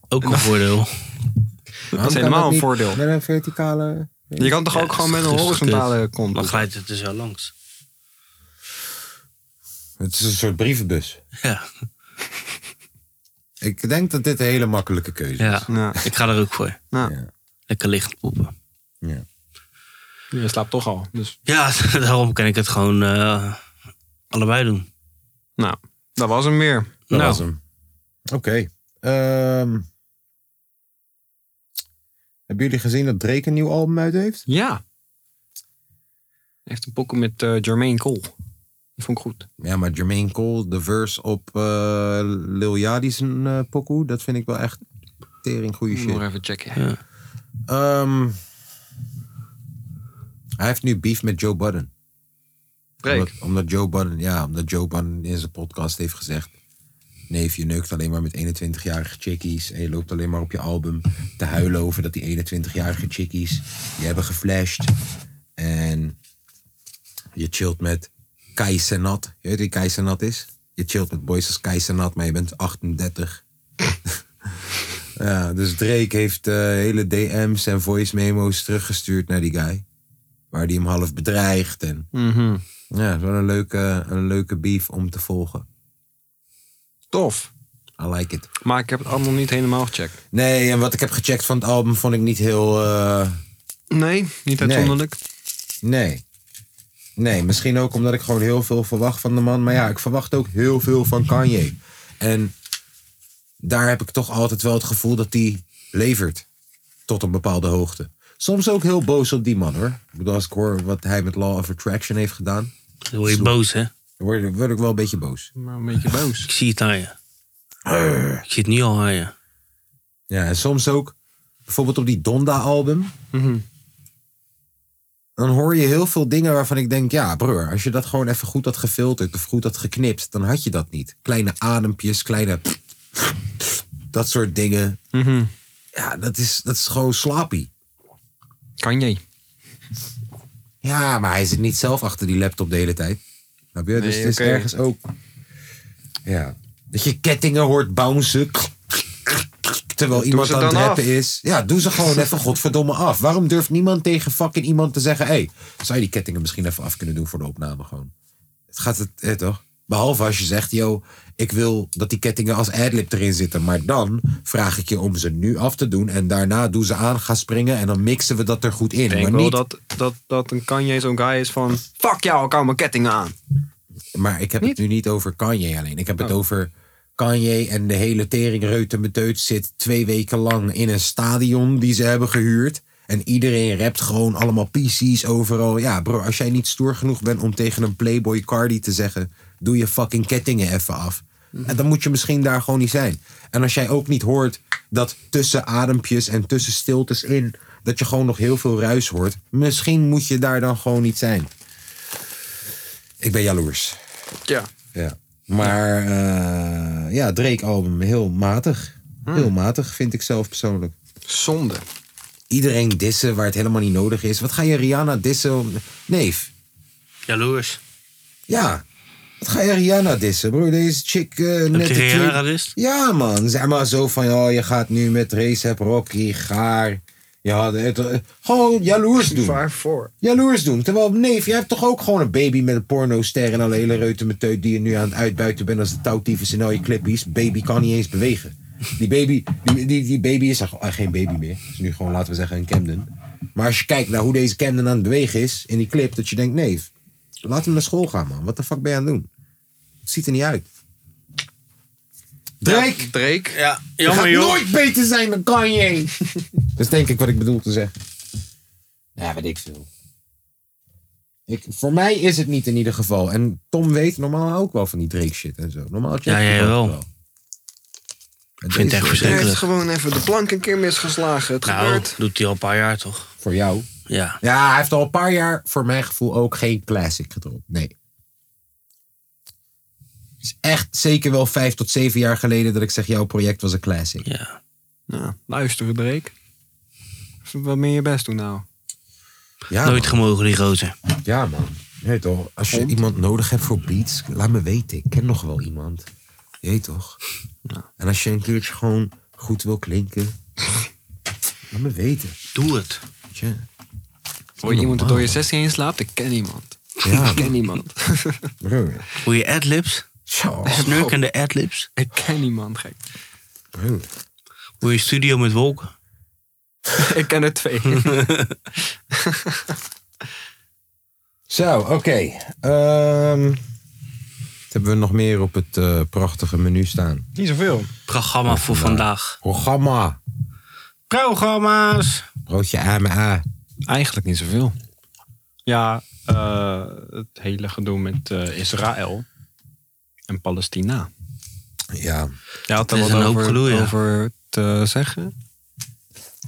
[SPEAKER 3] Ook een voordeel.
[SPEAKER 1] Waarom kan
[SPEAKER 2] helemaal een
[SPEAKER 1] niet
[SPEAKER 2] voordeel.
[SPEAKER 1] Met een verticale...
[SPEAKER 2] Je kan toch ook gewoon met een horizontale kont
[SPEAKER 3] Dan
[SPEAKER 2] doen?
[SPEAKER 3] glijdt het er zo langs.
[SPEAKER 1] Het is een soort brievenbus.
[SPEAKER 3] Ja,
[SPEAKER 1] Ik denk dat dit een hele makkelijke keuze is.
[SPEAKER 3] ja.
[SPEAKER 2] Ja.
[SPEAKER 3] ik ga er ook voor.
[SPEAKER 2] Nou,
[SPEAKER 1] Ja.
[SPEAKER 3] Lekker liggend poepen.
[SPEAKER 1] Ja.
[SPEAKER 2] je slaapt toch al. Dus,
[SPEAKER 3] Ja, daarom kan ik het gewoon eh, allebei doen.
[SPEAKER 2] nou, dat was hem weer.
[SPEAKER 1] Dat
[SPEAKER 3] Nou.
[SPEAKER 1] was hem. Oké. Ehm, hebben jullie gezien dat Drake een nieuw album uit heeft?
[SPEAKER 2] Ja. Hij heeft een pokoe met eh Jermaine Cole. Die vond ik goed.
[SPEAKER 1] Ja, maar Jermaine Cole, de verse op eh Lil Yachty's eh pokoe, dat vind ik wel echt tering goede
[SPEAKER 2] Moet ik
[SPEAKER 1] shit.
[SPEAKER 2] nog even checken.
[SPEAKER 1] Ehm, hij heeft nu beef met Joe Budden.
[SPEAKER 2] Drake.
[SPEAKER 1] Omdat, omdat Joe Budden, ja, omdat Joe Budden in zijn podcast heeft gezegd. Neef, je neukt alleen maar met 21-jarige chickies. En je loopt alleen maar op je album te huilen over dat die 21-jarige chickies je hebben geflasht. En je chillt met Kai Senat. Je weet wie Kai Senat is? Je chillt met boys als Kai Senat, maar je bent 38. ja, dus Drake heeft eh, hele DM's en voice memo's teruggestuurd naar die guy. Waar die hem half bedreigt en...
[SPEAKER 2] Mhm.
[SPEAKER 1] Ja, het is wel een leuke, een leuke beef om te volgen.
[SPEAKER 2] Tof.
[SPEAKER 1] I like it.
[SPEAKER 2] Maar ik heb het allemaal niet helemaal gecheckt.
[SPEAKER 1] Nee, en wat ik heb gecheckt van het album vond ik niet heel... eh,
[SPEAKER 2] Nee, niet uitzonderlijk.
[SPEAKER 1] nee. Nee, misschien ook omdat ik gewoon heel veel verwacht van de man. Maar ja, ik verwacht ook heel veel van Kanye. En daar heb ik toch altijd wel het gevoel dat die levert. Tot een bepaalde hoogte. Soms ook heel boos op die man hoor. Ik bedoel, als ik hoor wat hij met Law of Attraction heeft gedaan,
[SPEAKER 3] Dan word je boos, hè?
[SPEAKER 1] dan word, word ik wel een beetje boos.
[SPEAKER 2] Maar een beetje boos.
[SPEAKER 3] Ik zie het aan je.
[SPEAKER 1] Eh.
[SPEAKER 3] Ik zie het nu al aan je.
[SPEAKER 1] Ja, en soms ook, bijvoorbeeld op die Donda-album, dan hoor je heel veel dingen waarvan ik denk, ja broer, als je dat gewoon even goed had gefilterd of goed had geknipt, dan had je dat niet. Kleine adempjes, kleine dat soort dingen. Ja, dat is, dat is gewoon slappy.
[SPEAKER 2] Kan je?
[SPEAKER 1] Ja, maar hij zit niet zelf achter die laptop de hele tijd. Snap je? dus
[SPEAKER 2] Nee,
[SPEAKER 1] het is
[SPEAKER 2] oké.
[SPEAKER 1] ergens ook. Ja. Dat je kettingen hoort bouncen. Terwijl iemand
[SPEAKER 2] ze
[SPEAKER 1] aan het
[SPEAKER 2] dan
[SPEAKER 1] rappen
[SPEAKER 2] af.
[SPEAKER 1] is. Ja, doe ze gewoon even godverdomme af. Waarom durft niemand tegen fucking iemand te zeggen... hé, hey, zou je die kettingen misschien even af kunnen doen voor de opname gewoon? Het gaat het, eh, toch? Behalve als je zegt, yo, ik wil dat die kettingen als adlib erin zitten. Maar dan vraag ik je om ze nu af te doen. En daarna doe ze aan, ga springen. En dan mixen we dat er goed in.
[SPEAKER 2] Ik denk
[SPEAKER 1] maar
[SPEAKER 2] wel
[SPEAKER 1] niet,
[SPEAKER 2] dat, dat, dat een Kanye zo'n guy is van... Fuck jou, ik hou mijn kettingen aan.
[SPEAKER 1] Maar ik heb het nu niet over Kanye alleen. Ik heb het
[SPEAKER 2] Oh.
[SPEAKER 1] over Kanye en de hele tering Reutemeteut zit twee weken lang in een stadion die ze hebben gehuurd. En iedereen rapt gewoon allemaal PC's overal. Ja, bro, als jij niet stoer genoeg bent om tegen een Playboy Cardi te zeggen: doe je fucking kettingen even af. En dan moet je misschien daar gewoon niet zijn. En als jij ook niet hoort dat tussen adempjes en tussen stiltes in. dat je gewoon nog heel veel ruis hoort. misschien moet je daar dan gewoon niet zijn. Ik ben jaloers.
[SPEAKER 2] Ja.
[SPEAKER 1] Ja. Maar eh, ja, Drake album heel matig. Heel matig vind ik zelf persoonlijk.
[SPEAKER 2] Zonde.
[SPEAKER 1] Iedereen dissen waar het helemaal niet nodig is. Wat ga je Rihanna dissen? om- Neef.
[SPEAKER 3] Jaloers.
[SPEAKER 1] Ja. Wat ga je Rihanna dissen, broer? Deze chick eh, net
[SPEAKER 3] je
[SPEAKER 1] de
[SPEAKER 3] Rihanna
[SPEAKER 1] tweede-
[SPEAKER 3] gedist?
[SPEAKER 1] Ja, man. Zeg maar zo van, oh, je gaat nu met Race Heb Rocky, gaar. Ja, het, eh, gewoon jaloers doen.
[SPEAKER 2] voor.
[SPEAKER 1] jaloers doen. Terwijl, neef, jij hebt toch ook gewoon een baby met een pornoster en alle hele reutemeteut die je nu aan het uitbuiten bent als de touwtiefes in al je clippies. Baby kan niet eens bewegen. Die baby, die, die, die baby is eigenlijk- ah, geen baby meer. Is nu gewoon, laten we zeggen, een Camden. Maar als je kijkt naar hoe deze Camden aan het bewegen is in die clip, dat je denkt, neef, laat hem naar school gaan, man. Wat de fuck ben je aan het doen? Het ziet er niet uit. Drake!
[SPEAKER 2] Drake.
[SPEAKER 3] Ja,
[SPEAKER 1] Je gaat
[SPEAKER 3] jammer joh.
[SPEAKER 1] nooit beter zijn dan Kanye. dat is denk ik wat ik bedoel te zeggen. Ja, weet ik veel. Ik, voor mij is het niet in ieder geval. En Tom weet normaal ook wel van die Drake shit en zo. Normaal check
[SPEAKER 3] Ja,
[SPEAKER 1] ik
[SPEAKER 3] jij
[SPEAKER 1] dat
[SPEAKER 3] wel.
[SPEAKER 1] En
[SPEAKER 3] vind het
[SPEAKER 1] deze
[SPEAKER 3] echt
[SPEAKER 1] is
[SPEAKER 3] verschrikkelijk.
[SPEAKER 2] Hij heeft
[SPEAKER 3] Akelig.
[SPEAKER 2] gewoon even de plank een keer misgeslagen. Het
[SPEAKER 3] Nou,
[SPEAKER 2] gebeurt.
[SPEAKER 3] doet hij al een paar jaar toch?
[SPEAKER 1] Voor jou.
[SPEAKER 3] Ja.
[SPEAKER 1] Ja, hij heeft al een paar jaar voor mijn gevoel ook geen classic gedropt. Nee. Het is echt zeker wel vijf tot zeven jaar geleden dat ik zeg jouw project was een classic.
[SPEAKER 3] ja.
[SPEAKER 2] Nou, luister Drake. Even Wat meer je best doen nou?
[SPEAKER 1] Ja, man.
[SPEAKER 3] Nooit gemogen die gozer.
[SPEAKER 1] Ja, man. Nee, toch? Als je iemand nodig hebt voor beats, laat me weten. Ik ken nog wel iemand. Je weet toch? En als je een keertje gewoon goed wil klinken, laat me weten.
[SPEAKER 3] Doe het.
[SPEAKER 1] weet je?
[SPEAKER 2] Hoor je iemand er door je 16 heen slaapt? Ik ken iemand.
[SPEAKER 1] Ja,
[SPEAKER 2] Ik ken iemand.
[SPEAKER 1] broer.
[SPEAKER 3] Voor je adlibs.
[SPEAKER 1] Zo,
[SPEAKER 3] Snurkende adlibs.
[SPEAKER 2] Ik ken niemand, gek.
[SPEAKER 1] broer.
[SPEAKER 3] Voor je studio met wolken.
[SPEAKER 2] Ik ken er twee.
[SPEAKER 1] Zo, oké. Ehm, wat hebben we nog meer op het eh, prachtige menu staan?
[SPEAKER 2] Niet zoveel.
[SPEAKER 1] Oh,
[SPEAKER 3] Programma voor vandaag.
[SPEAKER 1] Programma.
[SPEAKER 3] Programma's.
[SPEAKER 1] Broodje AMA.
[SPEAKER 2] Eigenlijk niet zoveel. Ja, eh, het hele gedoe met eh, Israël en Palestina.
[SPEAKER 1] Ja.
[SPEAKER 2] Je had er
[SPEAKER 3] is
[SPEAKER 2] wat
[SPEAKER 3] een hoop
[SPEAKER 2] over,
[SPEAKER 3] gedoe, ja.
[SPEAKER 2] over te zeggen.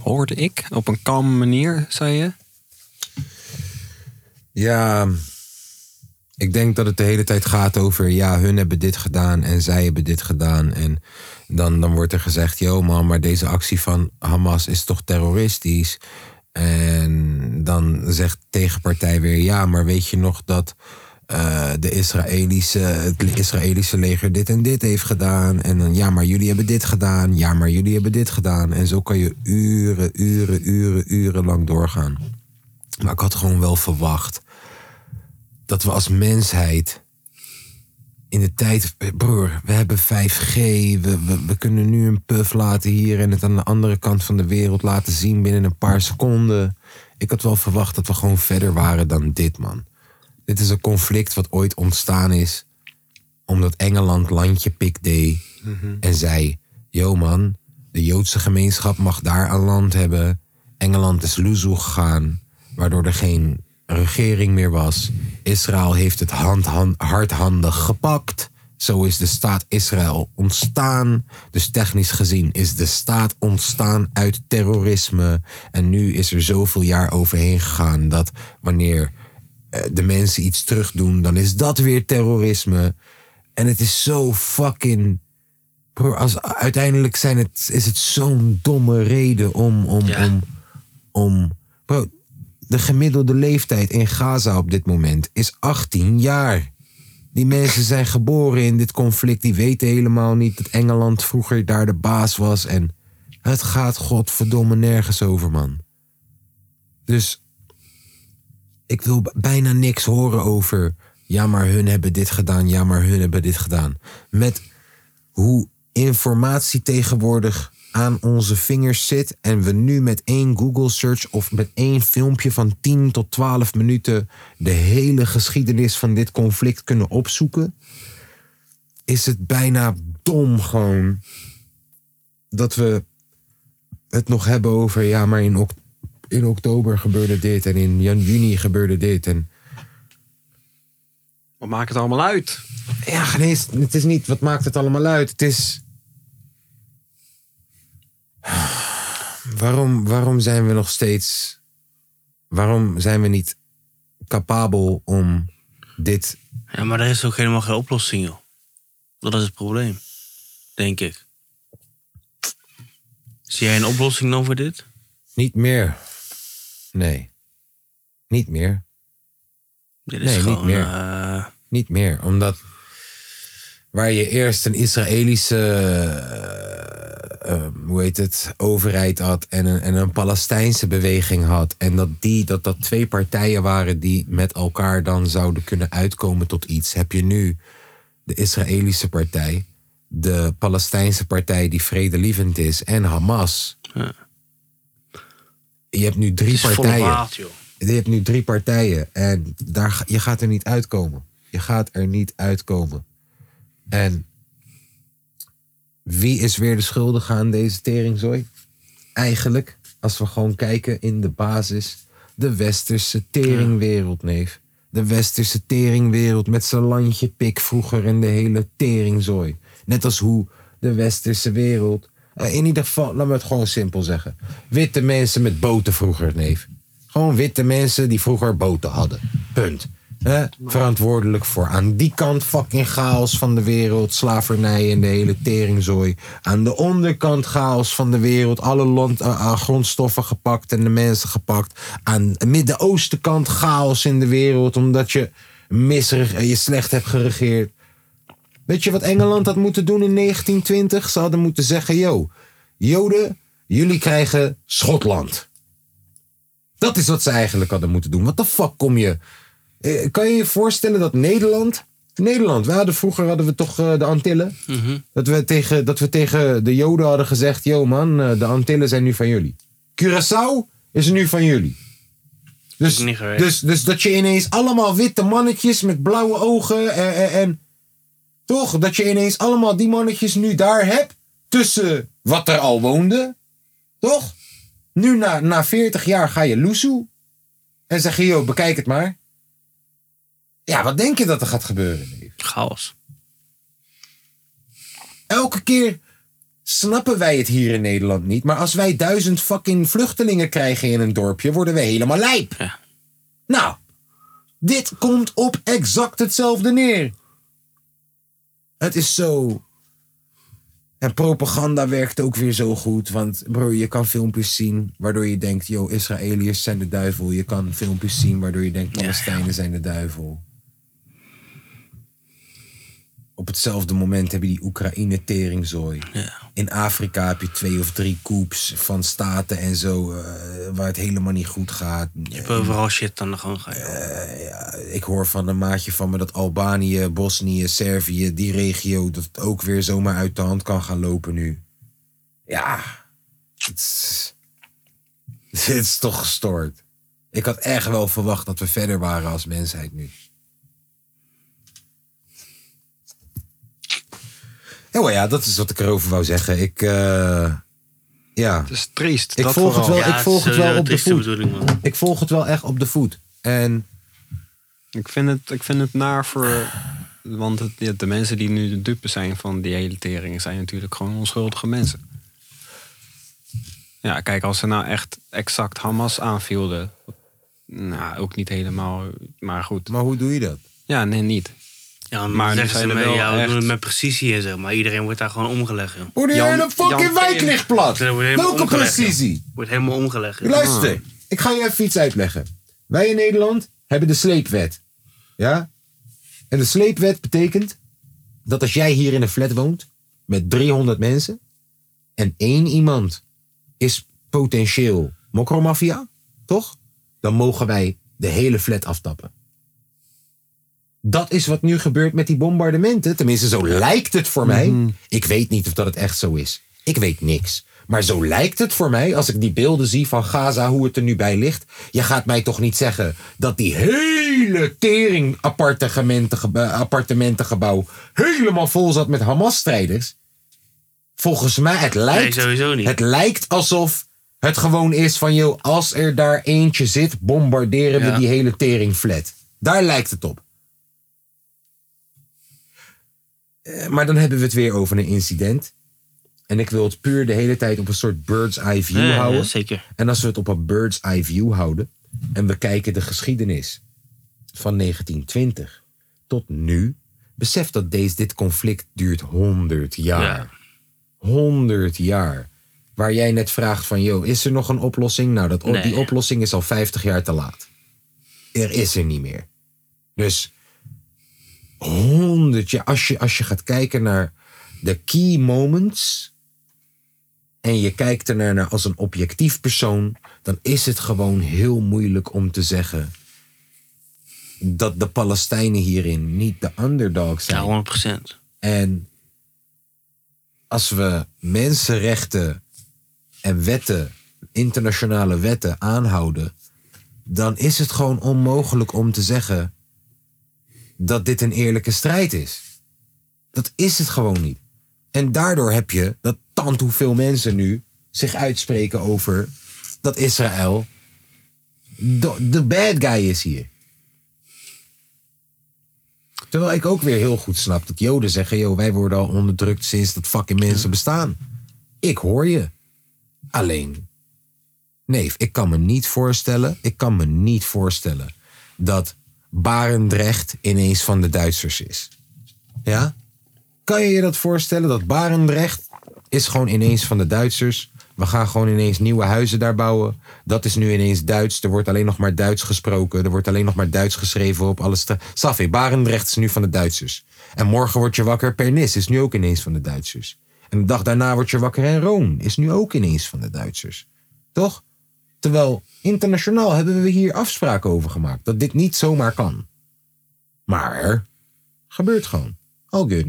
[SPEAKER 2] Hoorde ik. Op een kalme manier, zei je.
[SPEAKER 1] Ja, ik denk dat het de hele tijd gaat over... ja, hun hebben dit gedaan en zij hebben dit gedaan. En dan, dan wordt er gezegd... yo man, maar deze actie van Hamas is toch terroristisch? En dan zegt de tegenpartij weer... ja, maar weet je nog dat eh, de Israëlische, het Israëlische leger dit en dit heeft gedaan? En dan ja, maar jullie hebben dit gedaan. Ja, maar jullie hebben dit gedaan. En zo kan je uren, uren, uren, uren lang doorgaan. Maar ik had gewoon wel verwacht dat we als mensheid in de tijd, broer, we hebben 5G, we, we, we kunnen nu een puff laten hier en het aan de andere kant van de wereld laten zien binnen een paar seconden. Ik had wel verwacht dat we gewoon verder waren dan dit, man. Dit is een conflict wat ooit ontstaan is omdat Engeland landje pik deed en zei: Yo man, de Joodse gemeenschap mag daar aan land hebben. Engeland is loezoe gegaan, waardoor er geen regering meer was. Israël heeft het hand, hand- hardhandig gepakt. Zo is de staat Israël ontstaan. Dus technisch gezien is de staat ontstaan uit terrorisme. En nu is er zoveel jaar overheen gegaan dat wanneer eh, de mensen iets terugdoen, dan is dat weer terrorisme. En het is zo fucking. Broer, als, uiteindelijk zijn het, is het zo'n domme reden om. om, om, om bro, de gemiddelde leeftijd in Gaza op dit moment is 18 jaar. Die mensen zijn geboren in dit conflict. Die weten helemaal niet dat Engeland vroeger daar de baas was. En het gaat godverdomme nergens over, man. Dus ik wil b- bijna niks horen over. Ja, maar hun hebben dit gedaan. Ja, maar hun hebben dit gedaan. Met hoe informatie tegenwoordig aan onze vingers zit. En we nu met één Google search of met één filmpje van 10 tot 12 minuten de hele geschiedenis van dit conflict kunnen opzoeken. Is het bijna dom gewoon dat we het nog hebben over ja, maar in, ok- in oktober gebeurde dit en in jan- juni gebeurde dit. En
[SPEAKER 2] Wat maakt het allemaal uit?
[SPEAKER 1] ja, nee, het is- het is niet wat maakt het allemaal uit. Het is. Waarom, waarom zijn we nog steeds. Waarom zijn we niet capabel om dit.
[SPEAKER 3] Ja, maar er is ook helemaal geen oplossing, joh. Dat is het probleem. Denk ik. Zie jij een oplossing dan voor dit?
[SPEAKER 1] Niet meer. Nee. Niet meer.
[SPEAKER 3] Dit
[SPEAKER 1] Nee, niet meer.
[SPEAKER 3] eh,
[SPEAKER 1] Niet meer. Omdat waar je eerst een Israëlische eh, eh, hoe heet het, overheid had en een, en een Palestijnse beweging had. En dat, die, dat dat twee partijen waren die met elkaar dan zouden kunnen uitkomen tot iets. Heb je nu de Israëlische partij, de Palestijnse partij die vredelievend is en Hamas.
[SPEAKER 3] Ja.
[SPEAKER 1] Je hebt nu drie
[SPEAKER 3] het is volle
[SPEAKER 1] partijen.
[SPEAKER 3] waard, joh.
[SPEAKER 1] Je hebt nu drie partijen en daar, ga- je gaat er niet uitkomen. Je gaat er niet uitkomen. En wie is weer de schuldige aan deze teringzooi? Eigenlijk, als we gewoon kijken in de basis, de westerse teringwereld, neef. De westerse teringwereld met zijn landje pik vroeger en de hele teringzooi. Net als hoe de westerse wereld. eh, In ieder geval, laat me het gewoon simpel zeggen. Witte mensen met boten vroeger, neef. Gewoon witte mensen die vroeger boten hadden. Punt. Hè? verantwoordelijk voor aan die kant fucking chaos van de wereld, slavernij en de hele teringzooi. Aan de onderkant chaos van de wereld, alle land, eh, eh, grondstoffen gepakt en de mensen gepakt. Aan de Midden-Oostenkant chaos in de wereld omdat je, misreg- eh, je slecht hebt geregeerd. Weet je wat Engeland had moeten doen in 1920? Ze hadden moeten zeggen, yo, Joden, jullie krijgen Schotland. Dat is wat ze eigenlijk hadden moeten doen. Wat de fuck kom je? Eh, Kan je je voorstellen dat Nederland. Nederland, we hadden, vroeger hadden we toch eh, de Antillen.
[SPEAKER 3] Mhm.
[SPEAKER 1] dat, we tegen, dat we tegen de Joden hadden gezegd: Yo man, eh, de Antillen zijn nu van jullie. Curaçao is nu van jullie. Dus,
[SPEAKER 3] ik niet geweest.
[SPEAKER 1] dus, dus dat je ineens allemaal witte mannetjes met blauwe ogen en, en, en. Toch? Dat je ineens allemaal die mannetjes nu daar hebt. Tussen wat er al woonde. Toch? Nu na, na 40 jaar ga je loesoe. En zeg je, joh, bekijk het maar. Ja, wat denk je dat er gaat gebeuren? neef?
[SPEAKER 3] Chaos.
[SPEAKER 1] Elke keer snappen wij het hier in Nederland niet. Maar als wij duizend fucking vluchtelingen krijgen in een dorpje, worden we helemaal lijp.
[SPEAKER 3] Ja.
[SPEAKER 1] Nou, dit komt op exact hetzelfde neer. Het is zo. En propaganda werkt ook weer zo goed. Want bro, je kan filmpjes zien waardoor je denkt: yo, Israëliërs zijn de duivel. Je kan filmpjes zien waardoor je denkt: Palestijnen zijn de duivel. Op hetzelfde moment heb je die Oekraïne-teringzooi. In Afrika heb je twee of drie coups van staten en zo, eh, waar het helemaal niet goed gaat.
[SPEAKER 3] Je hebt overal shit aan de gang gaan, joh.
[SPEAKER 1] Ik hoor van een maatje van me dat Albanië, Bosnië, Servië, die regio, dat het ook weer zomaar uit de hand kan gaan lopen nu. Ja, het is, het is toch gestoord. Ik had echt wel verwacht dat we verder waren als mensheid nu. Anyway, ja, dat is wat ik erover wou zeggen. Ik, eh, Ja.
[SPEAKER 2] Het is triest.
[SPEAKER 1] Ik
[SPEAKER 2] dat
[SPEAKER 1] volg het
[SPEAKER 2] vooral.
[SPEAKER 1] wel. ik volg het wel op de
[SPEAKER 3] is de
[SPEAKER 1] voet.
[SPEAKER 3] bedoeling, man.
[SPEAKER 1] Ik volg het wel echt op de voet. En
[SPEAKER 2] Ik vind het, ik vind het naar voor. Want het- ja, de mensen die nu de dupe zijn van die hele tering zijn natuurlijk gewoon onschuldige mensen. Ja, kijk, als ze nou echt exact Hamas aanvielden. Nou, ook niet helemaal, maar goed.
[SPEAKER 1] Maar hoe doe je dat?
[SPEAKER 2] Ja, nee, niet.
[SPEAKER 3] Ja,
[SPEAKER 2] Maar
[SPEAKER 3] maar
[SPEAKER 2] nu
[SPEAKER 3] zeggen
[SPEAKER 2] zijn
[SPEAKER 3] ze
[SPEAKER 2] er
[SPEAKER 3] met,
[SPEAKER 2] wel
[SPEAKER 3] ja, we
[SPEAKER 2] echt-
[SPEAKER 3] doen het met precisie en zo. Maar iedereen wordt daar gewoon omgelegd, joh.
[SPEAKER 1] Hoe de
[SPEAKER 2] Jan-
[SPEAKER 1] hele fucking
[SPEAKER 2] Jan
[SPEAKER 1] wijk
[SPEAKER 2] Tering.
[SPEAKER 1] ligt plat.
[SPEAKER 3] Er wordt helemaal
[SPEAKER 1] Welke
[SPEAKER 3] omgelegd, joh.
[SPEAKER 1] precisie?
[SPEAKER 3] Wordt helemaal omgelegd. joh.
[SPEAKER 1] Luister,
[SPEAKER 2] Ah.
[SPEAKER 1] ik ga je even iets uitleggen. Wij in Nederland hebben de sleepwet. Ja? En de sleepwet betekent dat als jij hier in een flat woont met 300 mensen en één iemand is potentieel mokromafia, toch? Dan mogen wij de hele flat aftappen. Dat is wat nu gebeurt met die bombardementen. Tenminste, zo lijkt het voor mij. Ik weet niet of dat het echt zo is. Ik weet niks. Maar zo lijkt het voor mij als ik die beelden zie van Gaza, hoe het er nu bij ligt. Je gaat mij toch niet zeggen dat die hele tering appartementengebouw, appartementengebouw helemaal vol zat met Hamas-strijders. Volgens mij, het lijkt,
[SPEAKER 3] sowieso niet.
[SPEAKER 1] het lijkt alsof het gewoon is van, joh, als er daar eentje zit, bombarderen we
[SPEAKER 3] Ja.
[SPEAKER 1] die hele tering flat. Daar lijkt het op. Eh, maar dan hebben we het weer over een incident. En ik wil het puur de hele tijd op een soort bird's eye view
[SPEAKER 3] Ja, ja,
[SPEAKER 1] houden.
[SPEAKER 3] zeker.
[SPEAKER 1] En als we het op een bird's eye view houden en we kijken de geschiedenis van 1920 tot nu, besef dat deze, dit conflict duurt 100 jaar. 100 jaar. Waar jij net vraagt van, joh, is er nog een oplossing? Nou, dat,
[SPEAKER 3] Nee.
[SPEAKER 1] die oplossing is al 50 jaar te laat. Er is er niet meer. Dus 100 jaar, als je, als je gaat kijken naar de key moments en je kijkt ernaar naar als een objectief persoon, dan is het gewoon heel moeilijk om te zeggen dat de Palestijnen hierin niet de underdog zijn.
[SPEAKER 3] Ja, 100%.
[SPEAKER 1] En als we mensenrechten en wetten, internationale wetten aanhouden, dan is het gewoon onmogelijk om te zeggen dat dit een eerlijke strijd is. Dat is het gewoon niet. En daardoor heb je dat tant hoeveel mensen nu zich uitspreken over dat Israël de, de bad guy is hier. Terwijl ik ook weer heel goed snap dat Joden zeggen: joh, wij worden al onderdrukt sinds dat fucking mensen bestaan. Ik hoor je. Alleen, neef, ik kan me niet voorstellen, ik kan me niet voorstellen dat Barendrecht ineens van de Duitsers is. Ja? Kan je je dat voorstellen? Dat Barendrecht is gewoon ineens van de Duitsers. We gaan gewoon ineens nieuwe huizen daar bouwen. Dat is nu ineens Duits. Er wordt alleen nog maar Duits gesproken. Er wordt alleen nog maar Duits geschreven op alles. Safi, Barendrecht is nu van de Duitsers. En morgen word je wakker. Pernis is nu ook ineens van de Duitsers. En de dag daarna word je wakker. En Roon is nu ook ineens van de Duitsers. Toch? Terwijl internationaal hebben we hier afspraken over gemaakt. Dat dit niet zomaar kan. Maar gebeurt gewoon. Al good.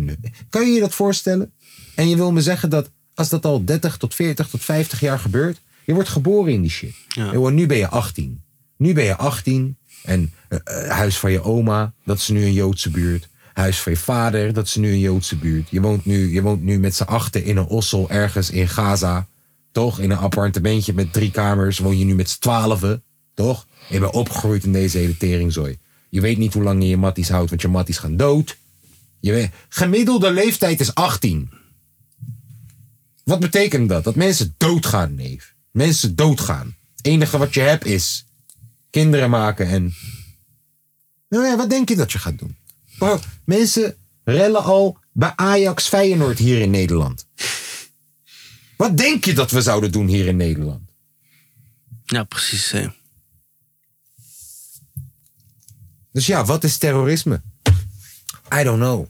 [SPEAKER 1] Kan je je dat voorstellen? En je wil me zeggen dat als dat al 30 tot 40 tot 50 jaar gebeurt, je wordt geboren in die shit. Jongen, nu ben je 18. Nu ben je 18 en eh, eh, huis van je oma, dat is nu een Joodse buurt. Huis van je vader, dat is nu een Joodse buurt. Je woont nu, je woont nu met z'n achten in een ossel ergens in Gaza. Toch? In een appartementje met drie kamers woon je nu met z'n twaalfen. Toch? Je bent opgegroeid in deze hele teringzooi. Je weet niet hoe lang je je matties houdt, want je matties gaan dood. Je weet, gemiddelde leeftijd is 18. Wat betekent dat? Dat mensen doodgaan, neef. Mensen doodgaan. Het enige wat je hebt is kinderen maken en... Nou ja, wat denk je dat je gaat doen? Bro, mensen rellen al bij Ajax Feyenoord hier in Nederland. Wat denk je dat we zouden doen hier in Nederland?
[SPEAKER 3] Ja, precies. eh.
[SPEAKER 1] Dus ja, wat is terrorisme? I don't know.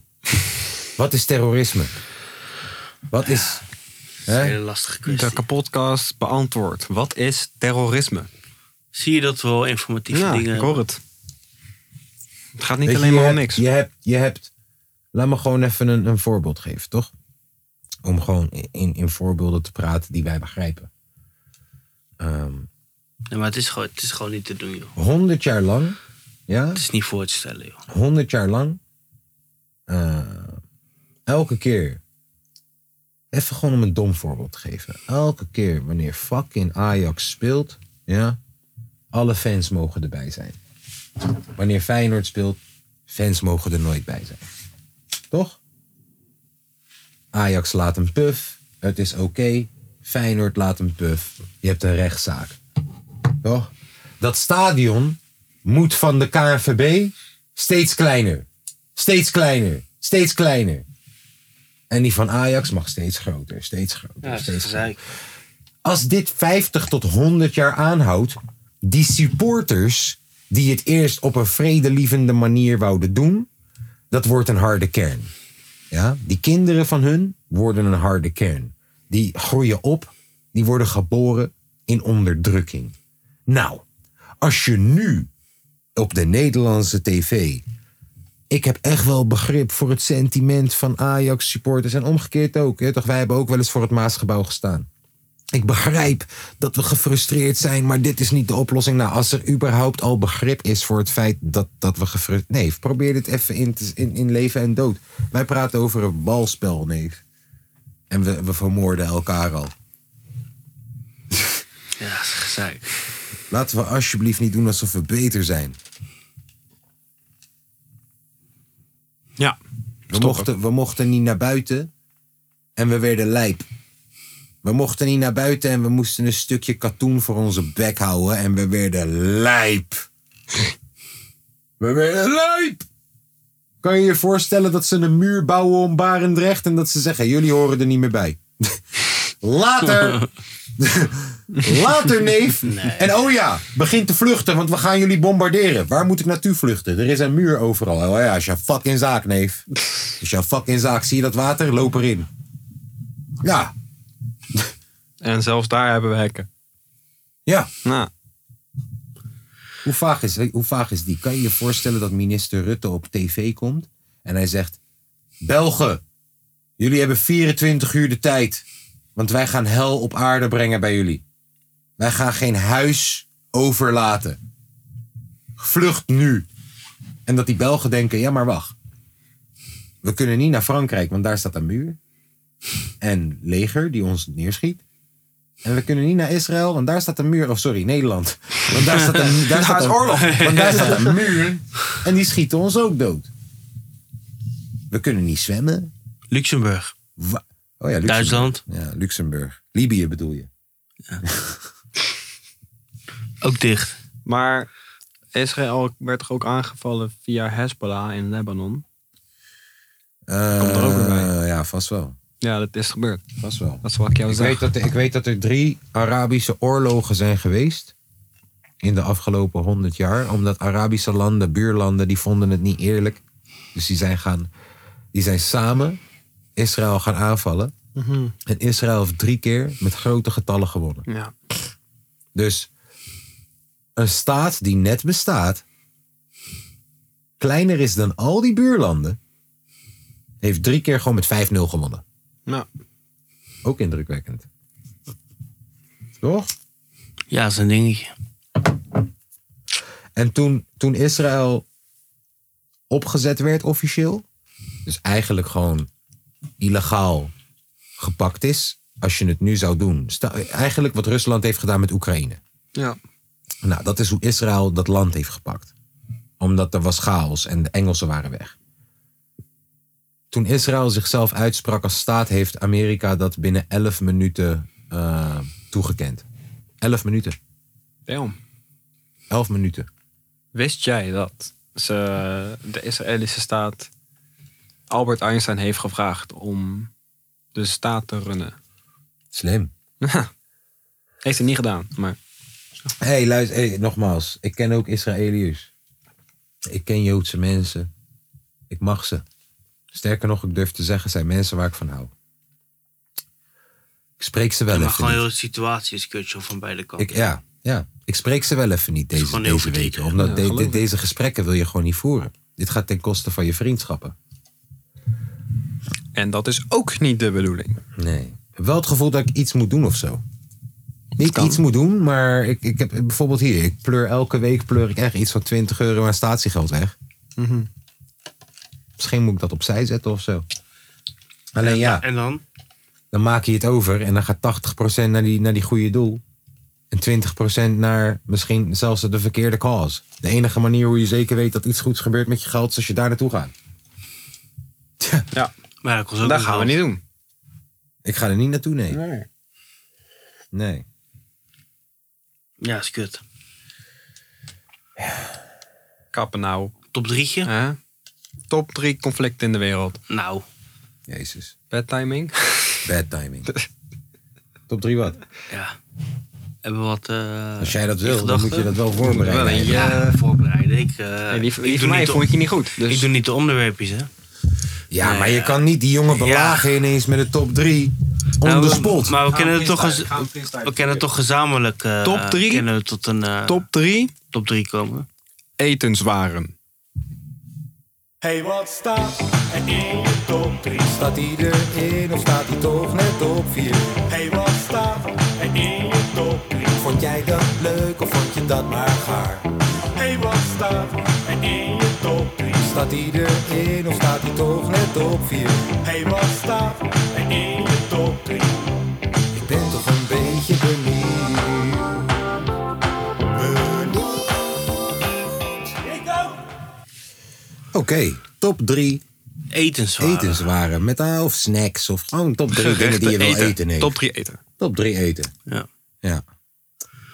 [SPEAKER 1] Wat is terrorisme? Wat is...
[SPEAKER 3] Een
[SPEAKER 1] Hè?
[SPEAKER 3] hele lastige kwestie.
[SPEAKER 2] De podcast beantwoord. Wat is terrorisme?
[SPEAKER 3] Zie je dat we wel informatieve
[SPEAKER 2] Ja,
[SPEAKER 3] dingen
[SPEAKER 2] ik hoor het. Het gaat niet
[SPEAKER 1] Weet je,
[SPEAKER 2] alleen maar
[SPEAKER 1] je
[SPEAKER 2] om
[SPEAKER 1] hebt-
[SPEAKER 2] niks.
[SPEAKER 1] Je hebt, je hebt, laat me gewoon even een, een voorbeeld geven, toch? Om gewoon in, in voorbeelden te praten die wij begrijpen. Ehm
[SPEAKER 3] Nee, maar het is, gewoon, het is gewoon niet te doen, joh.
[SPEAKER 1] 100 jaar lang, ja,
[SPEAKER 3] Het is niet voor te stellen, joh.
[SPEAKER 1] 100 jaar lang, eh, elke keer Even gewoon om een dom voorbeeld te geven. Elke keer wanneer fucking Ajax speelt, ja, alle fans mogen erbij zijn. Wanneer Feyenoord speelt, fans mogen er nooit bij zijn. Toch? Ajax laat een puf, het is oké. Feyenoord laat een puf, je hebt een rechtszaak. Toch? Dat stadion moet van de KNVB steeds kleiner. Steeds kleiner. Steeds kleiner. En die van Ajax mag steeds groter, steeds groter. steeds groter. Als dit 50 tot 100 jaar aanhoudt, die supporters die het eerst op een vredelievende manier wouden doen, dat wordt een harde kern. Ja? Die kinderen van hun worden een harde kern. Die groeien op, die worden geboren in onderdrukking. Nou, als je nu op de Nederlandse tv ik heb echt wel begrip voor het sentiment van Ajax supporters. En omgekeerd ook. Hè? Toch, wij hebben ook wel eens voor het Maasgebouw gestaan. Ik begrijp dat we gefrustreerd zijn, maar dit is niet de oplossing. Nou, als er überhaupt al begrip is voor het feit dat, dat we gefrustreerd... Nee, probeer dit even in, te- in, in leven en dood. Wij praten over een balspel, nee. En we, we vermoorden elkaar al.
[SPEAKER 3] Ja, gezeik.
[SPEAKER 1] Laten we alsjeblieft niet doen alsof we beter zijn.
[SPEAKER 2] Ja.
[SPEAKER 1] We mochten, we mochten niet naar buiten en we werden lijp. We mochten niet naar buiten en we moesten een stukje katoen voor onze bek houden en we werden lijp. We werden lijp! Kan je je voorstellen dat ze een muur bouwen om Barendrecht en dat ze zeggen: jullie horen er niet meer bij? Later! Later, neef! En oh ja, begin te vluchten, want we gaan jullie bombarderen. Waar moet ik naartoe vluchten? Er is een muur overal. Oh ja, is jouw fucking zaak, neef. Is jouw fucking zaak. Zie je dat water? Loop erin. Ja,
[SPEAKER 2] En zelfs daar hebben we hekken.
[SPEAKER 1] ja.
[SPEAKER 2] Nou,
[SPEAKER 1] Hoe vaag, is, hoe vaag is die? Kan je je voorstellen dat minister Rutte op tv komt en hij zegt: Belgen, jullie hebben 24 uur de tijd, want wij gaan hel op aarde brengen bij jullie. Wij gaan geen huis overlaten. Vlucht nu. En dat die Belgen denken: ja, maar wacht. We kunnen niet naar Frankrijk, want daar staat een muur. En leger die ons neerschiet. En we kunnen niet naar Israël, want daar staat een muur. Of sorry, Nederland. Want daar staat een, daar staat een oorlog. Want daar staat een muur. En die schieten ons ook dood. We kunnen niet zwemmen.
[SPEAKER 3] Luxemburg.
[SPEAKER 1] Wa- oh ja, Luxemburg.
[SPEAKER 3] Duitsland.
[SPEAKER 1] Ja, Luxemburg. Libië bedoel je.
[SPEAKER 3] Ook dicht.
[SPEAKER 2] maar Israël werd toch ook aangevallen via Hezbollah in Lebanon?
[SPEAKER 1] Komt
[SPEAKER 2] er ook weer bij.
[SPEAKER 1] Eh, Ja, vast wel.
[SPEAKER 2] Ja, dat is gebeurd.
[SPEAKER 1] Vast wel.
[SPEAKER 2] Dat is wat ik jou
[SPEAKER 1] Ik weet,
[SPEAKER 2] zeg.
[SPEAKER 1] dat, ik weet dat er drie Arabische oorlogen zijn geweest. In de afgelopen honderd jaar. Omdat Arabische landen, buurlanden, die vonden het niet eerlijk. Dus die zijn, gaan, die zijn samen Israël gaan aanvallen. En Israël heeft drie keer met grote getallen gewonnen.
[SPEAKER 2] Ja.
[SPEAKER 1] Dus een staat die net bestaat, kleiner is dan al die buurlanden, heeft drie keer gewoon met 5-0 gewonnen.
[SPEAKER 2] Nou,
[SPEAKER 1] Ook indrukwekkend. Toch?
[SPEAKER 3] Ja, dat is een dingetje.
[SPEAKER 1] En toen, toen Israël opgezet werd officieel, dus eigenlijk gewoon illegaal gepakt is, als je het nu zou doen. Stel- eigenlijk wat Rusland heeft gedaan met Oekraïne.
[SPEAKER 2] ja.
[SPEAKER 1] Nou, dat is hoe Israël dat land heeft gepakt. Omdat er was chaos en de Engelsen waren weg. Toen Israël zichzelf uitsprak als staat, heeft Amerika dat binnen 11 minuten eh, toegekend. 11 minuten.
[SPEAKER 2] Damn.
[SPEAKER 1] 11 minuten.
[SPEAKER 2] Wist jij dat ze, de Israëlische staat Albert Einstein heeft gevraagd om de staat te runnen?
[SPEAKER 1] Slim.
[SPEAKER 2] Heeft hij niet gedaan, maar
[SPEAKER 1] Hé, hey, luister, hey, nogmaals. Ik ken ook Israëliërs. Ik ken Joodse mensen. Ik mag ze. Sterker nog, ik durf te zeggen, zijn mensen waar ik van hou. Ik spreek ze wel
[SPEAKER 3] Maar
[SPEAKER 1] even.
[SPEAKER 3] gewoon
[SPEAKER 1] niet.
[SPEAKER 3] heel de situatie is kutje van beide kanten.
[SPEAKER 1] Ik, ja, ja, ik spreek ze wel even niet deze,
[SPEAKER 3] gewoon heel
[SPEAKER 1] deze
[SPEAKER 3] verdrietig.
[SPEAKER 1] weken. Omdat
[SPEAKER 2] Ja,
[SPEAKER 1] de- de-
[SPEAKER 2] geloof ik.
[SPEAKER 1] deze gesprekken wil je gewoon niet voeren. Dit gaat ten koste van je vriendschappen.
[SPEAKER 2] En dat is ook niet de bedoeling.
[SPEAKER 1] Nee. Ik heb wel het gevoel dat ik iets moet doen of zo. Niet iets moet doen, maar ik, ik heb bijvoorbeeld hier. Ik pleur elke week pleur ik echt iets van 20 euro aan statiegeld weg. Mhm. Misschien moet ik dat opzij zetten of zo. Alleen ja,
[SPEAKER 3] En dan?
[SPEAKER 1] Eh, Dan maak je het over en dan gaat 80% naar die, naar die goede doel. En 20% naar misschien zelfs de verkeerde cause. De enige manier hoe je zeker weet dat iets goeds gebeurt met je geld is als je daar naartoe gaat.
[SPEAKER 2] Ja,
[SPEAKER 3] Maar dat kost ook
[SPEAKER 2] dat
[SPEAKER 3] een
[SPEAKER 2] gaan we
[SPEAKER 3] geld.
[SPEAKER 2] niet doen.
[SPEAKER 1] Ik ga er niet naartoe, nee. Nee.
[SPEAKER 3] Ja, is kut.
[SPEAKER 2] Kappen nou.
[SPEAKER 3] Top drietje?
[SPEAKER 2] Hè? Top drie conflicten in de wereld.
[SPEAKER 3] Nou,
[SPEAKER 1] Jezus.
[SPEAKER 2] Bedtiming.
[SPEAKER 1] Bad timing. Top 3 wat?
[SPEAKER 3] ja. Hebben we wat... eh,
[SPEAKER 1] Als jij dat
[SPEAKER 3] in
[SPEAKER 1] wil, dan
[SPEAKER 3] gedachten?
[SPEAKER 1] moet je dat wel voorbereiden.
[SPEAKER 2] Wel,
[SPEAKER 3] Ja, voorbereiden. Ik, eh,
[SPEAKER 2] Nee, die, die
[SPEAKER 3] ik,
[SPEAKER 2] van
[SPEAKER 3] doe
[SPEAKER 2] mij
[SPEAKER 3] niet
[SPEAKER 2] vond
[SPEAKER 3] de,
[SPEAKER 2] ik je niet goed. Dus
[SPEAKER 3] ik doe niet de onderwerpjes, hè.
[SPEAKER 1] Ja, maar je kan niet die jongen belagen ineens met de top 3 on
[SPEAKER 3] Nou,
[SPEAKER 1] the
[SPEAKER 3] we-
[SPEAKER 1] spot.
[SPEAKER 3] Maar we kennen het toch, eens- we kennen het toch gezamenlijk... eh,
[SPEAKER 2] Top drie?
[SPEAKER 3] Kennen we tot een eh,
[SPEAKER 2] top drie
[SPEAKER 3] top drie komen.
[SPEAKER 2] etenswaren.
[SPEAKER 4] Hey, wat staat er in de top 3? Staat hij erin of staat hij toch net op 4? Hey, wat staat er in de top 3? Vond jij dat leuk of vond je dat maar gaar? Hey, wat staat er in je top 3? Staat hij erin of staat hij toch net op 4? Hey, wat staat er in je top 3? Ik ben toch een beetje benieuwd. Benieuwd. Ik ook.
[SPEAKER 1] Oké, top 3
[SPEAKER 3] Etenswaar.
[SPEAKER 1] etenswaren. Met ah, of snacks of gewoon top 3 dingen die je wil
[SPEAKER 2] Gerechten
[SPEAKER 1] eten. nee.
[SPEAKER 2] Top drie eten.
[SPEAKER 1] Top 3 eten.
[SPEAKER 3] Ja.
[SPEAKER 1] Ja.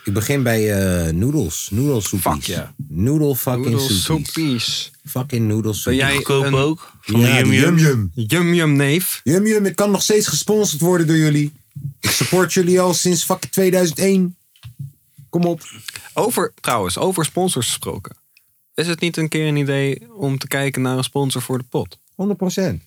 [SPEAKER 1] Ik begin bij eh noedels. Noedelsoepies.
[SPEAKER 2] Fuck ja.
[SPEAKER 1] Noedel fucking soepies.
[SPEAKER 2] Soepies.
[SPEAKER 1] Fucking noedelsoepies.
[SPEAKER 2] Ben jij-
[SPEAKER 3] Goedkoop
[SPEAKER 2] Een-
[SPEAKER 3] ook. Van de
[SPEAKER 1] Ja,
[SPEAKER 3] Yum
[SPEAKER 1] die
[SPEAKER 3] Yum.
[SPEAKER 1] yum yum.
[SPEAKER 2] Yum Yum Neef.
[SPEAKER 1] Yum Yum, ik kan nog steeds gesponsord worden door jullie. Ik support jullie al sinds fucking 2001. Kom op.
[SPEAKER 2] Over, trouwens, over sponsors gesproken. Is het niet een keer een idee om te kijken naar een sponsor voor de pot?
[SPEAKER 1] 100%.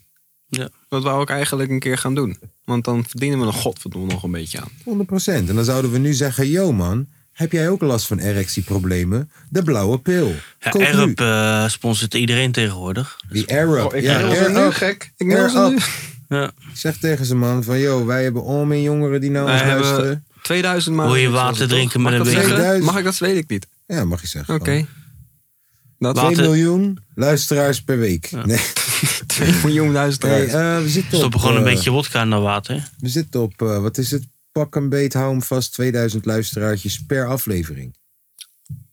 [SPEAKER 2] Dat wou ik eigenlijk een keer gaan doen. Want dan verdienen we een godverdomme nog een beetje aan.
[SPEAKER 1] 100%. En dan zouden we nu zeggen: Yo man, heb jij ook last van erectieproblemen? De blauwe pil.
[SPEAKER 3] Ja,
[SPEAKER 1] Koop nu.
[SPEAKER 3] Arab eh, sponsort iedereen tegenwoordig.
[SPEAKER 1] Die
[SPEAKER 2] Oh,
[SPEAKER 1] Arab. ja, Air Up.
[SPEAKER 2] gek. Ik
[SPEAKER 1] Air
[SPEAKER 2] wil
[SPEAKER 1] Up.
[SPEAKER 3] Ja.
[SPEAKER 1] Zeg tegen ze man: van Yo, wij hebben al meer jongeren die naar
[SPEAKER 2] Wij
[SPEAKER 1] ons
[SPEAKER 2] hebben
[SPEAKER 1] luisteren.
[SPEAKER 2] eh, 2000 maanden.
[SPEAKER 3] Wil je water drinken met
[SPEAKER 2] Mag ik dat
[SPEAKER 3] een beetje?
[SPEAKER 2] zeggen?
[SPEAKER 1] 2000.
[SPEAKER 2] Mag ik dat? Weet ik niet.
[SPEAKER 1] Ja, mag je zeggen.
[SPEAKER 2] Oké. Dat
[SPEAKER 1] 2
[SPEAKER 3] Laten-
[SPEAKER 1] miljoen luisteraars per week. Nee,
[SPEAKER 2] 2 miljoen
[SPEAKER 1] nee
[SPEAKER 2] luisteraars.
[SPEAKER 1] eh, we zitten op,
[SPEAKER 3] Stoppen gewoon een
[SPEAKER 1] eh,
[SPEAKER 3] beetje wodka in dat water.
[SPEAKER 1] We zitten op, eh, wat is het? Pak een beet, hou hem vast, 2000 luisteraartjes per aflevering.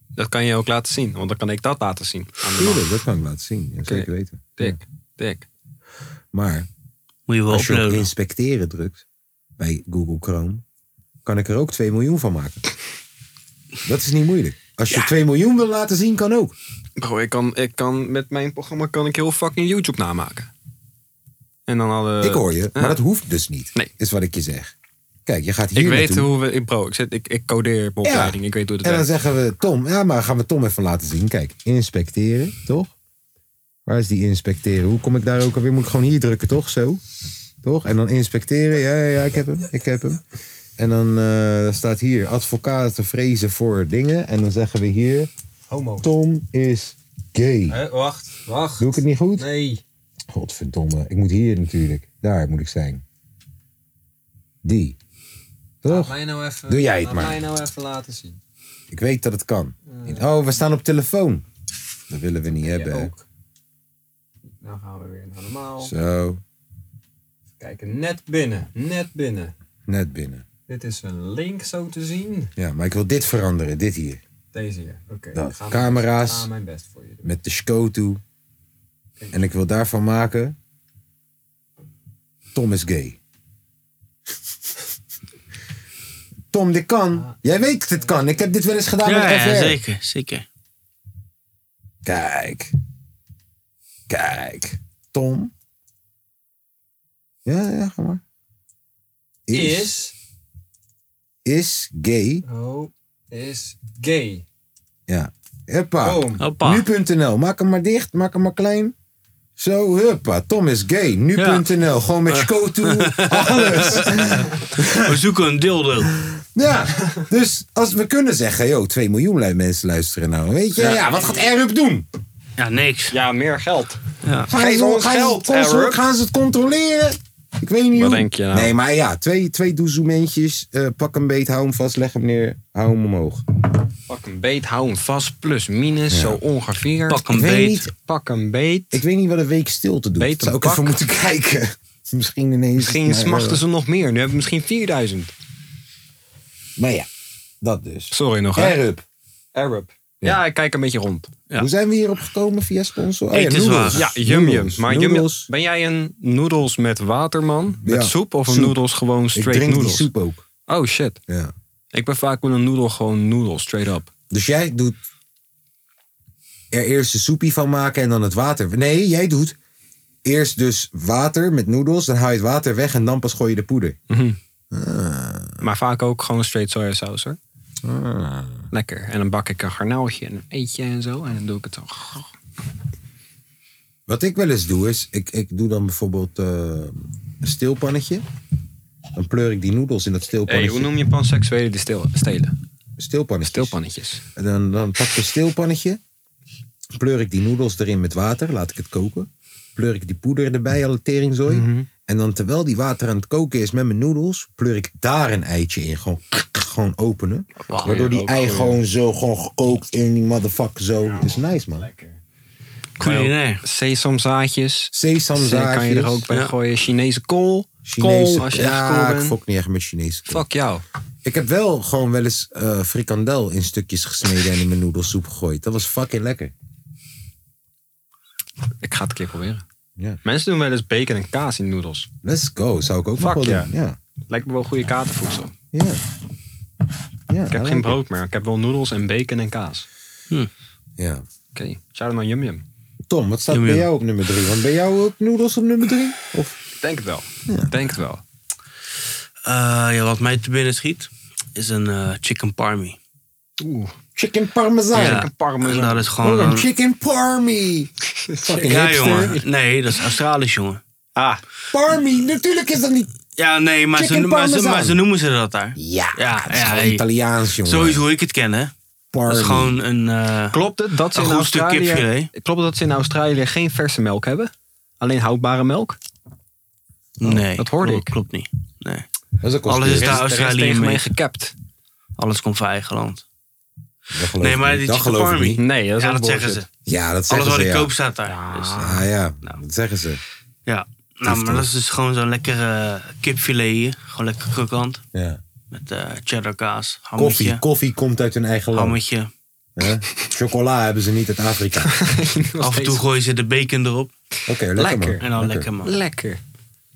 [SPEAKER 2] Dat kan je ook laten zien. Want dan kan ik dat laten zien. Aan de man.
[SPEAKER 1] Tuurlijk, dat kan ik laten zien. Ja, Zeker weten.
[SPEAKER 2] Dik. Dik.
[SPEAKER 1] Maar
[SPEAKER 3] Moet je wel
[SPEAKER 1] als je op
[SPEAKER 3] uploaden.
[SPEAKER 1] inspecteren drukt bij Google Chrome, kan ik er ook 2 miljoen van maken. Dat is niet moeilijk. Als je 2 miljoen wil laten zien, kan ook.
[SPEAKER 2] Bro, ik kan, ik kan, met mijn programma kan ik heel fucking YouTube namaken. En dan alle...
[SPEAKER 1] ik hoor je, maar dat hoeft dus niet.
[SPEAKER 2] Eh, Nee.
[SPEAKER 1] Is wat ik je zeg. Kijk, je gaat hier
[SPEAKER 2] Ik weet
[SPEAKER 1] naartoe.
[SPEAKER 2] hoe we... ik- Bro, ik, zit, ik, ik codeer op opleiding. Ik weet hoe het
[SPEAKER 1] En dan
[SPEAKER 2] werkt.
[SPEAKER 1] zeggen we Tom, ja, maar gaan we Tom even laten zien. Kijk, inspecteren, toch? Waar is die inspecteren? Hoe kom ik daar ook alweer? Moet ik gewoon hier drukken, toch? Zo, toch? En dan inspecteren. Ja, ja, ja, ik heb hem, ik heb hem. En dan eh, dan staat hier advocaten vrezen voor dingen. En dan zeggen we hier,
[SPEAKER 2] Homo.
[SPEAKER 1] Tom is gay.
[SPEAKER 2] wacht, wacht.
[SPEAKER 1] Doe ik het niet goed?
[SPEAKER 2] Nee.
[SPEAKER 1] Godverdomme, ik moet hier natuurlijk. Daar moet ik zijn. Die. Toch?
[SPEAKER 2] Mij nou even...
[SPEAKER 1] Doe jij het maar.
[SPEAKER 2] Mij nou even laten zien.
[SPEAKER 1] Ik weet dat het kan. Oh, we staan op telefoon. Dat willen we niet hebben. hè?
[SPEAKER 2] Nou gaan we weer naar normaal.
[SPEAKER 1] Zo,
[SPEAKER 2] Kijken, net binnen. Net binnen.
[SPEAKER 1] net binnen.
[SPEAKER 2] Dit is een link zo te zien.
[SPEAKER 1] Ja, maar ik wil dit veranderen, dit hier.
[SPEAKER 2] Deze hier. Oké.
[SPEAKER 1] Dat. ik ga mijn- Nou, Camera's. ik ga
[SPEAKER 2] mijn best voor je doen.
[SPEAKER 1] Met de sco toe. En ik wil daarvan maken... Tom is gay. Tom, dit kan. Jij weet dat dit kan. Ik heb dit wel eens gedaan
[SPEAKER 3] Ja,
[SPEAKER 1] met FR.
[SPEAKER 3] ja, zeker, zeker.
[SPEAKER 1] Kijk. Kijk. Tom. Ja, ja, ga maar. Is,
[SPEAKER 2] Is...
[SPEAKER 1] is gay.
[SPEAKER 2] Oh, is gay.
[SPEAKER 1] Ja. Huppa.
[SPEAKER 2] Boom.
[SPEAKER 3] Hoppa.
[SPEAKER 1] Nu.nl. Maak hem maar dicht. Maak hem maar klein. Zo, huppa. Tom is gay. Nu.nl. Gewoon met sco toe. Alles.
[SPEAKER 3] We zoeken een dildo.
[SPEAKER 1] Ja. Dus als we kunnen zeggen, joh, 2 miljoen lui- mensen luisteren nou. Weet je, ja, wat gaat Airup doen?
[SPEAKER 3] Ja, niks.
[SPEAKER 2] Ja, meer geld.
[SPEAKER 1] Gaan
[SPEAKER 2] Geef
[SPEAKER 1] ze,
[SPEAKER 2] ons
[SPEAKER 1] gaan ze
[SPEAKER 2] geld,
[SPEAKER 1] het controle-
[SPEAKER 2] Arab.
[SPEAKER 1] gaan ze het controleren? Ik weet niet
[SPEAKER 2] Wat
[SPEAKER 1] hoe.
[SPEAKER 2] denk je nou?
[SPEAKER 1] Nee, maar ja, twee, twee doezoementjes. eh, pak hem beet, hou hem vast, leg hem neer, hou hem omhoog.
[SPEAKER 2] Pak een beet, hou hem vast, plus, minus, zo ongeveer.
[SPEAKER 3] Pak een
[SPEAKER 1] Ik weet
[SPEAKER 3] beet.
[SPEAKER 1] niet.
[SPEAKER 2] Pak een beet.
[SPEAKER 1] Ik weet niet wat een week stil te doen.
[SPEAKER 2] Beet
[SPEAKER 1] Zou ik
[SPEAKER 2] een
[SPEAKER 1] even
[SPEAKER 2] pak.
[SPEAKER 1] moeten kijken. misschien ineens...
[SPEAKER 2] Misschien
[SPEAKER 1] maar, eh,
[SPEAKER 2] smachten ze nog meer. Nu hebben we misschien 4000.
[SPEAKER 1] Maar ja, dat dus.
[SPEAKER 2] Sorry nog, hè?
[SPEAKER 1] Herrup.
[SPEAKER 2] Arab. Ja, ik kijk een beetje rond. Ja.
[SPEAKER 1] Hoe zijn we hierop gekomen via sponsor? Oh, ja,
[SPEAKER 3] Eten is
[SPEAKER 1] noedels.
[SPEAKER 3] waar.
[SPEAKER 2] Ja, Yum Yum.
[SPEAKER 1] Noedels,
[SPEAKER 2] Maar Yum Yum-
[SPEAKER 1] noedels.
[SPEAKER 2] ben jij een noedels met waterman? Met
[SPEAKER 1] Ja,
[SPEAKER 2] soep of een
[SPEAKER 1] soep.
[SPEAKER 2] noedels gewoon
[SPEAKER 1] Ik
[SPEAKER 2] straight
[SPEAKER 1] drink die
[SPEAKER 2] noedels?
[SPEAKER 1] soep ook.
[SPEAKER 2] Oh shit.
[SPEAKER 1] Ja.
[SPEAKER 2] Ik ben vaak met een noedel gewoon noedels, straight up.
[SPEAKER 1] Dus jij doet er eerst de soepie van maken en dan het water. Nee, jij doet eerst dus water met noedels. Dan haal je het water weg en dan pas gooi je de poeder.
[SPEAKER 2] Maar vaak ook gewoon een straight sojasaus hoor.
[SPEAKER 1] Ah.
[SPEAKER 2] Lekker. En dan bak ik een garnaaltje en een eetje en zo. En dan doe ik het zo.
[SPEAKER 1] Wat ik wel eens doe is, ik, ik doe dan bijvoorbeeld eh, een stilpannetje. Dan pleur ik die noedels in dat
[SPEAKER 2] Hey,
[SPEAKER 1] stilpannetje.
[SPEAKER 2] hoe noem je panseksuelen die stil, stelen?
[SPEAKER 1] Stilpannetjes.
[SPEAKER 2] Stilpannetjes.
[SPEAKER 1] En dan, dan pak ik een stilpannetje. Pleur ik die noedels erin met water. Laat ik het koken. Pleur ik die poeder erbij, alle teringzooi.
[SPEAKER 2] Mhm.
[SPEAKER 1] En dan terwijl die water aan het koken is met mijn noedels... pleur ik daar een eitje in. Gewoon, gewoon openen. Waardoor die ei gewoon zo gewoon gekookt in die motherfucker zo. Het is nice, man.
[SPEAKER 3] Culinair.
[SPEAKER 2] Sesamzaadjes.
[SPEAKER 1] Sesamzaadjes.
[SPEAKER 2] Kan je er ook bij
[SPEAKER 3] Ja.
[SPEAKER 2] gooien. Chinese kool.
[SPEAKER 1] Chinese,
[SPEAKER 2] kool, als je echt
[SPEAKER 1] ja,
[SPEAKER 2] kool
[SPEAKER 1] ik
[SPEAKER 2] bent.
[SPEAKER 1] fok niet echt met Chinese kool.
[SPEAKER 2] Fuck jou.
[SPEAKER 1] Ik heb wel gewoon wel eens eh, frikandel in stukjes gesneden... en in mijn noedelsoep gegooid. Dat was fucking lekker.
[SPEAKER 2] Ik ga het een keer proberen.
[SPEAKER 1] Ja.
[SPEAKER 2] Mensen doen wel eens bacon en kaas in noedels.
[SPEAKER 1] Let's go, zou ik ook
[SPEAKER 2] Fuck
[SPEAKER 1] nog wel
[SPEAKER 2] ja.
[SPEAKER 1] doen. Ja.
[SPEAKER 2] Lijkt me wel goede katervoedsel.
[SPEAKER 1] Ja. ja
[SPEAKER 3] nou,
[SPEAKER 2] Ik heb geen brood meer. Ik heb wel noedels en bacon en kaas.
[SPEAKER 1] Ja.
[SPEAKER 2] Oké, shout out naar Yum Yum.
[SPEAKER 1] Tom, wat staat
[SPEAKER 3] Yum,
[SPEAKER 1] bij
[SPEAKER 3] yum.
[SPEAKER 1] jou op nummer drie? Want bij jou ook noedels op nummer drie? Of?
[SPEAKER 2] Ik denk het wel. Ik denk het wel.
[SPEAKER 3] Eh, ja, wat mij te binnen schiet, is een eh, chicken parmi.
[SPEAKER 2] Oeh.
[SPEAKER 1] Chicken parmesan.
[SPEAKER 3] Ja,
[SPEAKER 2] Oh, chicken parmesan.
[SPEAKER 3] en Dat is
[SPEAKER 1] Oh,
[SPEAKER 3] gewoon...
[SPEAKER 1] een
[SPEAKER 3] een-
[SPEAKER 1] chicken parmi. Fucking
[SPEAKER 3] ja,
[SPEAKER 1] hipster.
[SPEAKER 3] jongen. Nee, dat is Australisch, jongen.
[SPEAKER 2] Ah,
[SPEAKER 1] Parmi, natuurlijk is dat niet...
[SPEAKER 3] Ja, nee, maar, ze,
[SPEAKER 1] Chicken
[SPEAKER 3] maar, ze,
[SPEAKER 1] parmesan.
[SPEAKER 3] maar ze noemen ze dat daar.
[SPEAKER 1] Ja,
[SPEAKER 3] Ja,
[SPEAKER 1] het is
[SPEAKER 3] ja,
[SPEAKER 1] gewoon
[SPEAKER 3] hey.
[SPEAKER 1] Italiaans, jongen.
[SPEAKER 3] Sowieso hoe ik het ken, hè.
[SPEAKER 1] Parmi.
[SPEAKER 3] Dat is gewoon een... eh,
[SPEAKER 2] klopt het dat ze
[SPEAKER 3] Een
[SPEAKER 2] in
[SPEAKER 3] goed stuk
[SPEAKER 2] Australië...
[SPEAKER 3] kipfilet.
[SPEAKER 2] Klopt het dat ze in Australië geen verse melk hebben? Alleen houdbare melk?
[SPEAKER 3] nee,
[SPEAKER 2] dat hoorde
[SPEAKER 3] klopt,
[SPEAKER 2] ik.
[SPEAKER 3] Klopt niet. Nee.
[SPEAKER 1] Dat is ook wel
[SPEAKER 3] Alles is
[SPEAKER 1] spirit.
[SPEAKER 3] daar
[SPEAKER 2] is
[SPEAKER 3] Australië
[SPEAKER 2] tegen mij
[SPEAKER 3] mee.
[SPEAKER 2] gekapt.
[SPEAKER 3] Alles komt van eigen land.
[SPEAKER 1] Dat geloof
[SPEAKER 3] Nee,
[SPEAKER 1] ik
[SPEAKER 3] maar
[SPEAKER 1] niet.
[SPEAKER 3] die
[SPEAKER 1] dat
[SPEAKER 3] chicken
[SPEAKER 1] geloof ik
[SPEAKER 3] parmi.
[SPEAKER 1] niet.
[SPEAKER 2] Nee, dat is
[SPEAKER 3] Ja,
[SPEAKER 2] ook
[SPEAKER 3] dat zeggen
[SPEAKER 2] bullshit.
[SPEAKER 3] ze.
[SPEAKER 1] Ja, dat
[SPEAKER 3] Alles
[SPEAKER 1] zeggen
[SPEAKER 3] wat
[SPEAKER 1] ze,
[SPEAKER 3] ik
[SPEAKER 1] ja.
[SPEAKER 3] koop staat daar. Dus,
[SPEAKER 1] Ah ja,
[SPEAKER 3] Nou.
[SPEAKER 1] dat zeggen ze.
[SPEAKER 3] ja. Nou, maar dat is dus gewoon zo'n lekkere kipfilet hier. Gewoon lekker krokant.
[SPEAKER 1] Ja.
[SPEAKER 3] Met eh, cheddar kaas, hammetje,
[SPEAKER 1] Koffie, koffie komt uit hun eigen land.
[SPEAKER 3] hammetje.
[SPEAKER 1] hè? Chocola hebben ze niet uit Afrika. Oké,
[SPEAKER 3] Af en toe gooien ze de bacon erop.
[SPEAKER 1] lekker,
[SPEAKER 2] Lekker.
[SPEAKER 1] man.
[SPEAKER 3] En dan lekker, man.
[SPEAKER 2] Lekker.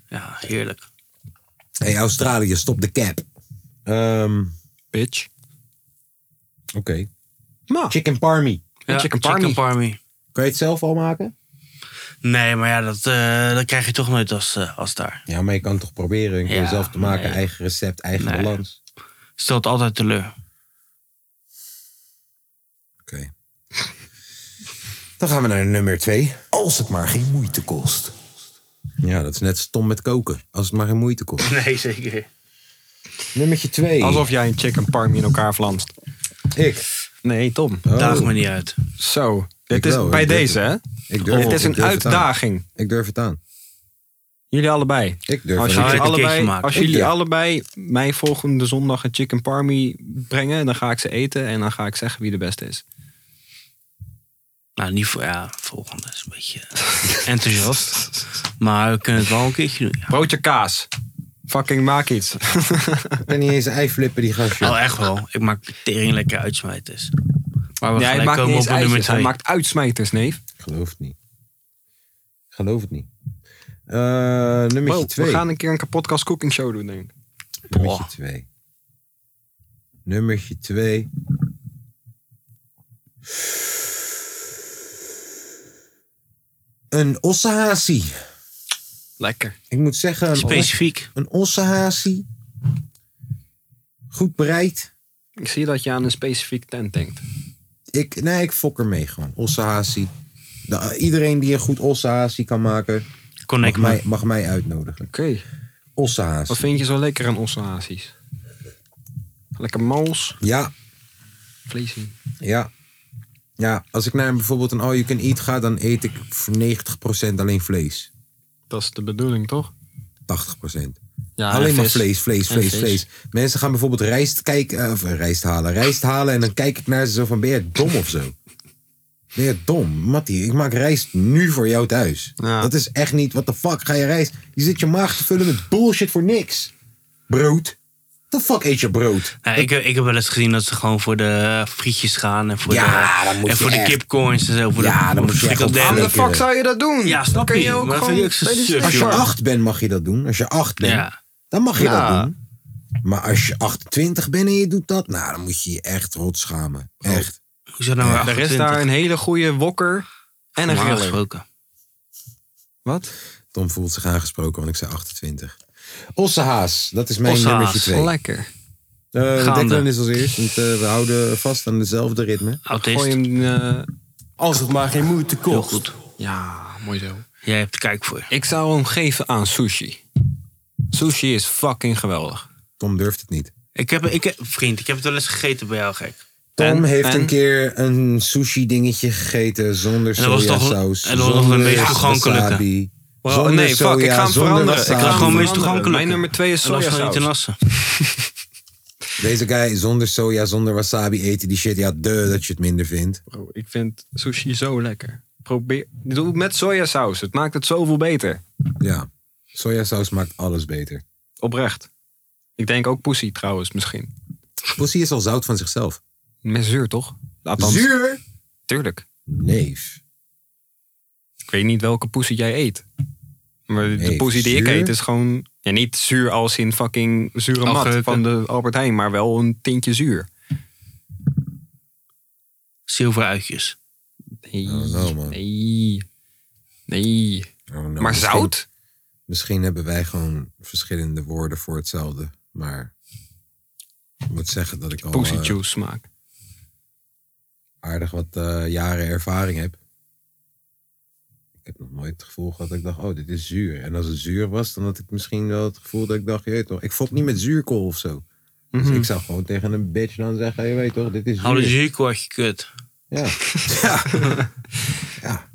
[SPEAKER 3] Ja, heerlijk.
[SPEAKER 1] Hey, Australië, stop de cap. Ehm,
[SPEAKER 2] Bitch.
[SPEAKER 1] Oké.
[SPEAKER 2] Maar,
[SPEAKER 1] Chicken parmi.
[SPEAKER 3] Ja,
[SPEAKER 2] chicken parmi.
[SPEAKER 1] Kan Ah. je het zelf al maken?
[SPEAKER 3] Nee, maar ja, dat, eh, dat krijg je toch nooit als, eh, als daar.
[SPEAKER 1] Ja, maar je kan het toch proberen. Je kan
[SPEAKER 3] Ja,
[SPEAKER 1] het zelf te maken.
[SPEAKER 3] nee.
[SPEAKER 1] Eigen recept, eigen
[SPEAKER 3] Nee.
[SPEAKER 1] balans.
[SPEAKER 3] Stelt altijd teleur.
[SPEAKER 1] Oké. Dan gaan we naar nummer twee. Als het maar geen moeite kost. Ja, dat is net stom met koken. Als het maar geen moeite kost.
[SPEAKER 3] Nee, zeker.
[SPEAKER 1] Nummertje twee.
[SPEAKER 2] Alsof jij een chicken parmi in elkaar vlamst.
[SPEAKER 1] ik.
[SPEAKER 2] Nee, Tom.
[SPEAKER 1] Oh,
[SPEAKER 3] Daag me niet uit.
[SPEAKER 2] Zo. Dit
[SPEAKER 1] Ik
[SPEAKER 2] is
[SPEAKER 1] wel,
[SPEAKER 2] bij
[SPEAKER 1] ik durf
[SPEAKER 2] deze, hè?
[SPEAKER 1] Ik durf,
[SPEAKER 2] Dit is
[SPEAKER 1] ik
[SPEAKER 2] een
[SPEAKER 1] durf het aan.
[SPEAKER 2] uitdaging.
[SPEAKER 1] Ik durf het aan.
[SPEAKER 2] Jullie allebei.
[SPEAKER 1] Ik durf
[SPEAKER 2] Als
[SPEAKER 1] het aan.
[SPEAKER 2] jullie,
[SPEAKER 3] je- heb een
[SPEAKER 2] allebei,
[SPEAKER 3] keertje gemaakt.
[SPEAKER 2] als
[SPEAKER 1] Ik
[SPEAKER 2] jullie
[SPEAKER 1] durf.
[SPEAKER 2] allebei mij volgende zondag een chicken parmi brengen, dan ga ik ze eten en dan ga ik zeggen wie de beste is.
[SPEAKER 3] Nou, niet voor... Ja, volgende is een beetje eh, enthousiast. Maar we kunnen het wel een keertje doen. ja.
[SPEAKER 2] Broodje kaas. Fucking maak iets.
[SPEAKER 1] Ik ben niet eens een eiflippen die gastje.
[SPEAKER 3] Oh, echt wel. Ik maak de tering lekker uitsmijters. Maar we
[SPEAKER 2] Nee, hij
[SPEAKER 3] gelijk
[SPEAKER 2] maakt niet
[SPEAKER 3] komen op
[SPEAKER 2] eens
[SPEAKER 3] nummer
[SPEAKER 2] eitjes. Hij
[SPEAKER 3] twee.
[SPEAKER 2] maakt uitsmijters, neef.
[SPEAKER 1] Ik geloof het niet. Ik geloof het niet. Eh nummertje
[SPEAKER 2] Wow,
[SPEAKER 1] twee.
[SPEAKER 2] we gaan een keer een kapotkast cooking show doen, denk ik.
[SPEAKER 1] Nummertje
[SPEAKER 3] Boah.
[SPEAKER 1] 2. Nummertje 2. Een ossehazi.
[SPEAKER 2] Lekker.
[SPEAKER 1] Ik moet zeggen, een, os,
[SPEAKER 3] Specifiek.
[SPEAKER 1] een ossehazi. Goed bereid.
[SPEAKER 2] Ik zie dat je aan een specifiek tent denkt.
[SPEAKER 1] Ik, nee, ik fok ermee gewoon. Ossehazi. De- iedereen die een goed ossehazi kan maken, mag
[SPEAKER 3] Connect
[SPEAKER 1] mij,
[SPEAKER 3] me.
[SPEAKER 1] mag mij uitnodigen.
[SPEAKER 2] Oké.
[SPEAKER 1] Ossehazi.
[SPEAKER 2] Wat vind je zo lekker aan ossehazies? Lekker mals,
[SPEAKER 1] Ja,
[SPEAKER 2] vlees in.
[SPEAKER 1] Ja. Ja, als ik naar bijvoorbeeld een all you can eat ga, dan eet ik voor 90% alleen vlees.
[SPEAKER 2] Dat is de bedoeling, toch?
[SPEAKER 1] 80%.
[SPEAKER 2] Ja,
[SPEAKER 1] alleen
[SPEAKER 2] en
[SPEAKER 1] maar
[SPEAKER 2] Ah, vis.
[SPEAKER 1] vlees, vlees,
[SPEAKER 2] En
[SPEAKER 1] vlees,
[SPEAKER 2] vis.
[SPEAKER 1] vlees. Mensen gaan bijvoorbeeld rijst kijken, of eh, rijst halen, rijst halen en dan kijk ik naar ze zo van ben je dom of zo? Ben je dom? Mattie, ik maak rijst nu voor jou thuis.
[SPEAKER 2] Ja.
[SPEAKER 1] Dat is echt niet, what the fuck, ga je rijst... Je zit je maag te vullen met bullshit voor niks. Brood. The fuck eet je brood?
[SPEAKER 3] Nou, ik, heb- ik heb wel eens gezien dat ze gewoon voor de eh, frietjes gaan en voor
[SPEAKER 1] Ja,
[SPEAKER 3] de,
[SPEAKER 1] dan moet
[SPEAKER 3] en
[SPEAKER 1] je
[SPEAKER 3] voor de
[SPEAKER 1] echt-
[SPEAKER 3] kipcorns en zo. Voor
[SPEAKER 1] Ja,
[SPEAKER 3] de,
[SPEAKER 1] dan moet je echt op
[SPEAKER 2] Waarom
[SPEAKER 3] frikandellen.
[SPEAKER 2] de
[SPEAKER 1] Lekker.
[SPEAKER 2] fuck zou je dat doen?
[SPEAKER 3] Ja, snap
[SPEAKER 2] Dan kun
[SPEAKER 3] je.
[SPEAKER 2] je ook
[SPEAKER 3] Maar
[SPEAKER 2] gewoon
[SPEAKER 3] vind je ook zo'n
[SPEAKER 2] bij de
[SPEAKER 3] suf,
[SPEAKER 1] Als je
[SPEAKER 3] Sure.
[SPEAKER 1] acht bent mag je dat doen. Als je acht bent,
[SPEAKER 3] Ja.
[SPEAKER 1] dan mag je
[SPEAKER 2] Ja.
[SPEAKER 1] dat doen. Maar als je 28 bent en je doet dat, nou, dan moet je je echt rot schamen. Echt.
[SPEAKER 3] Hoezo nou weer
[SPEAKER 2] Er is
[SPEAKER 3] 28?
[SPEAKER 2] daar een hele goede wokker en een
[SPEAKER 3] Normaal
[SPEAKER 2] griller.
[SPEAKER 3] gesproken.
[SPEAKER 2] Wat?
[SPEAKER 1] Tom voelt zich aangesproken, want ik zei 28. Ossehaas, dat is mijn
[SPEAKER 3] Ossehaas,
[SPEAKER 1] nummertje 2.
[SPEAKER 2] Lekker.
[SPEAKER 1] de
[SPEAKER 3] Gaande.
[SPEAKER 1] Declan is als eerst, want eh, we houden vast aan dezelfde ritme.
[SPEAKER 3] Autist.
[SPEAKER 2] Gooi hem... eh,
[SPEAKER 4] Als het maar geen moeite
[SPEAKER 3] Heel
[SPEAKER 4] kost.
[SPEAKER 3] goed.
[SPEAKER 2] ja, mooi zo.
[SPEAKER 3] Jij hebt kijk voor.
[SPEAKER 2] Ik zou hem geven aan sushi. Sushi is fucking geweldig.
[SPEAKER 1] Tom durft het niet.
[SPEAKER 3] Ik heb, ik heb, vriend, ik heb het wel eens gegeten bij jou, gek.
[SPEAKER 1] Tom
[SPEAKER 2] En-
[SPEAKER 1] heeft
[SPEAKER 2] en?
[SPEAKER 1] een keer een sushi dingetje gegeten zonder
[SPEAKER 3] En dat was toch-
[SPEAKER 1] sojasaus.
[SPEAKER 3] en dat was nog
[SPEAKER 1] zonder
[SPEAKER 3] een meest toegankelijke.
[SPEAKER 1] wasabi,
[SPEAKER 2] Wow,
[SPEAKER 1] zonder
[SPEAKER 2] nee, fuck, ik
[SPEAKER 1] soja,
[SPEAKER 2] ga hem
[SPEAKER 1] zonder
[SPEAKER 2] veranderen. Ik ga hem
[SPEAKER 1] wasabi.
[SPEAKER 3] gewoon meest
[SPEAKER 2] veranderen.
[SPEAKER 3] toegankelijk.
[SPEAKER 2] Mijn nummer twee is
[SPEAKER 3] En dat was van
[SPEAKER 2] sojasaus.
[SPEAKER 3] Internassen.
[SPEAKER 1] Deze guy zonder soja, zonder wasabi eten die shit. Ja, de dat je het minder vindt.
[SPEAKER 2] Bro, ik vind sushi zo lekker. Probeer, doe het met sojasaus. Het maakt het zoveel beter.
[SPEAKER 1] Ja, sojasaus maakt alles beter.
[SPEAKER 2] Oprecht. Ik denk ook pussy trouwens misschien.
[SPEAKER 1] Pussy is al zout van zichzelf.
[SPEAKER 2] Met zuur toch? Althans,
[SPEAKER 1] Zuur?
[SPEAKER 2] Tuurlijk.
[SPEAKER 1] Neef.
[SPEAKER 2] Ik weet niet welke pussy jij eet. Maar de
[SPEAKER 1] Nee,
[SPEAKER 2] pussy die ik
[SPEAKER 1] zuur?
[SPEAKER 2] eet is gewoon... Ja, niet zuur als in fucking zure mat
[SPEAKER 3] Afgehakt.
[SPEAKER 2] van de Albert Heijn. Maar wel een tintje zuur.
[SPEAKER 3] Zilveruitjes.
[SPEAKER 2] Nee.
[SPEAKER 1] Oh, nou, man.
[SPEAKER 2] nee. Nee.
[SPEAKER 1] I don't know,
[SPEAKER 2] maar
[SPEAKER 1] misschien-
[SPEAKER 2] zout?
[SPEAKER 1] Misschien hebben wij gewoon verschillende woorden voor hetzelfde. Maar ik moet zeggen dat ik al
[SPEAKER 2] Pussy
[SPEAKER 1] eh,
[SPEAKER 2] juice smaak.
[SPEAKER 1] aardig wat eh, jaren ervaring heb. Ik heb nog nooit het gevoel gehad dat ik dacht, oh, dit is zuur. En als het zuur was, dan had ik misschien wel het gevoel dat ik dacht, je weet toch, ik fok niet met zuurkool of zo. Dus ik zou gewoon tegen een bitch dan zeggen, je weet toch, dit is
[SPEAKER 2] Mm.
[SPEAKER 3] Hou de
[SPEAKER 1] zuur.
[SPEAKER 3] zuurkortje kut.
[SPEAKER 1] Ja.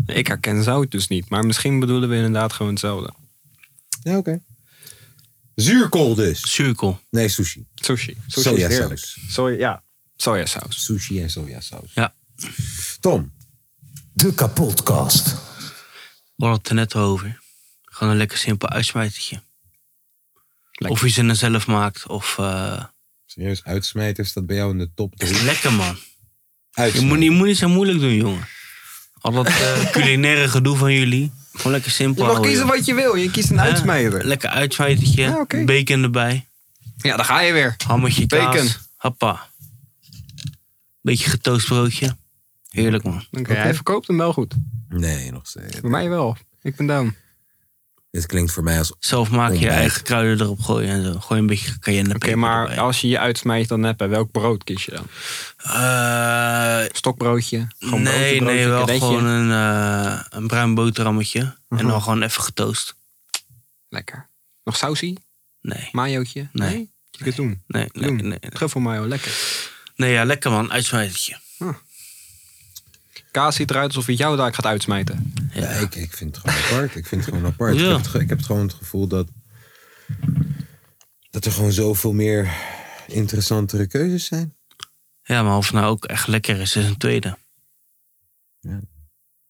[SPEAKER 2] Ik herken zout dus niet. Maar misschien bedoelen we inderdaad gewoon hetzelfde.
[SPEAKER 1] Ja, oké. Zuurkool dus.
[SPEAKER 3] Zuurkool.
[SPEAKER 1] Nee, sushi.
[SPEAKER 2] Sushi. Sushi is heerlijk.
[SPEAKER 1] Sojasaus.
[SPEAKER 2] Soja, ja, sojasaus.
[SPEAKER 1] Sushi en sojasaus.
[SPEAKER 3] Ja.
[SPEAKER 1] Tom,
[SPEAKER 4] De kapotkast.
[SPEAKER 3] We hadden het er net over. Gewoon een lekker simpel uitsmijtertje.
[SPEAKER 2] Lekker.
[SPEAKER 3] Of je ze dan zelf maakt. Of, eh,
[SPEAKER 1] serieus, uitsmijters staat bij jou in de top
[SPEAKER 3] het
[SPEAKER 1] 3.
[SPEAKER 3] is lekker man. Je
[SPEAKER 1] Uitsmijters.
[SPEAKER 3] moet, niet- je moet niet zo moeilijk doen jongen. Al dat eh, culinaire gedoe van jullie. Gewoon lekker simpel
[SPEAKER 2] Je mag
[SPEAKER 3] houden,
[SPEAKER 2] kiezen
[SPEAKER 3] joh.
[SPEAKER 2] wat je wil. Je kiest een
[SPEAKER 3] Ja,
[SPEAKER 2] uitsmijder.
[SPEAKER 3] Lekker uitsmijtertje.
[SPEAKER 2] Ja, oké.
[SPEAKER 3] Bacon erbij.
[SPEAKER 2] Ja, daar ga je weer.
[SPEAKER 3] Hammetje kaas.
[SPEAKER 2] Bacon.
[SPEAKER 3] Happa. Beetje getoast broodje. Heerlijk man.
[SPEAKER 2] Oké, Hij verkoopt hem wel goed.
[SPEAKER 1] Nee, nog steeds.
[SPEAKER 2] Voor mij wel. Ik ben down.
[SPEAKER 1] Dit klinkt voor mij als...
[SPEAKER 3] Zelf maak je
[SPEAKER 1] Ontbijt.
[SPEAKER 3] eigen kruiden erop gooien en zo. Gooi een beetje cayenne
[SPEAKER 2] Oh, Oké,
[SPEAKER 3] peper
[SPEAKER 2] maar
[SPEAKER 3] erbij.
[SPEAKER 2] als je je uitsmijt, dan heb je welk brood kies je dan?
[SPEAKER 3] Eh,
[SPEAKER 2] Stokbroodje? Gewoon
[SPEAKER 3] nee,
[SPEAKER 2] broodje, broodje,
[SPEAKER 3] nee, wel
[SPEAKER 2] kadetje?
[SPEAKER 3] gewoon een, eh, een bruin boterhammetje.
[SPEAKER 2] Mhm.
[SPEAKER 3] En dan gewoon even getoast.
[SPEAKER 2] Lekker. Nog sausie?
[SPEAKER 3] Nee,
[SPEAKER 2] Mayootje?
[SPEAKER 3] Nee.
[SPEAKER 2] Moet ik het doen?
[SPEAKER 3] nee, nee,
[SPEAKER 2] Doen.
[SPEAKER 3] nee. nee.
[SPEAKER 2] Truffel mayo, lekker.
[SPEAKER 3] Nee, ja, lekker man. Uitsmijtertje.
[SPEAKER 2] Kaas ziet eruit alsof het jou daar gaat uitsmijten.
[SPEAKER 1] Ja, ik, ik vind het gewoon apart. Ik vind het gewoon apart.
[SPEAKER 3] Ja.
[SPEAKER 1] Ik, heb het, ge- ik heb het gewoon het gevoel dat... Dat er gewoon zoveel meer interessantere keuzes zijn.
[SPEAKER 3] Ja, maar of het nou ook echt lekker is, is een tweede.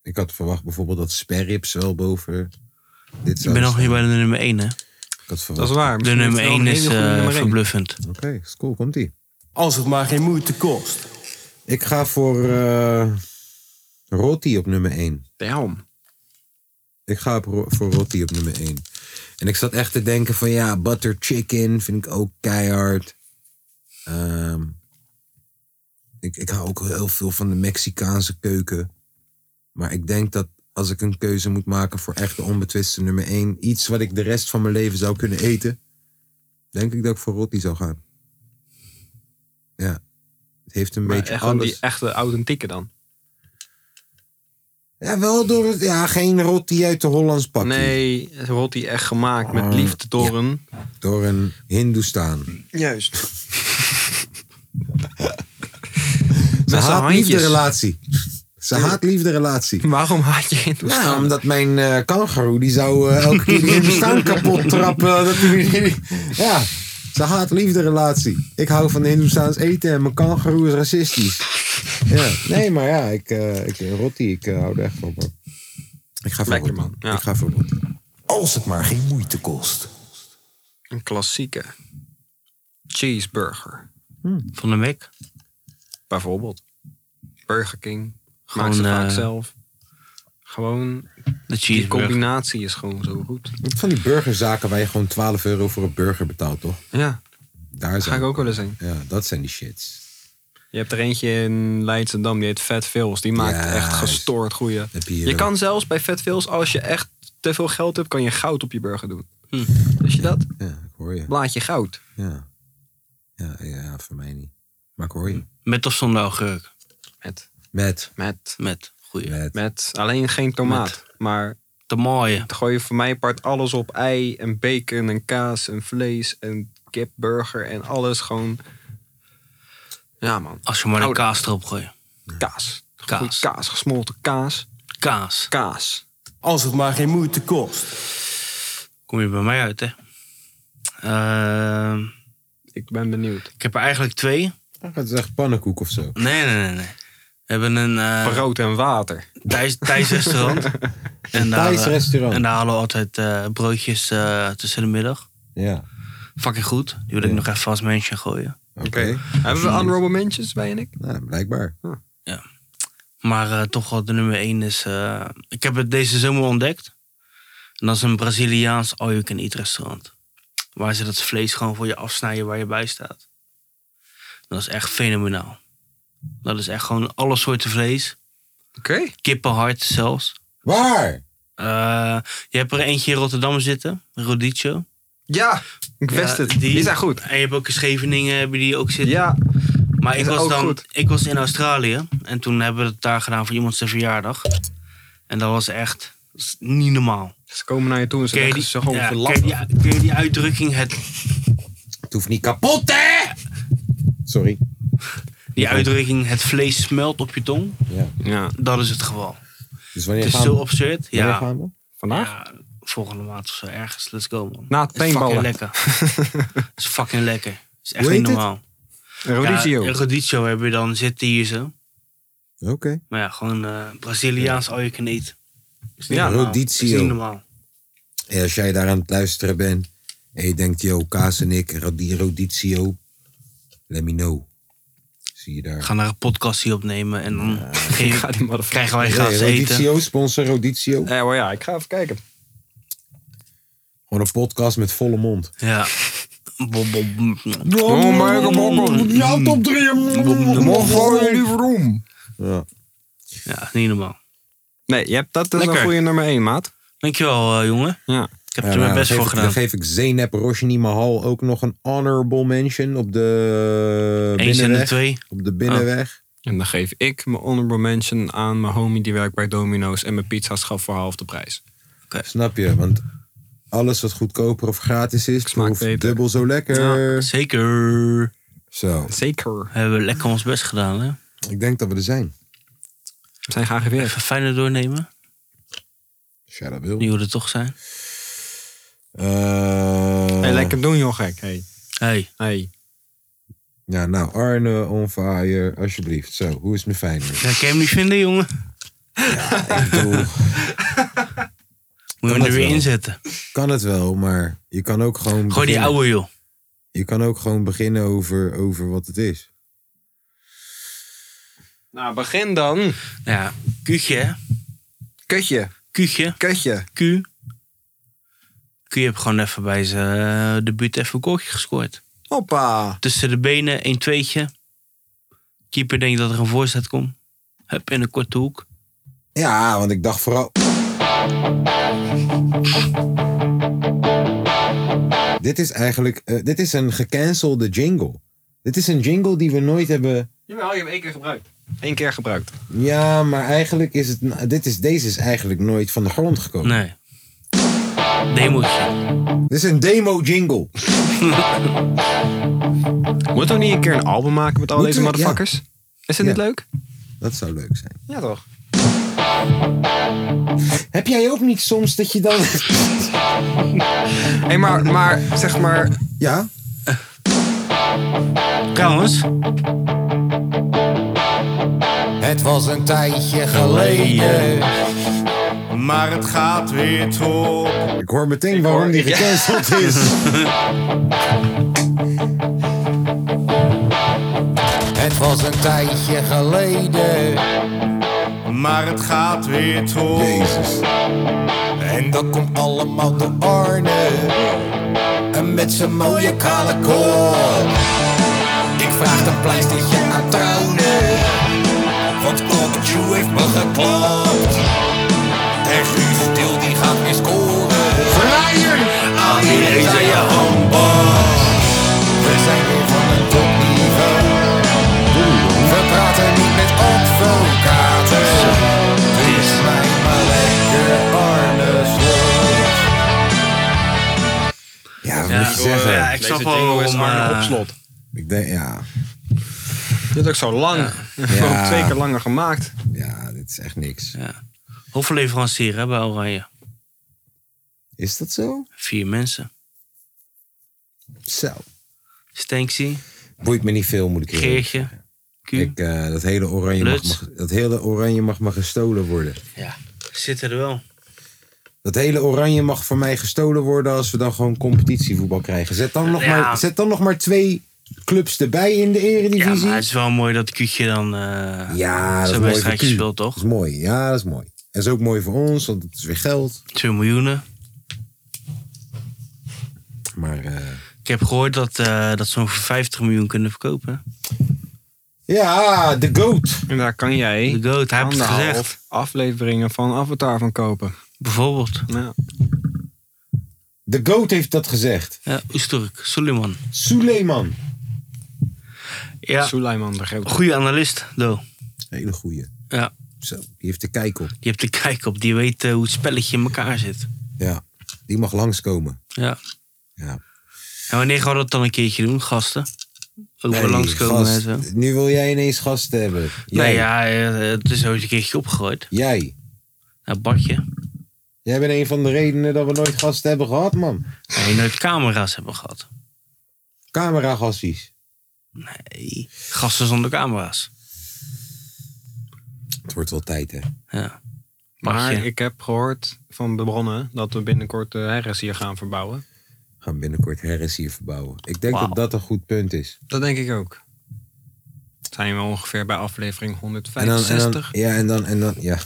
[SPEAKER 1] Ik had verwacht bijvoorbeeld dat sperrips wel boven dit
[SPEAKER 3] Ik
[SPEAKER 1] zou
[SPEAKER 3] ben nog niet
[SPEAKER 1] staan.
[SPEAKER 3] bij de nummer 1, hè.
[SPEAKER 1] Ik had
[SPEAKER 2] Dat
[SPEAKER 1] verwacht...
[SPEAKER 2] is waar.
[SPEAKER 3] De
[SPEAKER 2] Misschien
[SPEAKER 3] nummer
[SPEAKER 2] het wel
[SPEAKER 3] 1
[SPEAKER 2] een
[SPEAKER 3] is
[SPEAKER 2] hele goede
[SPEAKER 3] eh,
[SPEAKER 2] nummer één.
[SPEAKER 3] verbluffend.
[SPEAKER 1] Oké, is cool. Komt-ie.
[SPEAKER 4] Als het maar geen moeite kost.
[SPEAKER 1] Ik ga voor eh Rotti op nummer 1.
[SPEAKER 2] Damn.
[SPEAKER 1] Ik ga op ro- voor Rotti op nummer 1. En ik zat echt te denken van ja, butter chicken vind ik ook keihard. Ehm, ik, ik hou ook heel veel van de Mexicaanse keuken. Maar ik denk dat als ik een keuze moet maken voor echt de onbetwiste nummer 1, iets wat ik de rest van mijn leven zou kunnen eten, denk ik dat ik voor Rotti zou gaan. Ja. Het heeft een
[SPEAKER 2] Maar
[SPEAKER 1] beetje
[SPEAKER 2] echt
[SPEAKER 1] alles.
[SPEAKER 2] gewoon die echte authentieke dan.
[SPEAKER 1] Ja, wel door het... Ja, geen rot die uit de Hollands pakje.
[SPEAKER 2] Nee, rotti echt gemaakt
[SPEAKER 3] Oh.
[SPEAKER 2] met liefde door een...
[SPEAKER 1] Door een Hindoestaan.
[SPEAKER 2] Juist.
[SPEAKER 1] Ze
[SPEAKER 2] zijn
[SPEAKER 1] haat
[SPEAKER 2] handjes.
[SPEAKER 1] liefde relatie. Ze haat liefde relatie.
[SPEAKER 2] Waarom haat je
[SPEAKER 1] Ja,
[SPEAKER 3] Nou,
[SPEAKER 2] Hindoestan?
[SPEAKER 1] omdat mijn eh kangaroo, die zou eh, elke keer die Hindoestaan kapot trappen. eh, Dat die- ja, ze haat liefde relatie. Ik hou van de Hindoestaans eten en mijn kangaroo is racistisch. Ja. Nee, maar ja, ik, eh ik Rotti, ik eh, hou er echt van. hoor. Ik ga voor
[SPEAKER 2] Lekker,
[SPEAKER 1] Rotti.
[SPEAKER 2] man. Ja.
[SPEAKER 1] Ik ga voor Rotti. Als het maar geen moeite kost.
[SPEAKER 2] Een klassieke cheeseburger,
[SPEAKER 3] Van de Mac.
[SPEAKER 2] bijvoorbeeld. Burger King.
[SPEAKER 3] Gewoon,
[SPEAKER 2] Maak ze vaak
[SPEAKER 3] eh,
[SPEAKER 2] zelf. Gewoon,
[SPEAKER 3] De
[SPEAKER 2] die
[SPEAKER 3] cheeseburger.
[SPEAKER 2] combinatie is gewoon zo goed.
[SPEAKER 1] Van die burgerzaken waar je gewoon 12 euro voor een burger betaalt, toch?
[SPEAKER 2] Ja,
[SPEAKER 1] Daar
[SPEAKER 2] daar ga
[SPEAKER 1] zijn.
[SPEAKER 2] ik ook wel eens heen.
[SPEAKER 1] Ja, dat zijn die shits.
[SPEAKER 2] Je hebt er eentje in Leidschendam, die heet Fat Phils. Die maakt
[SPEAKER 1] Ja,
[SPEAKER 2] echt
[SPEAKER 1] is-
[SPEAKER 2] gestoord goeie.
[SPEAKER 1] Heb je hier
[SPEAKER 2] Je
[SPEAKER 1] ook.
[SPEAKER 2] kan zelfs bij Fat Phils, als je echt te veel geld hebt, kan je goud op je burger doen.
[SPEAKER 1] Hm.
[SPEAKER 2] Wist je dat?
[SPEAKER 1] Ja, ik hoor je.
[SPEAKER 2] Blaadje goud.
[SPEAKER 1] Ja. Ja, ja, voor mij niet. Maar ik hoor je.
[SPEAKER 3] Met of zonder augurk?
[SPEAKER 2] Met,
[SPEAKER 1] Met.
[SPEAKER 2] met,
[SPEAKER 3] Met. Goeie.
[SPEAKER 1] Met.
[SPEAKER 2] met. Alleen geen tomaat. Maar
[SPEAKER 3] De mooie.
[SPEAKER 2] dan gooi je voor mij part alles op. Ei en bacon en kaas en vlees en kipburger en alles gewoon. Ja man,
[SPEAKER 3] Als je maar de
[SPEAKER 2] Oude.
[SPEAKER 3] kaas erop gooit.
[SPEAKER 2] kaas.
[SPEAKER 3] Kaas.
[SPEAKER 2] Goed kaas, gesmolten kaas.
[SPEAKER 3] Kaas.
[SPEAKER 2] Kaas.
[SPEAKER 4] Als het maar geen moeite kost.
[SPEAKER 3] Kom je bij mij uit, hè? Ehm,
[SPEAKER 2] Ik ben benieuwd.
[SPEAKER 3] ik heb er eigenlijk twee.
[SPEAKER 1] Ah, Het is echt pannenkoek of zo.
[SPEAKER 3] Nee, nee, nee. nee. We hebben een eh
[SPEAKER 2] Brood en water.
[SPEAKER 3] Thijs, Thijs restaurant. en daar,
[SPEAKER 1] Thais
[SPEAKER 3] eh,
[SPEAKER 1] restaurant.
[SPEAKER 3] En daar halen we altijd eh, broodjes eh, tussen de middag.
[SPEAKER 1] Ja.
[SPEAKER 3] Fucking goed. Die wil ik nog even als mensje gooien.
[SPEAKER 1] Oké.
[SPEAKER 2] Hebben
[SPEAKER 3] Hm.
[SPEAKER 2] we honorable mentions, bij en ik?
[SPEAKER 1] Nou, blijkbaar.
[SPEAKER 3] Maar eh, toch wel de nummer één is... eh, ik heb het deze zomer ontdekt. En dat is een Braziliaans all-you-can-eat restaurant. Waar ze dat vlees gewoon voor je afsnijden waar je bij staat. Dat is echt fenomenaal. Dat is echt gewoon alle soorten vlees.
[SPEAKER 2] Oké.
[SPEAKER 3] Kippenhart zelfs.
[SPEAKER 1] Waar?
[SPEAKER 3] Eh, je hebt er eentje in Rotterdam zitten. Rodicchio.
[SPEAKER 2] Ja, ik wist
[SPEAKER 3] Ja,
[SPEAKER 2] het. Die, zijn goed.
[SPEAKER 3] En je hebt ook in Scheveningen hebben die ook zitten.
[SPEAKER 2] Ja,
[SPEAKER 3] maar ik
[SPEAKER 2] is
[SPEAKER 3] was,
[SPEAKER 2] ook
[SPEAKER 3] dan,
[SPEAKER 2] goed.
[SPEAKER 3] ik was in Australië en toen hebben we het daar gedaan voor iemand zijn verjaardag. En dat was echt dat is niet normaal.
[SPEAKER 2] ze komen naar je toe en ze
[SPEAKER 3] Ken je
[SPEAKER 2] leggen ze
[SPEAKER 3] die,
[SPEAKER 2] gewoon
[SPEAKER 3] ja,
[SPEAKER 2] voor
[SPEAKER 3] ken je
[SPEAKER 2] lappen.
[SPEAKER 3] die, ken je die uitdrukking? Het,
[SPEAKER 1] Het hoeft niet kapot, hè? Sorry.
[SPEAKER 3] die uitdrukking, het vlees smelt op je tong.
[SPEAKER 1] Ja.
[SPEAKER 2] Ja.
[SPEAKER 3] Dat is het geval.
[SPEAKER 1] Dus wanneer
[SPEAKER 3] Het is
[SPEAKER 1] gaan
[SPEAKER 3] zo
[SPEAKER 1] we?
[SPEAKER 3] absurd.
[SPEAKER 1] Wanneer
[SPEAKER 3] Ja,
[SPEAKER 1] gaan we?
[SPEAKER 2] Vandaag?
[SPEAKER 3] Ja, volgende maand of zo ergens. Let's go, man.
[SPEAKER 2] Na het
[SPEAKER 3] is fucking
[SPEAKER 2] paintballen.
[SPEAKER 3] lekker. Het is fucking lekker. Het is echt
[SPEAKER 1] Hoe
[SPEAKER 3] niet
[SPEAKER 1] heet het?
[SPEAKER 3] normaal.
[SPEAKER 2] Rodizio.
[SPEAKER 3] Ja, in Rodizio hebben we dan zitten hier zo.
[SPEAKER 1] Oké.
[SPEAKER 3] Maar ja, gewoon eh, Braziliaans all you can eat. Is niet
[SPEAKER 2] Ja,
[SPEAKER 3] normaal.
[SPEAKER 1] Rodizio.
[SPEAKER 3] Is niet normaal.
[SPEAKER 1] En als jij daar aan het luisteren bent en je denkt, yo, Kaas en ik, Rodi- Rodizio, let me know. Zie je
[SPEAKER 3] We
[SPEAKER 1] daar.
[SPEAKER 3] gaan daar een podcast hier opnemen en dan geef-
[SPEAKER 2] Ga die motherfucker.
[SPEAKER 3] krijgen wij gratis
[SPEAKER 1] Hey,
[SPEAKER 3] eten.
[SPEAKER 1] Rodizio, sponsor Rodizio.
[SPEAKER 2] Ja, maar ja, ik ga even kijken.
[SPEAKER 1] Gewoon een podcast met volle mond.
[SPEAKER 3] Ja. Bom, bom, bom.
[SPEAKER 2] Oh, maar ik
[SPEAKER 1] Ja, top 3.
[SPEAKER 2] Mocht voor je liever om.
[SPEAKER 3] Ja, niet normaal.
[SPEAKER 2] Nee, je hebt dat is een
[SPEAKER 3] Lekker.
[SPEAKER 2] goede nummer 1, maat.
[SPEAKER 3] Dankjewel, eh, jongen.
[SPEAKER 2] Ja.
[SPEAKER 3] Ik heb er mijn best voor gedaan.
[SPEAKER 1] Dan nou, geef ik Zeynep Roshni Mahal ook nog een honorable mention op de
[SPEAKER 3] Eens en de
[SPEAKER 1] binnenweg.
[SPEAKER 3] twee.
[SPEAKER 1] Op de binnenweg.
[SPEAKER 2] En dan geef ik mijn honorable mention aan mijn homie die werkt bij Domino's en mijn pizza schaf voor half de prijs.
[SPEAKER 3] Ah.
[SPEAKER 1] Snap je? Want alles wat goedkoper of gratis is,
[SPEAKER 2] Smaakt
[SPEAKER 1] proeft
[SPEAKER 2] beter.
[SPEAKER 1] dubbel zo lekker.
[SPEAKER 3] Zeker.
[SPEAKER 1] Zo,
[SPEAKER 2] Zeker.
[SPEAKER 3] We hebben lekker ons best gedaan, hè.
[SPEAKER 1] ik denk dat we er zijn.
[SPEAKER 2] We zijn gearriveerd.
[SPEAKER 3] Even fijner doornemen.
[SPEAKER 1] Shout out Wil.
[SPEAKER 3] Die hoe er toch zijn.
[SPEAKER 1] Eh,
[SPEAKER 2] Hey, lekker doen joh gek. Hey.
[SPEAKER 3] Hey,
[SPEAKER 2] Hey.
[SPEAKER 1] Ja, nou, Arne on fire, alsjeblieft. Zo, hoe is mijn Feyenoord?
[SPEAKER 3] ja, kan je hem niet vinden, jongen?
[SPEAKER 1] Ik bedoel,
[SPEAKER 3] Moet je hem
[SPEAKER 1] dat
[SPEAKER 3] er weer
[SPEAKER 1] wel?
[SPEAKER 3] inzetten.
[SPEAKER 1] kan het wel, maar je kan ook gewoon.
[SPEAKER 3] Gooi die
[SPEAKER 1] beginnen-
[SPEAKER 3] ouwe, joh.
[SPEAKER 1] Je kan ook gewoon beginnen over, over wat het is.
[SPEAKER 2] Nou, begin dan.
[SPEAKER 3] Ja, kuutje, hè.
[SPEAKER 2] Kutje.
[SPEAKER 3] Kuutje.
[SPEAKER 2] Kutje.
[SPEAKER 3] Q. Q heeft gewoon even bij zijn de buurt even een koortje gescoord.
[SPEAKER 2] Hoppa.
[SPEAKER 3] Tussen de benen, een tweetje. Keeper denkt dat er een voorzet komt. Hup, in een korte hoek.
[SPEAKER 1] Ja, want ik dacht vooral. Dit is eigenlijk. eh, dit is een gecancelde jingle. Dit is een jingle die we nooit hebben.
[SPEAKER 2] Jawel, je hebt één keer gebruikt. Eén keer gebruikt.
[SPEAKER 1] Ja, maar eigenlijk is het. nou, Dit is, deze is eigenlijk nooit van de grond gekomen.
[SPEAKER 3] Nee. Demootje.
[SPEAKER 1] Dit is een demo jingle.
[SPEAKER 2] Moeten we niet een keer een album maken met al
[SPEAKER 1] Moeten
[SPEAKER 2] deze
[SPEAKER 1] we- ja.
[SPEAKER 2] motherfuckers? Is
[SPEAKER 1] Ja.
[SPEAKER 2] het niet leuk?
[SPEAKER 1] Dat zou leuk zijn.
[SPEAKER 2] Ja, toch?
[SPEAKER 1] Heb jij ook niet soms dat je dan.
[SPEAKER 2] Hé, maar, maar zeg maar.
[SPEAKER 1] Ja?
[SPEAKER 3] Trouwens.
[SPEAKER 4] Het was een tijdje geleden, maar het gaat weer top.
[SPEAKER 1] Ik hoor meteen waarom die gecanceld is.
[SPEAKER 4] Het was een tijdje geleden, maar het gaat weer top.
[SPEAKER 1] Jezus.
[SPEAKER 4] En dat komt allemaal door Arne, en met zijn mooie kale koor. Ik vraag de pleistertje aan trouwen, want Cockju heeft me geklapt. En Guus Stil die gaat weer scoren. Verraaier! Aan iedereen zijn je handbal. We zijn weer van een topniveau. We praten niet met advocaten. Het is mij maar lekker Arne's woord.
[SPEAKER 1] Ja, wat
[SPEAKER 3] Ja.
[SPEAKER 1] moet je zeggen?
[SPEAKER 3] Ja, ik snap
[SPEAKER 2] Deze
[SPEAKER 3] wel
[SPEAKER 2] jingle is
[SPEAKER 3] waarom,
[SPEAKER 2] Arne
[SPEAKER 3] eh,
[SPEAKER 2] op slot.
[SPEAKER 1] Ik denk, ja,
[SPEAKER 2] Dit is ook zo lang. Gewoon twee keer langer gemaakt.
[SPEAKER 1] ja, dit is echt niks.
[SPEAKER 3] Ja. Hoofdleverancier hè, bij Oranje.
[SPEAKER 1] Is dat zo?
[SPEAKER 3] Vier mensen.
[SPEAKER 1] Zo.
[SPEAKER 3] Stanksy,
[SPEAKER 1] Boeit me niet veel, moet ik eerlijk
[SPEAKER 3] Geertje, Q.
[SPEAKER 1] Ik, eh, dat, hele oranje mag,
[SPEAKER 3] Luts.
[SPEAKER 1] me- dat hele oranje mag maar gestolen worden.
[SPEAKER 3] Ja. Zitten er wel.
[SPEAKER 1] Dat hele oranje mag voor mij gestolen worden als we dan gewoon competitievoetbal krijgen. Zet dan nog,
[SPEAKER 3] Ja.
[SPEAKER 1] maar, zet dan nog maar twee clubs erbij in de
[SPEAKER 3] Ja,
[SPEAKER 1] eredivisie.
[SPEAKER 3] maar het is wel mooi dat Q'tje dan eh
[SPEAKER 1] Ja, dat is mooi
[SPEAKER 3] zijn
[SPEAKER 1] voor
[SPEAKER 3] wedstrijdje
[SPEAKER 1] Q.
[SPEAKER 3] speelt, toch?
[SPEAKER 1] Dat is mooi. Ja, dat is mooi. En is ook mooi voor ons, want het is weer geld.
[SPEAKER 3] 2 miljoenen.
[SPEAKER 1] Maar eh,
[SPEAKER 3] Ik heb gehoord dat, eh, dat ze hem voor 50 miljoen kunnen verkopen.
[SPEAKER 1] ja, de GOAT.
[SPEAKER 2] En daar kan
[SPEAKER 1] Hm?
[SPEAKER 2] jij
[SPEAKER 3] De Goat, hij heeft het
[SPEAKER 2] anderhalf
[SPEAKER 3] gezegd.
[SPEAKER 2] afleveringen van Avatar van kopen. Nou,
[SPEAKER 3] Bijvoorbeeld.
[SPEAKER 2] Ja.
[SPEAKER 1] De GOAT heeft dat gezegd.
[SPEAKER 3] Ja, Oesturk, Suleiman.
[SPEAKER 1] Suleiman.
[SPEAKER 3] Ja,
[SPEAKER 2] Suleiman de Groot.
[SPEAKER 3] goede analist, Do.
[SPEAKER 1] Hele goeie.
[SPEAKER 3] Ja,
[SPEAKER 1] Zo, die heeft de kijk op.
[SPEAKER 3] die hebt de kijk op. Die weet eh, hoe het spelletje in elkaar zit.
[SPEAKER 1] Ja, die mag langskomen.
[SPEAKER 3] Ja.
[SPEAKER 1] Ja.
[SPEAKER 3] En wanneer gaan we dat dan een keertje doen, gasten? Ook wel
[SPEAKER 1] Nee,
[SPEAKER 3] langskomen en
[SPEAKER 1] gast.
[SPEAKER 3] zo.
[SPEAKER 1] Nu wil jij ineens gasten hebben. Jij.
[SPEAKER 3] Nee, ja, eh, het is ooit een keertje opgegooid.
[SPEAKER 1] Jij.
[SPEAKER 3] Nou, Bartje.
[SPEAKER 1] Jij bent een van de redenen dat we nooit gasten hebben gehad, man.
[SPEAKER 3] Nee, nooit camera's hebben gehad.
[SPEAKER 1] Cameragassies.
[SPEAKER 3] Nee, gasten zonder camera's.
[SPEAKER 1] Het wordt wel tijd, hè?
[SPEAKER 3] Ja.
[SPEAKER 2] Maar
[SPEAKER 3] Bartje.
[SPEAKER 2] ik heb gehoord van de bronnen dat we binnenkort de herres hier gaan verbouwen.
[SPEAKER 1] We gaan binnenkort Harris hier verbouwen. Ik denk
[SPEAKER 3] Wauw.
[SPEAKER 1] dat dat een goed punt is.
[SPEAKER 2] Dat denk ik ook. Zijn we ongeveer bij aflevering
[SPEAKER 1] En dan, en
[SPEAKER 2] 165.
[SPEAKER 1] dan, ja, en dan, en dan, ja.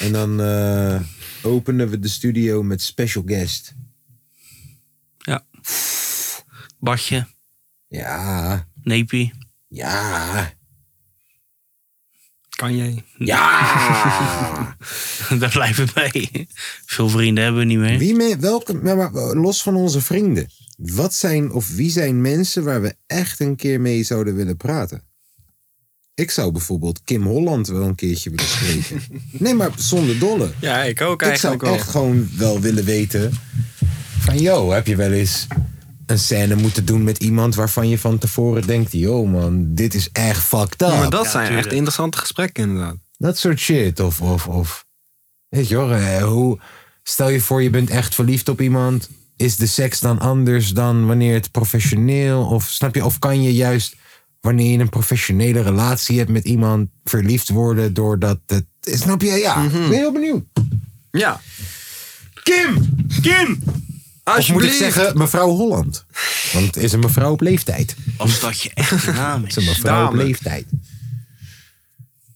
[SPEAKER 1] En dan eh, openen we de studio met special guest.
[SPEAKER 3] Bartje,
[SPEAKER 1] Ja,
[SPEAKER 3] Nepie.
[SPEAKER 1] ja,
[SPEAKER 2] Kan jij?
[SPEAKER 1] ja.
[SPEAKER 3] Daar blijven we bij. Veel vrienden hebben we niet meer.
[SPEAKER 1] Wie me, welke, ja, maar eh, los van onze vrienden. Wat zijn of wie zijn mensen waar we echt een keer mee zouden willen praten? Ik zou bijvoorbeeld Kim Holland wel een keertje willen spreken. nee, maar zonder dolle.
[SPEAKER 2] Ja, ik ook
[SPEAKER 1] Ik zou
[SPEAKER 2] eigenlijk wel.
[SPEAKER 1] echt gewoon wel willen weten van, yo, heb je wel eens een scène moeten doen met iemand waarvan je van tevoren denkt, yo man, dit is echt fucked up.
[SPEAKER 2] Ja, maar dat
[SPEAKER 3] Ja,
[SPEAKER 2] zijn
[SPEAKER 3] tuurlijk.
[SPEAKER 2] echt interessante gesprekken inderdaad.
[SPEAKER 1] Dat soort shit. Of, of, of. Weet je hoor, eh, hoe, stel je voor je bent echt verliefd op iemand. Is de seks dan anders dan wanneer het professioneel? Of snap je, of kan je juist wanneer je een professionele relatie hebt met iemand verliefd worden doordat het. Snap je? Ja,
[SPEAKER 2] Mhm.
[SPEAKER 1] ik ben heel benieuwd.
[SPEAKER 2] Ja.
[SPEAKER 1] Kim!
[SPEAKER 3] Kim!
[SPEAKER 1] Of moet ik zeggen, mevrouw Holland? Want het is een mevrouw op leeftijd.
[SPEAKER 3] Als dat je echt een naam
[SPEAKER 1] Het is een
[SPEAKER 3] is.
[SPEAKER 1] mevrouw op
[SPEAKER 2] Dame.
[SPEAKER 1] leeftijd.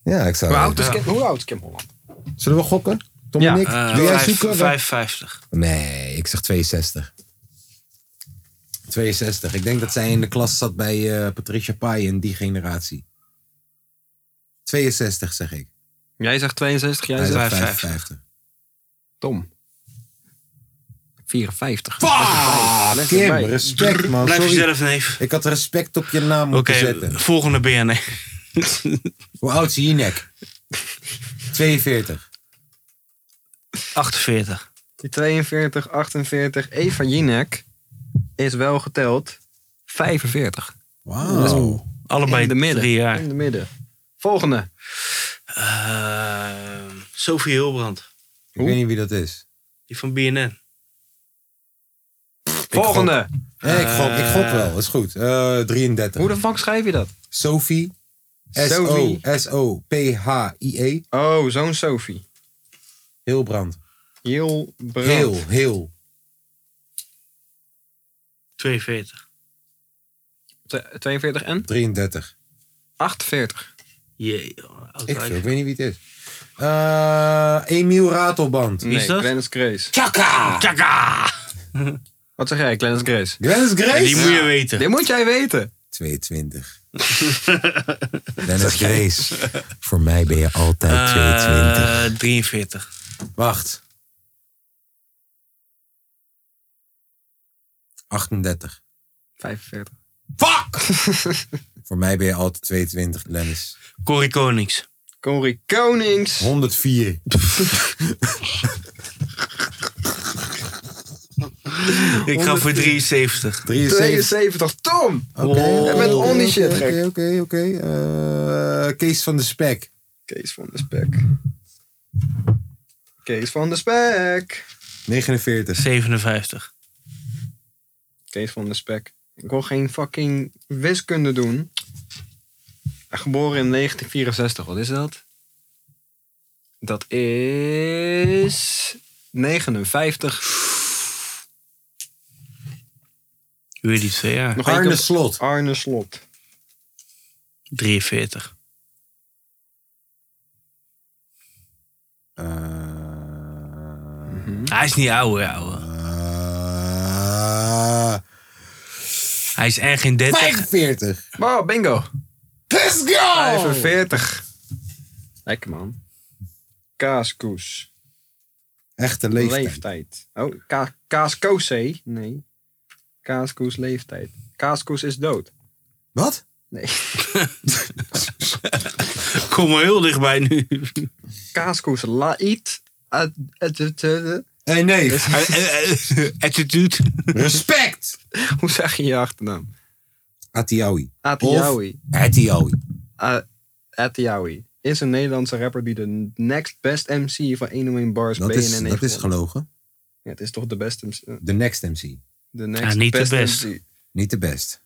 [SPEAKER 1] Ja, ik zou.
[SPEAKER 2] Hoe oud is Kim, hoe oud is Kim Holland?
[SPEAKER 1] Zullen we gokken? Tom
[SPEAKER 2] Ja,
[SPEAKER 1] en ik?
[SPEAKER 3] Eh,
[SPEAKER 1] Wil jij
[SPEAKER 3] vijf-
[SPEAKER 1] zoeken?
[SPEAKER 3] 55.
[SPEAKER 1] Nee, ik zeg 62. 62. Ik denk dat zij in de klas zat bij eh, Patricia Pai in die generatie. 62 zeg ik.
[SPEAKER 2] Jij zegt 62, jij
[SPEAKER 1] Hij
[SPEAKER 2] zegt
[SPEAKER 1] zegt
[SPEAKER 3] 55.
[SPEAKER 1] 55.
[SPEAKER 2] Tom. 54.
[SPEAKER 1] Ah, Kim, respect man.
[SPEAKER 3] Blijf
[SPEAKER 1] Sorry.
[SPEAKER 3] jezelf neef.
[SPEAKER 1] Ik had respect op je naam
[SPEAKER 3] Oké,
[SPEAKER 1] moeten zetten.
[SPEAKER 3] volgende BNN.
[SPEAKER 1] Hoe oud is je nek? 42.
[SPEAKER 3] 48.
[SPEAKER 2] Die 42, 48, Eva Jinek is wel geteld 45.
[SPEAKER 1] Wauw.
[SPEAKER 3] Allebei
[SPEAKER 2] in de midden.
[SPEAKER 3] drie jaar.
[SPEAKER 2] In de midden. Volgende.
[SPEAKER 3] Eh, Sophie Hilbrand.
[SPEAKER 1] Ik weet niet wie dat is.
[SPEAKER 3] Die van BNN.
[SPEAKER 2] Volgende.
[SPEAKER 1] Nee, ik gok, ik gok wel. Is goed. Eh, 33.
[SPEAKER 2] Hoe de fuck schrijf je dat?
[SPEAKER 1] Sophie
[SPEAKER 2] Sophie.
[SPEAKER 1] S-O-S-O-P-H-I-E.
[SPEAKER 2] Oh, zo'n Sophie.
[SPEAKER 1] Hilbrand.
[SPEAKER 2] Heel brand.
[SPEAKER 1] Heel, heel.
[SPEAKER 3] 42.
[SPEAKER 2] T- 42 en?
[SPEAKER 1] 33.
[SPEAKER 2] 48.
[SPEAKER 3] Jee, joh, oud
[SPEAKER 1] Ik,
[SPEAKER 3] wijf.
[SPEAKER 1] veel, ik weet niet wie het is. Eh Emiel Ratelband.
[SPEAKER 2] Nee,
[SPEAKER 3] is dat?
[SPEAKER 2] Glennis Grace.
[SPEAKER 1] Chaka!
[SPEAKER 3] Ah, Tjaka!
[SPEAKER 2] Wat zeg jij, Glennis Grace?
[SPEAKER 1] Glennis Grace.
[SPEAKER 3] Die moet je weten.
[SPEAKER 2] Dit moet jij weten.
[SPEAKER 1] 22. Dennis Grace. Voor mij ben je altijd 22.
[SPEAKER 3] Eh, 43.
[SPEAKER 1] Wacht. 38.
[SPEAKER 2] 45.
[SPEAKER 1] Fuck! Voor mij ben je altijd 22, Dennis.
[SPEAKER 3] Corrie Konings.
[SPEAKER 2] Corrie Konings.
[SPEAKER 1] 104.
[SPEAKER 3] Ik ga voor 73.
[SPEAKER 1] 73.
[SPEAKER 2] 72. Tom!
[SPEAKER 1] Oké,
[SPEAKER 2] Jij bent on die shit
[SPEAKER 1] oké,
[SPEAKER 2] gek.
[SPEAKER 1] Oké, oké. Eh, Kees van de Spek.
[SPEAKER 2] Kees van de Spek. Kees van de Spek.
[SPEAKER 1] 49.
[SPEAKER 3] 57.
[SPEAKER 2] Kees van de Spek. Ik wil geen fucking wiskunde doen. Geboren in 1964, wat is dat? Dat is 59.
[SPEAKER 3] Hoe heet die twee jaar?
[SPEAKER 2] Nog
[SPEAKER 1] Arne
[SPEAKER 2] eentje op-
[SPEAKER 1] Slot.
[SPEAKER 2] Arne Slot.
[SPEAKER 3] 43. Hij is niet ouder, ouwe.
[SPEAKER 1] Eh,
[SPEAKER 3] Hij is en geen 30.
[SPEAKER 1] 45.
[SPEAKER 2] Wow, bingo.
[SPEAKER 1] Let's go!
[SPEAKER 2] 45. Lekker man. Kaaskoes.
[SPEAKER 1] Echte
[SPEAKER 2] Leeftijd.
[SPEAKER 1] leeftijd.
[SPEAKER 2] Oh, ka kaaskoosé? Nee. Kaaskoes leeftijd. Kaaskoes is dood.
[SPEAKER 1] Wat?
[SPEAKER 2] Nee.
[SPEAKER 3] Kom maar heel dichtbij nu.
[SPEAKER 2] Kaaskoes laït. Ad- ad- ad- ad-
[SPEAKER 1] Hé, Eh, nee.
[SPEAKER 3] Attitude.
[SPEAKER 1] Respect!
[SPEAKER 2] Hoe zeg je je achternaam?
[SPEAKER 1] Atiawi.
[SPEAKER 2] Atiawi.
[SPEAKER 1] Atiawi.
[SPEAKER 2] A- Atiawi. Is een Nederlandse rapper die de next best MC van 101 Bars
[SPEAKER 1] Dat
[SPEAKER 2] BNN
[SPEAKER 1] is,
[SPEAKER 2] heeft
[SPEAKER 1] dat is
[SPEAKER 2] gewonnen.
[SPEAKER 1] gelogen.
[SPEAKER 2] Ja, het is toch de best MC?
[SPEAKER 1] De next MC.
[SPEAKER 2] De next
[SPEAKER 3] niet de
[SPEAKER 2] best,
[SPEAKER 3] best.
[SPEAKER 2] MC.
[SPEAKER 1] Niet de best.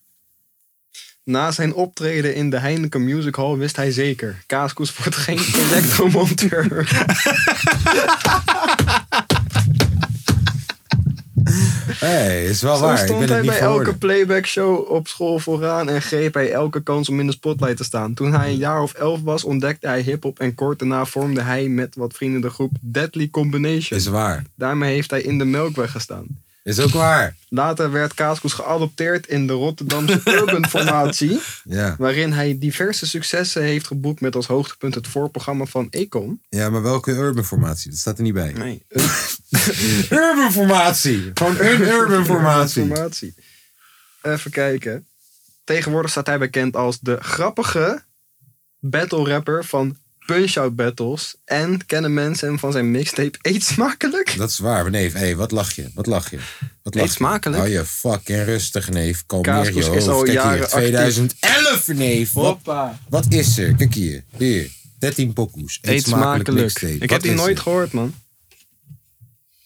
[SPEAKER 2] Na zijn optreden in de Heineken Music Hall wist hij zeker. Kaaskoes wordt geen elektromonteur.
[SPEAKER 1] Hé, hey, is wel
[SPEAKER 2] Zo
[SPEAKER 1] waar. Ik
[SPEAKER 2] stond
[SPEAKER 1] ben het
[SPEAKER 2] hij
[SPEAKER 1] niet
[SPEAKER 2] bij elke
[SPEAKER 1] verhoorden.
[SPEAKER 2] playback show op school vooraan en greep hij elke kans om in de spotlight te staan. Toen hij een jaar of elf was, ontdekte hij hip-hop en kort daarna vormde hij met wat vrienden de groep Deadly Combination.
[SPEAKER 1] Is waar.
[SPEAKER 2] Daarmee heeft hij in de Melkweg gestaan.
[SPEAKER 1] Is ook waar.
[SPEAKER 2] Later werd Kaaskoes geadopteerd in de Rotterdamse Urban Formatie,
[SPEAKER 1] Ja,
[SPEAKER 2] waarin hij diverse successen heeft geboekt met als hoogtepunt het voorprogramma van Econ.
[SPEAKER 1] ja maar welke urban formatie? Dat staat er niet bij.
[SPEAKER 2] Nee,
[SPEAKER 1] Urban formatie! Gewoon erm een urban formatie.
[SPEAKER 2] Erm Informatie. Even kijken. Tegenwoordig staat hij bekend als de grappige battle rapper van Punch-Out Battles. En kennen mensen hem van zijn mixtape Eet Smakelijk?
[SPEAKER 1] Dat is waar. Maar neef, hé, wat lach je? Wat lach je? Wat lach
[SPEAKER 2] Eet
[SPEAKER 1] je?
[SPEAKER 2] smakelijk.
[SPEAKER 1] Hou je fucking rustig, neef. Kalmeer je
[SPEAKER 2] Kaaskoes
[SPEAKER 1] hoofd.
[SPEAKER 2] is al
[SPEAKER 1] Kijk
[SPEAKER 2] jaren
[SPEAKER 1] hier,
[SPEAKER 2] actief.
[SPEAKER 1] 2011, neef. Wat,
[SPEAKER 2] Hoppa.
[SPEAKER 1] wat is er? Kijk hier. Hier. 13 pokoes. Eet,
[SPEAKER 2] Eet
[SPEAKER 1] smakelijk.
[SPEAKER 2] Smakelijk.
[SPEAKER 1] mixtape.
[SPEAKER 2] Ik
[SPEAKER 1] Wat
[SPEAKER 2] heb die
[SPEAKER 1] is
[SPEAKER 2] nooit
[SPEAKER 1] er?
[SPEAKER 2] gehoord, man.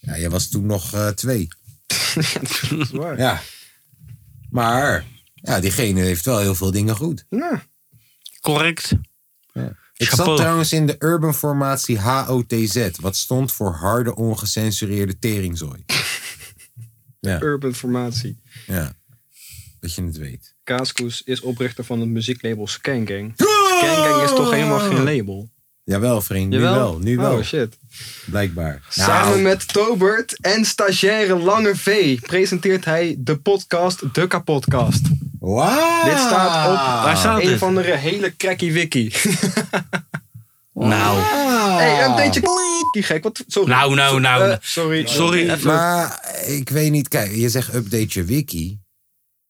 [SPEAKER 1] Ja, jij was toen nog eh, twee.
[SPEAKER 2] Dat is waar.
[SPEAKER 1] Ja. Maar, ja, diegene heeft wel heel veel dingen goed.
[SPEAKER 2] Nou,
[SPEAKER 3] Correct.
[SPEAKER 1] Ik zat
[SPEAKER 3] Chapeau.
[SPEAKER 1] trouwens in de urban formatie HOTZ. Wat stond voor harde ongecensureerde teringzooi. ja,
[SPEAKER 2] Urban Formatie.
[SPEAKER 1] ja. Dat je het weet.
[SPEAKER 2] Kaaskoes is oprichter van het muzieklabel Skank Gang. Skank Gang is toch helemaal geen label?
[SPEAKER 1] Jawel, vriend. Oh! Nu
[SPEAKER 2] Jawel?
[SPEAKER 1] wel. Nu wel.
[SPEAKER 2] Oh, shit.
[SPEAKER 1] Blijkbaar.
[SPEAKER 2] Samen
[SPEAKER 1] Nou,
[SPEAKER 2] met Tobert en stagiaire Lange V presenteert hij de podcast De Kapodcast.
[SPEAKER 3] Ah.
[SPEAKER 1] Wauw.
[SPEAKER 2] Dit staat op
[SPEAKER 3] Waar staat
[SPEAKER 2] een
[SPEAKER 3] dit?
[SPEAKER 2] van de hele cracky wiki.
[SPEAKER 3] Nou.
[SPEAKER 2] hey, een beetje die gek. Wat, sorry.
[SPEAKER 3] Nou, nou, nou.
[SPEAKER 2] Eh,
[SPEAKER 3] nou.
[SPEAKER 2] sorry. Eh,
[SPEAKER 3] Sorry.
[SPEAKER 2] Even-
[SPEAKER 1] Maar ik weet niet. Kijk, je zegt update je wiki.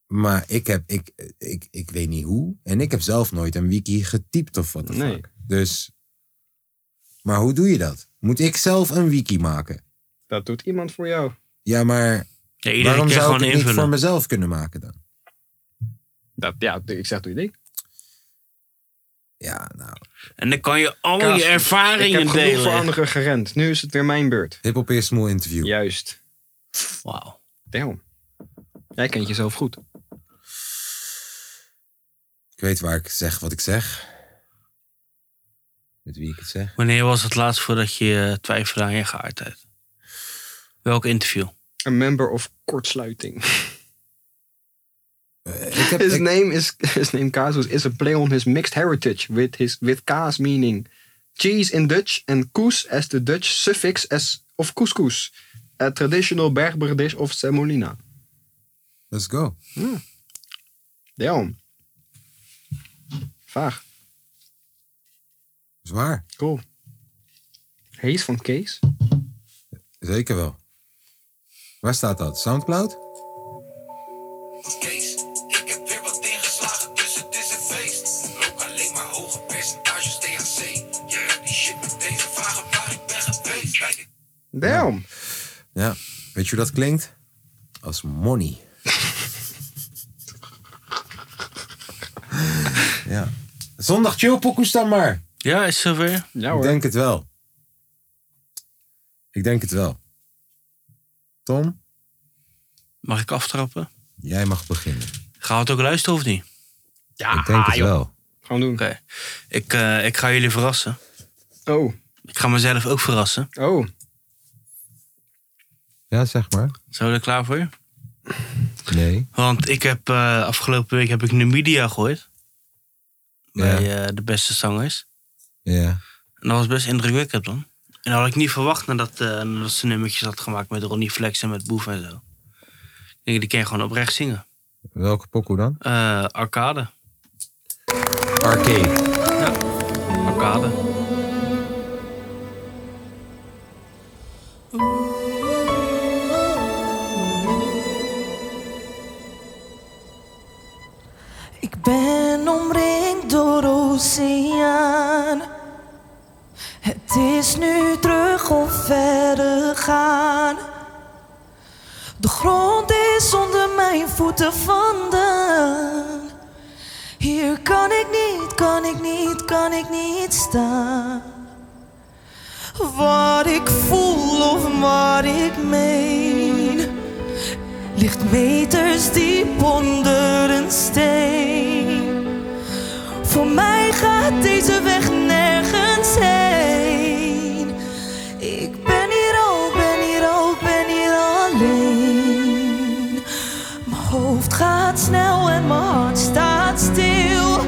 [SPEAKER 1] Maar ik heb, ik, ik, ik weet niet hoe. En ik heb zelf nooit een wiki getypt of wat dan
[SPEAKER 2] Nee.
[SPEAKER 1] ook. Dus, maar hoe doe je dat? Moet ik zelf een wiki maken?
[SPEAKER 2] Dat doet iemand voor jou.
[SPEAKER 1] Ja, maar
[SPEAKER 3] Ja, iedere
[SPEAKER 1] waarom
[SPEAKER 3] keer
[SPEAKER 1] zou ik
[SPEAKER 3] gewoon
[SPEAKER 1] het niet voor
[SPEAKER 3] invullen.
[SPEAKER 1] mezelf kunnen maken dan?
[SPEAKER 2] Dat, ja, ik zeg doe je ding.
[SPEAKER 1] Ja, nou.
[SPEAKER 3] En dan kan je al
[SPEAKER 2] Kaas,
[SPEAKER 3] je
[SPEAKER 2] Ik heb
[SPEAKER 3] ervaringen
[SPEAKER 2] genoeg voor
[SPEAKER 3] delen.
[SPEAKER 2] anderen gerend. Nu is het weer mijn beurt.
[SPEAKER 1] Hip-hop is moe interview.
[SPEAKER 2] Juist.
[SPEAKER 3] Wauw.
[SPEAKER 2] Damn. Jij kent jezelf goed.
[SPEAKER 1] Ik weet waar ik zeg wat ik zeg. met wie ik het zeg.
[SPEAKER 3] Wanneer was het laatst voordat je eh, twijfelde aan je geaardheid? Welk interview?
[SPEAKER 2] Een member of kortsluiting.
[SPEAKER 1] Eh, Ik heb,
[SPEAKER 2] His
[SPEAKER 1] ik-
[SPEAKER 2] name is his name Casus is a play on his mixed heritage with his with kaas meaning cheese in Dutch and koes as the Dutch suffix as of couscous. A traditional Berber dish of semolina.
[SPEAKER 1] let's go.
[SPEAKER 2] Damn. Vaag.
[SPEAKER 1] Zwaar.
[SPEAKER 2] Cool. Hees van Kees.
[SPEAKER 1] Zeker wel. Waar staat dat? Soundcloud?
[SPEAKER 5] Kees, ik heb weer wat ingeslagen, dus het is een feest. Rook alleen maar hoge percentages THC. Je hebt die shit meteen vragen waar ik ben geweest. Bij de
[SPEAKER 2] Damn.
[SPEAKER 1] Ja. Weet je hoe dat klinkt? Als money. ja. Zondag chillpokoes dan maar.
[SPEAKER 3] Ja, is zover.
[SPEAKER 2] Ja
[SPEAKER 1] ik denk het wel. Ik denk het wel. Tom,
[SPEAKER 3] Mag ik aftrappen?
[SPEAKER 1] jij mag beginnen.
[SPEAKER 3] Gaan we het ook luisteren of niet?
[SPEAKER 2] Ja,
[SPEAKER 1] ik denk het wel.
[SPEAKER 2] Gewoon doen.
[SPEAKER 3] Oké. Ik, eh, ik ga jullie verrassen.
[SPEAKER 2] Oh,
[SPEAKER 3] Ik ga mezelf ook verrassen.
[SPEAKER 2] oh.
[SPEAKER 1] Ja, zeg maar.
[SPEAKER 3] Zijn we er klaar voor?
[SPEAKER 1] Nee.
[SPEAKER 3] Want ik heb eh, afgelopen week heb ik Numidia gehoord. Bij eh, de beste zangers.
[SPEAKER 1] Ja.
[SPEAKER 3] En dat was best indrukwekkend, man. En dat had ik niet verwacht nadat, eh, nadat ze nummertjes had gemaakt met Ronnie Flex en met Boef en zo. Ik denk, die kan je gewoon oprecht zingen.
[SPEAKER 1] Welke pokoe dan?
[SPEAKER 3] Eh, arcade.
[SPEAKER 1] Arcade.
[SPEAKER 3] Arcade.
[SPEAKER 8] Ik ben omringd door oceaan. Het is nu terug of verder gaan. De grond is onder mijn voeten vandaan. Hier kan ik niet, kan ik niet, kan ik niet staan. Wat ik voel of wat ik meen ligt meters diep onder een steen. Voor mij gaat deze weg nergens heen. Ik ben hier al, ben hier al, ben hier alleen. Mijn hoofd gaat snel en mijn hart staat stil.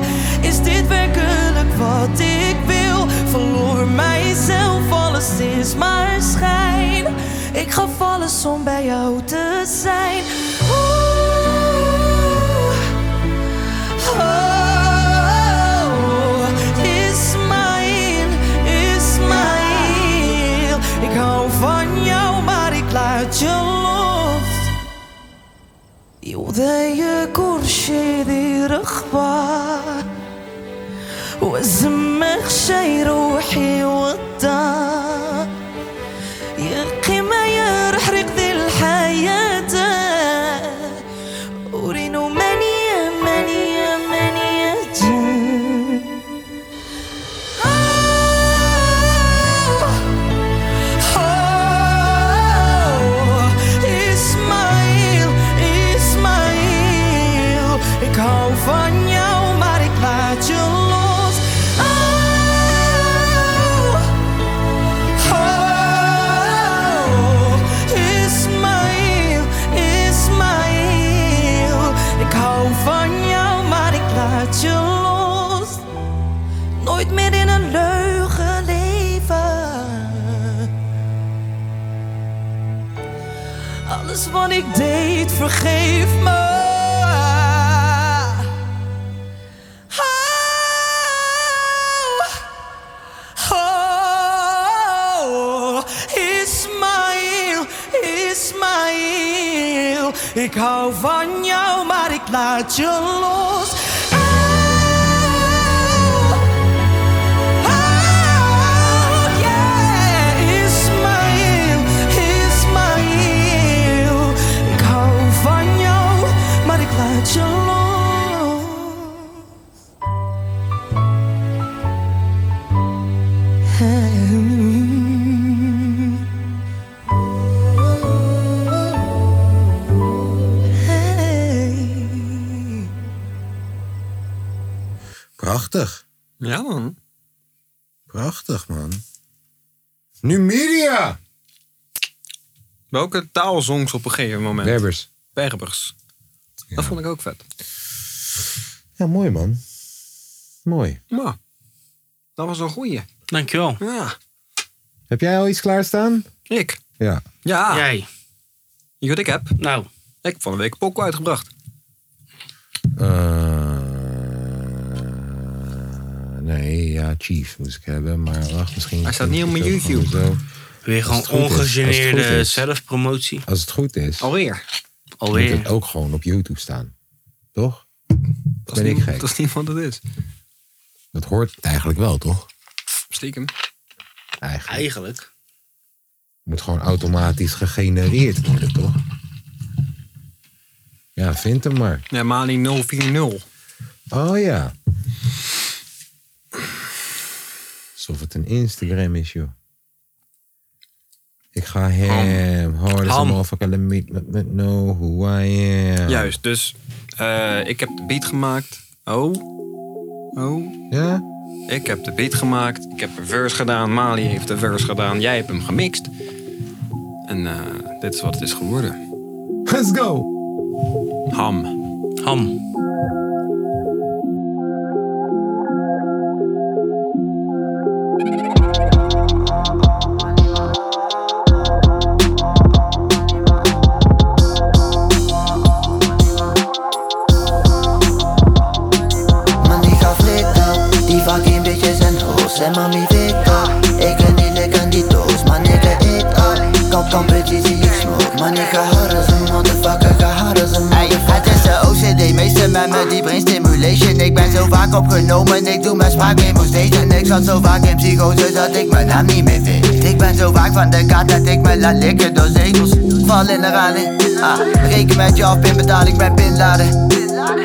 [SPEAKER 8] Is dit werkelijk wat ik wil? Verloor mijzelf, alles is maar schijn. Ik ga vallen om bij jou te zijn. Oeh. Oh, Ismaël, Ismaël. Ik hou van jou, maar ik laat je los. يوضي كرشي ذي رخبة وزمخ شي روحي وطا يقي ما يرح ذي الحياة أورينو مانيا مانيا مانيا جن Ismaël, Ismaël, ik hou van jou, maar ik laat je los. Oh, Oh, Ismaël, Ismaël, ik hou van jou, maar ik laat je los. Nooit meer in een leugen leven. Alles wat ik deed, vergeef me. Oh. Oh, Ismaël, Ismaël, ik hou van jou, maar ik laat je los. Oh, oh, yeah, Ismaël, Ismaël, ik hou van jou, maar ik laat je los.
[SPEAKER 1] Prachtig.
[SPEAKER 2] Ja, man.
[SPEAKER 1] Prachtig, man. Numidia!
[SPEAKER 2] Welke taal zong ze op een gegeven moment?
[SPEAKER 1] Berbers.
[SPEAKER 2] Berbers. Dat vond ik ook vet.
[SPEAKER 1] Ja, mooi, man. Mooi.
[SPEAKER 2] Maar, dat was een goeie.
[SPEAKER 3] Dankjewel.
[SPEAKER 2] Ja,
[SPEAKER 1] Heb jij al iets klaarstaan?
[SPEAKER 2] ik.
[SPEAKER 1] Ja.
[SPEAKER 2] Ja,
[SPEAKER 3] Jij.
[SPEAKER 2] je weet wat ik heb.
[SPEAKER 3] Nou,
[SPEAKER 2] Ik heb van de week een pokoe uitgebracht.
[SPEAKER 1] Eh, nee, ja, Chief moest ik hebben. Maar wacht, misschien...
[SPEAKER 2] Hij staat niet op mijn
[SPEAKER 1] vind ik het ook
[SPEAKER 2] YouTube.
[SPEAKER 1] gewoon zo.
[SPEAKER 3] weer
[SPEAKER 1] Als het
[SPEAKER 3] gewoon
[SPEAKER 1] goed is, als het goed
[SPEAKER 3] ongegeneerde
[SPEAKER 1] is.
[SPEAKER 3] zelfpromotie.
[SPEAKER 1] Als het goed is,
[SPEAKER 2] Oh, Alweer.
[SPEAKER 1] moet het
[SPEAKER 3] Alweer.
[SPEAKER 1] ook gewoon op YouTube staan. Toch?
[SPEAKER 2] Dat
[SPEAKER 1] Ben
[SPEAKER 2] is
[SPEAKER 1] ik
[SPEAKER 2] niet,
[SPEAKER 1] gek.
[SPEAKER 2] dat is niet wat het is.
[SPEAKER 1] Dat hoort eigenlijk wel, toch?
[SPEAKER 2] Stiekem.
[SPEAKER 1] Eigenlijk.
[SPEAKER 3] Eigenlijk.
[SPEAKER 1] moet gewoon automatisch gegenereerd worden, toch? Ja, vind hem maar.
[SPEAKER 2] Ja, Mali 040.
[SPEAKER 1] Oh ja. Alsof het een Instagram is, joh. Ik ga hem hard as a
[SPEAKER 3] Ham.
[SPEAKER 1] motherfucker. Let me, let me know who I am.
[SPEAKER 2] Juist, dus eh, ik heb de beat gemaakt. Oh. Oh.
[SPEAKER 1] Ja?
[SPEAKER 2] Ik heb de beat gemaakt. Ik heb een verse gedaan. Mali heeft de verse gedaan. Jij hebt hem gemixt. En eh, dit is wat het is geworden.
[SPEAKER 1] Let's go!
[SPEAKER 2] Ham.
[SPEAKER 3] Ham.
[SPEAKER 9] Mami ga flikken, die fucking bitches en hoes En mami weet dat, ik ken die lik en die doos Maar nigga eet op, kom kom bitches die ik smoke Maar nigga hard as een motherfucker, ga hard as een motherfucker
[SPEAKER 10] Het is de OCD, meeste met me die brain stimulation Ik ben zo vaak opgenomen, ik doe mijn spraakmemo steeds En ik zat zo vaak in psychose dat ik mijn naam niet meer weet Ik ben zo vaak van de kaart dat ik me laat likken door zegels Val in de raling, ah, reken met je af, pinbetaling met pinladen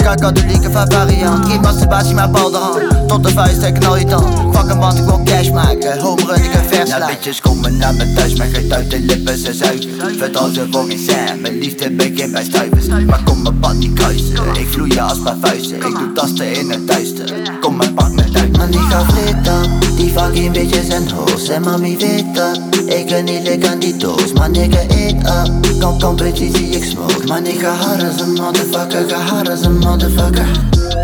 [SPEAKER 10] Kan katholieke van variant, geen masturbatie maar bal de hand Tot de vuist en knal je tand, fuck hem want ik wil cash maken Home run ik een vers
[SPEAKER 9] Nou bitches komen naar me thuis met getuite lippen, ze zuigen Vertrouw ze voor geen cent, mijn liefde begint bij stuivers Maar kom mijn pad niet kruisen, ik vloeien als paar vuisten Ik doe tasten in het duister, kom mijn pak me uit
[SPEAKER 10] Mami gaat flitten, die fucking bitches en hoes En mami weet dat, ik kan niet likken aan die doos Maar nigga eet up, kom kom bitches die ik smoke Maar nigga hard as a motherfucker, ga hard as a motherfucker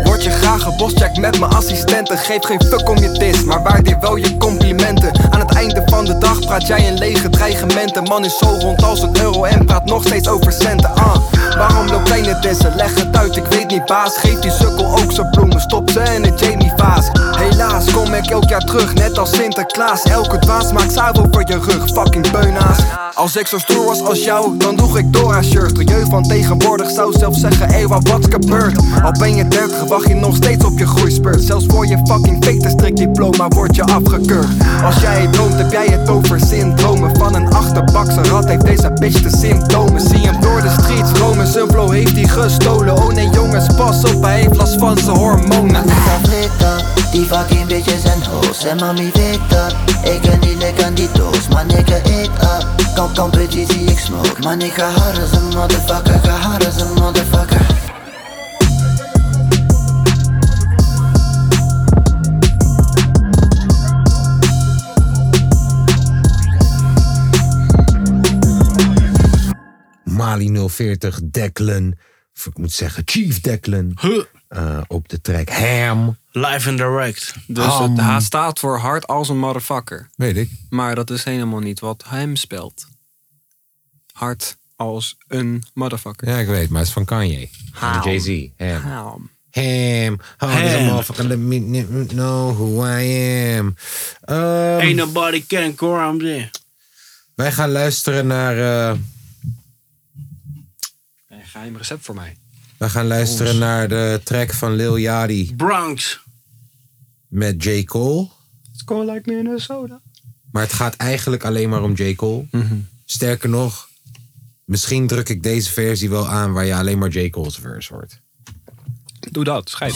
[SPEAKER 11] Word je graag gebost, check met mijn assistenten Geef geen fuck om je dis, maar waardeer wel je complimenten Aan het einde van de dag praat jij in lege dreigementen Man is zo rond als een euro en praat nog steeds over centen ah, Waarom loop jij net dissen? Leg het uit, ik weet niet baas Geef die sukkel ook zijn bloemen, stop ze in een Jamie vaas Helaas kom ik elk jaar terug, net als Sinterklaas Elke dwaas maakt zadel voor je rug, fucking beunaas Als ik zo stoer was als jou, dan droeg ik Dora shirt De jeugd van tegenwoordig zou zelf zeggen, hey wat wat gebeurt Al ben je 30, wacht je nog steeds op je groeispurt Zelfs voor je fucking fake diploma word je afgekeurd Als jij het droomt, heb jij het over syndromen Van een achterbakse rat heeft deze bitch de symptomen Zie hem door de streets romen, zijn flow heeft hij gestolen Oh nee jongens, pas op, hij heeft last van zijn hormonen
[SPEAKER 10] Mami weet dat, die fucking bitches en hoes En mami weet dat, ik kan niet likken aan die doos Maar nigga eet up, kom kom bitches die ik smoke Maar nigga hard as a motherfucker, ga hard as a motherfucker
[SPEAKER 1] Mali 040, Declan. Of ik moet zeggen, Chief Declan.
[SPEAKER 3] Huh.
[SPEAKER 1] eh, op de track Ham.
[SPEAKER 3] Live and direct.
[SPEAKER 2] Dus
[SPEAKER 1] Ham.
[SPEAKER 2] het H staat voor hard als een motherfucker.
[SPEAKER 1] Weet ik.
[SPEAKER 2] Maar dat is helemaal niet wat hem spelt. Hard als een motherfucker.
[SPEAKER 1] Ja, ik weet, maar het is van Kanye. Van
[SPEAKER 2] Ham.
[SPEAKER 1] Jay-Z. Ham.
[SPEAKER 2] Ham.
[SPEAKER 1] Ham. Oh, dat is een
[SPEAKER 3] Ham.
[SPEAKER 1] motherfucker. Let me let me know who I am. Ehm,
[SPEAKER 3] Ain't nobody can go I'm there.
[SPEAKER 1] wij gaan luisteren naar... eh,
[SPEAKER 2] Een geheim recept voor mij.
[SPEAKER 1] wij gaan luisteren naar de track van Lil Yachty
[SPEAKER 3] Bronx.
[SPEAKER 1] met J. Cole.
[SPEAKER 2] Score like Minnesota.
[SPEAKER 1] Maar het gaat eigenlijk alleen maar om J. Cole. Sterker nog, misschien druk ik deze versie wel aan... waar je alleen maar J. Cole's verse hoort.
[SPEAKER 2] Doe dat, schijt.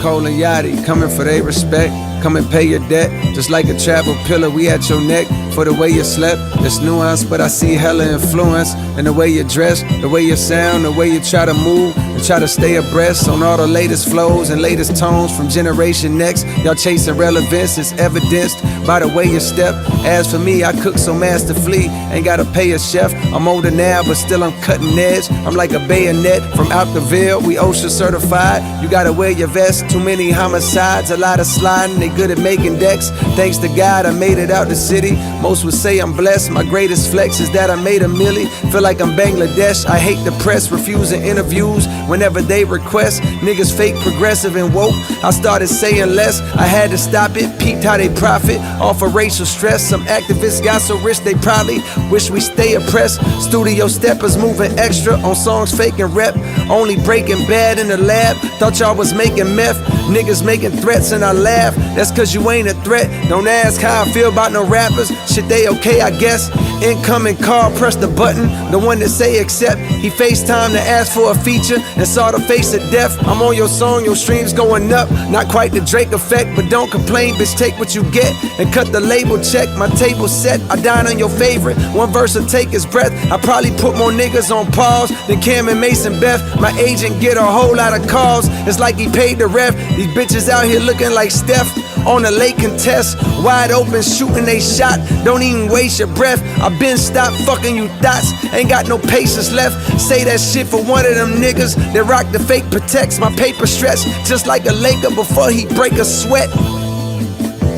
[SPEAKER 11] Cole and Yachty coming for their respect.
[SPEAKER 12] Come and pay your debt, just like a travel pillar. We at your neck for the way you slept. It's nuanced, but I see hella influence in the way you dress, the way you sound, the way you try to move, and try to stay abreast on all the latest flows and latest tones from Generation Next. Y'all chasing relevance, it's evidenced by the way you step. As for me, I cook so masterfully, ain't gotta pay a chef. I'm older now, but still I'm cutting edge. I'm like a bayonet from out the veil. We OSHA certified. You gotta wear your vest. Too many homicides, a lot of sliding. They good at making decks. Thanks to God, I made it out the city. Most would say I'm blessed. My greatest flex is that I made a milli. Feel like I'm Bangladesh. I hate the press, refusing interviews whenever they request. Niggas fake, progressive, and woke. I started saying less. I had to stop it. Peeped how they profit off of racial stress. Some activists got so rich they probably wish we stay oppressed. Studio steppers moving extra on songs fake and rep. Only breaking bad in the lab. Thought y'all was making meth. Niggas making threats and I laugh. That's cause you ain't a threat. Don't ask how I feel about no rappers. Shit, they okay, I guess. Incoming call, press the button. The one that say accept. He FaceTime to ask for a feature and saw the face of death. I'm on your song, your streams going up. Not quite the Drake effect, but don't complain, bitch. Take what you get and cut the label check. My table set, I dine on your favorite. One verse will take his breath. I probably put more niggas on pause than Cam and Mason Beth. My agent get a whole lot of calls. It's like he paid the ref. These bitches out here looking like Steph on a late contest. Wide open, shooting they shot. Don't even waste your breath. I been stopped fucking you thoughts. Ain't got no patience left. Say that shit for one of them niggas that rock the fake protects. My paper stretch just like a Laker before he break a sweat.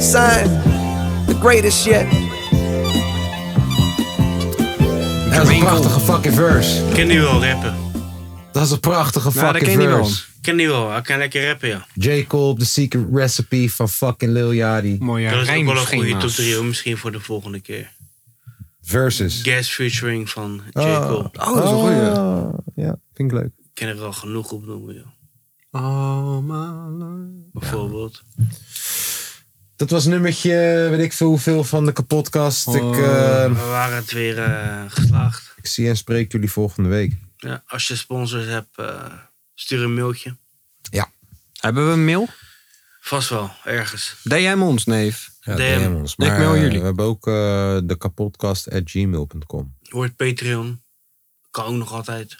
[SPEAKER 12] Sign the greatest yet.
[SPEAKER 1] Dat is een prachtige fucking verse.
[SPEAKER 3] Ik ken die wel rappen.
[SPEAKER 1] Dat is een prachtige
[SPEAKER 3] Ja, dat
[SPEAKER 1] fucking
[SPEAKER 3] ken die wel.
[SPEAKER 1] verse.
[SPEAKER 3] Ik ken die wel. Hij kan lekker rappen, ja.
[SPEAKER 1] J. Cole op The Secret Recipe van fucking Lil Yachty.
[SPEAKER 2] Mooie
[SPEAKER 3] dat is ook wel een goede top 3 hoor, misschien voor de volgende keer.
[SPEAKER 1] Versus.
[SPEAKER 3] Gas featuring van J.
[SPEAKER 1] Oh.
[SPEAKER 3] Cole.
[SPEAKER 1] Oh, dat is een Oh. goeie. Ja, vind ik leuk.
[SPEAKER 3] Ik kan er al genoeg op noemen, joh.
[SPEAKER 2] Oh, man.
[SPEAKER 3] Bijvoorbeeld.
[SPEAKER 1] Dat was nummertje, weet ik veel hoeveel, van de kapotkast. Ik,
[SPEAKER 3] Oh.
[SPEAKER 1] eh,
[SPEAKER 3] We waren het weer eh, geslaagd.
[SPEAKER 1] ik zie en spreek jullie volgende week.
[SPEAKER 3] Ja, als je sponsors hebt, eh, stuur een mailtje.
[SPEAKER 1] Ja.
[SPEAKER 2] Hebben we een mail?
[SPEAKER 3] Vast wel, ergens.
[SPEAKER 2] DM ons, neef.
[SPEAKER 1] Ja,
[SPEAKER 3] DM.
[SPEAKER 1] DM ons.
[SPEAKER 3] Ik
[SPEAKER 1] Maar,
[SPEAKER 3] mail
[SPEAKER 1] eh,
[SPEAKER 3] jullie.
[SPEAKER 1] We hebben ook eh, de kapotkast at gmail.com.
[SPEAKER 3] Hoort Patreon. Kan ook nog altijd.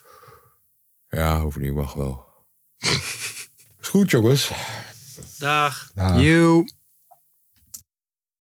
[SPEAKER 1] Ja, hoeft niet, mag wel. Is goed, jongens.
[SPEAKER 3] Dag.
[SPEAKER 1] Dag.
[SPEAKER 2] You.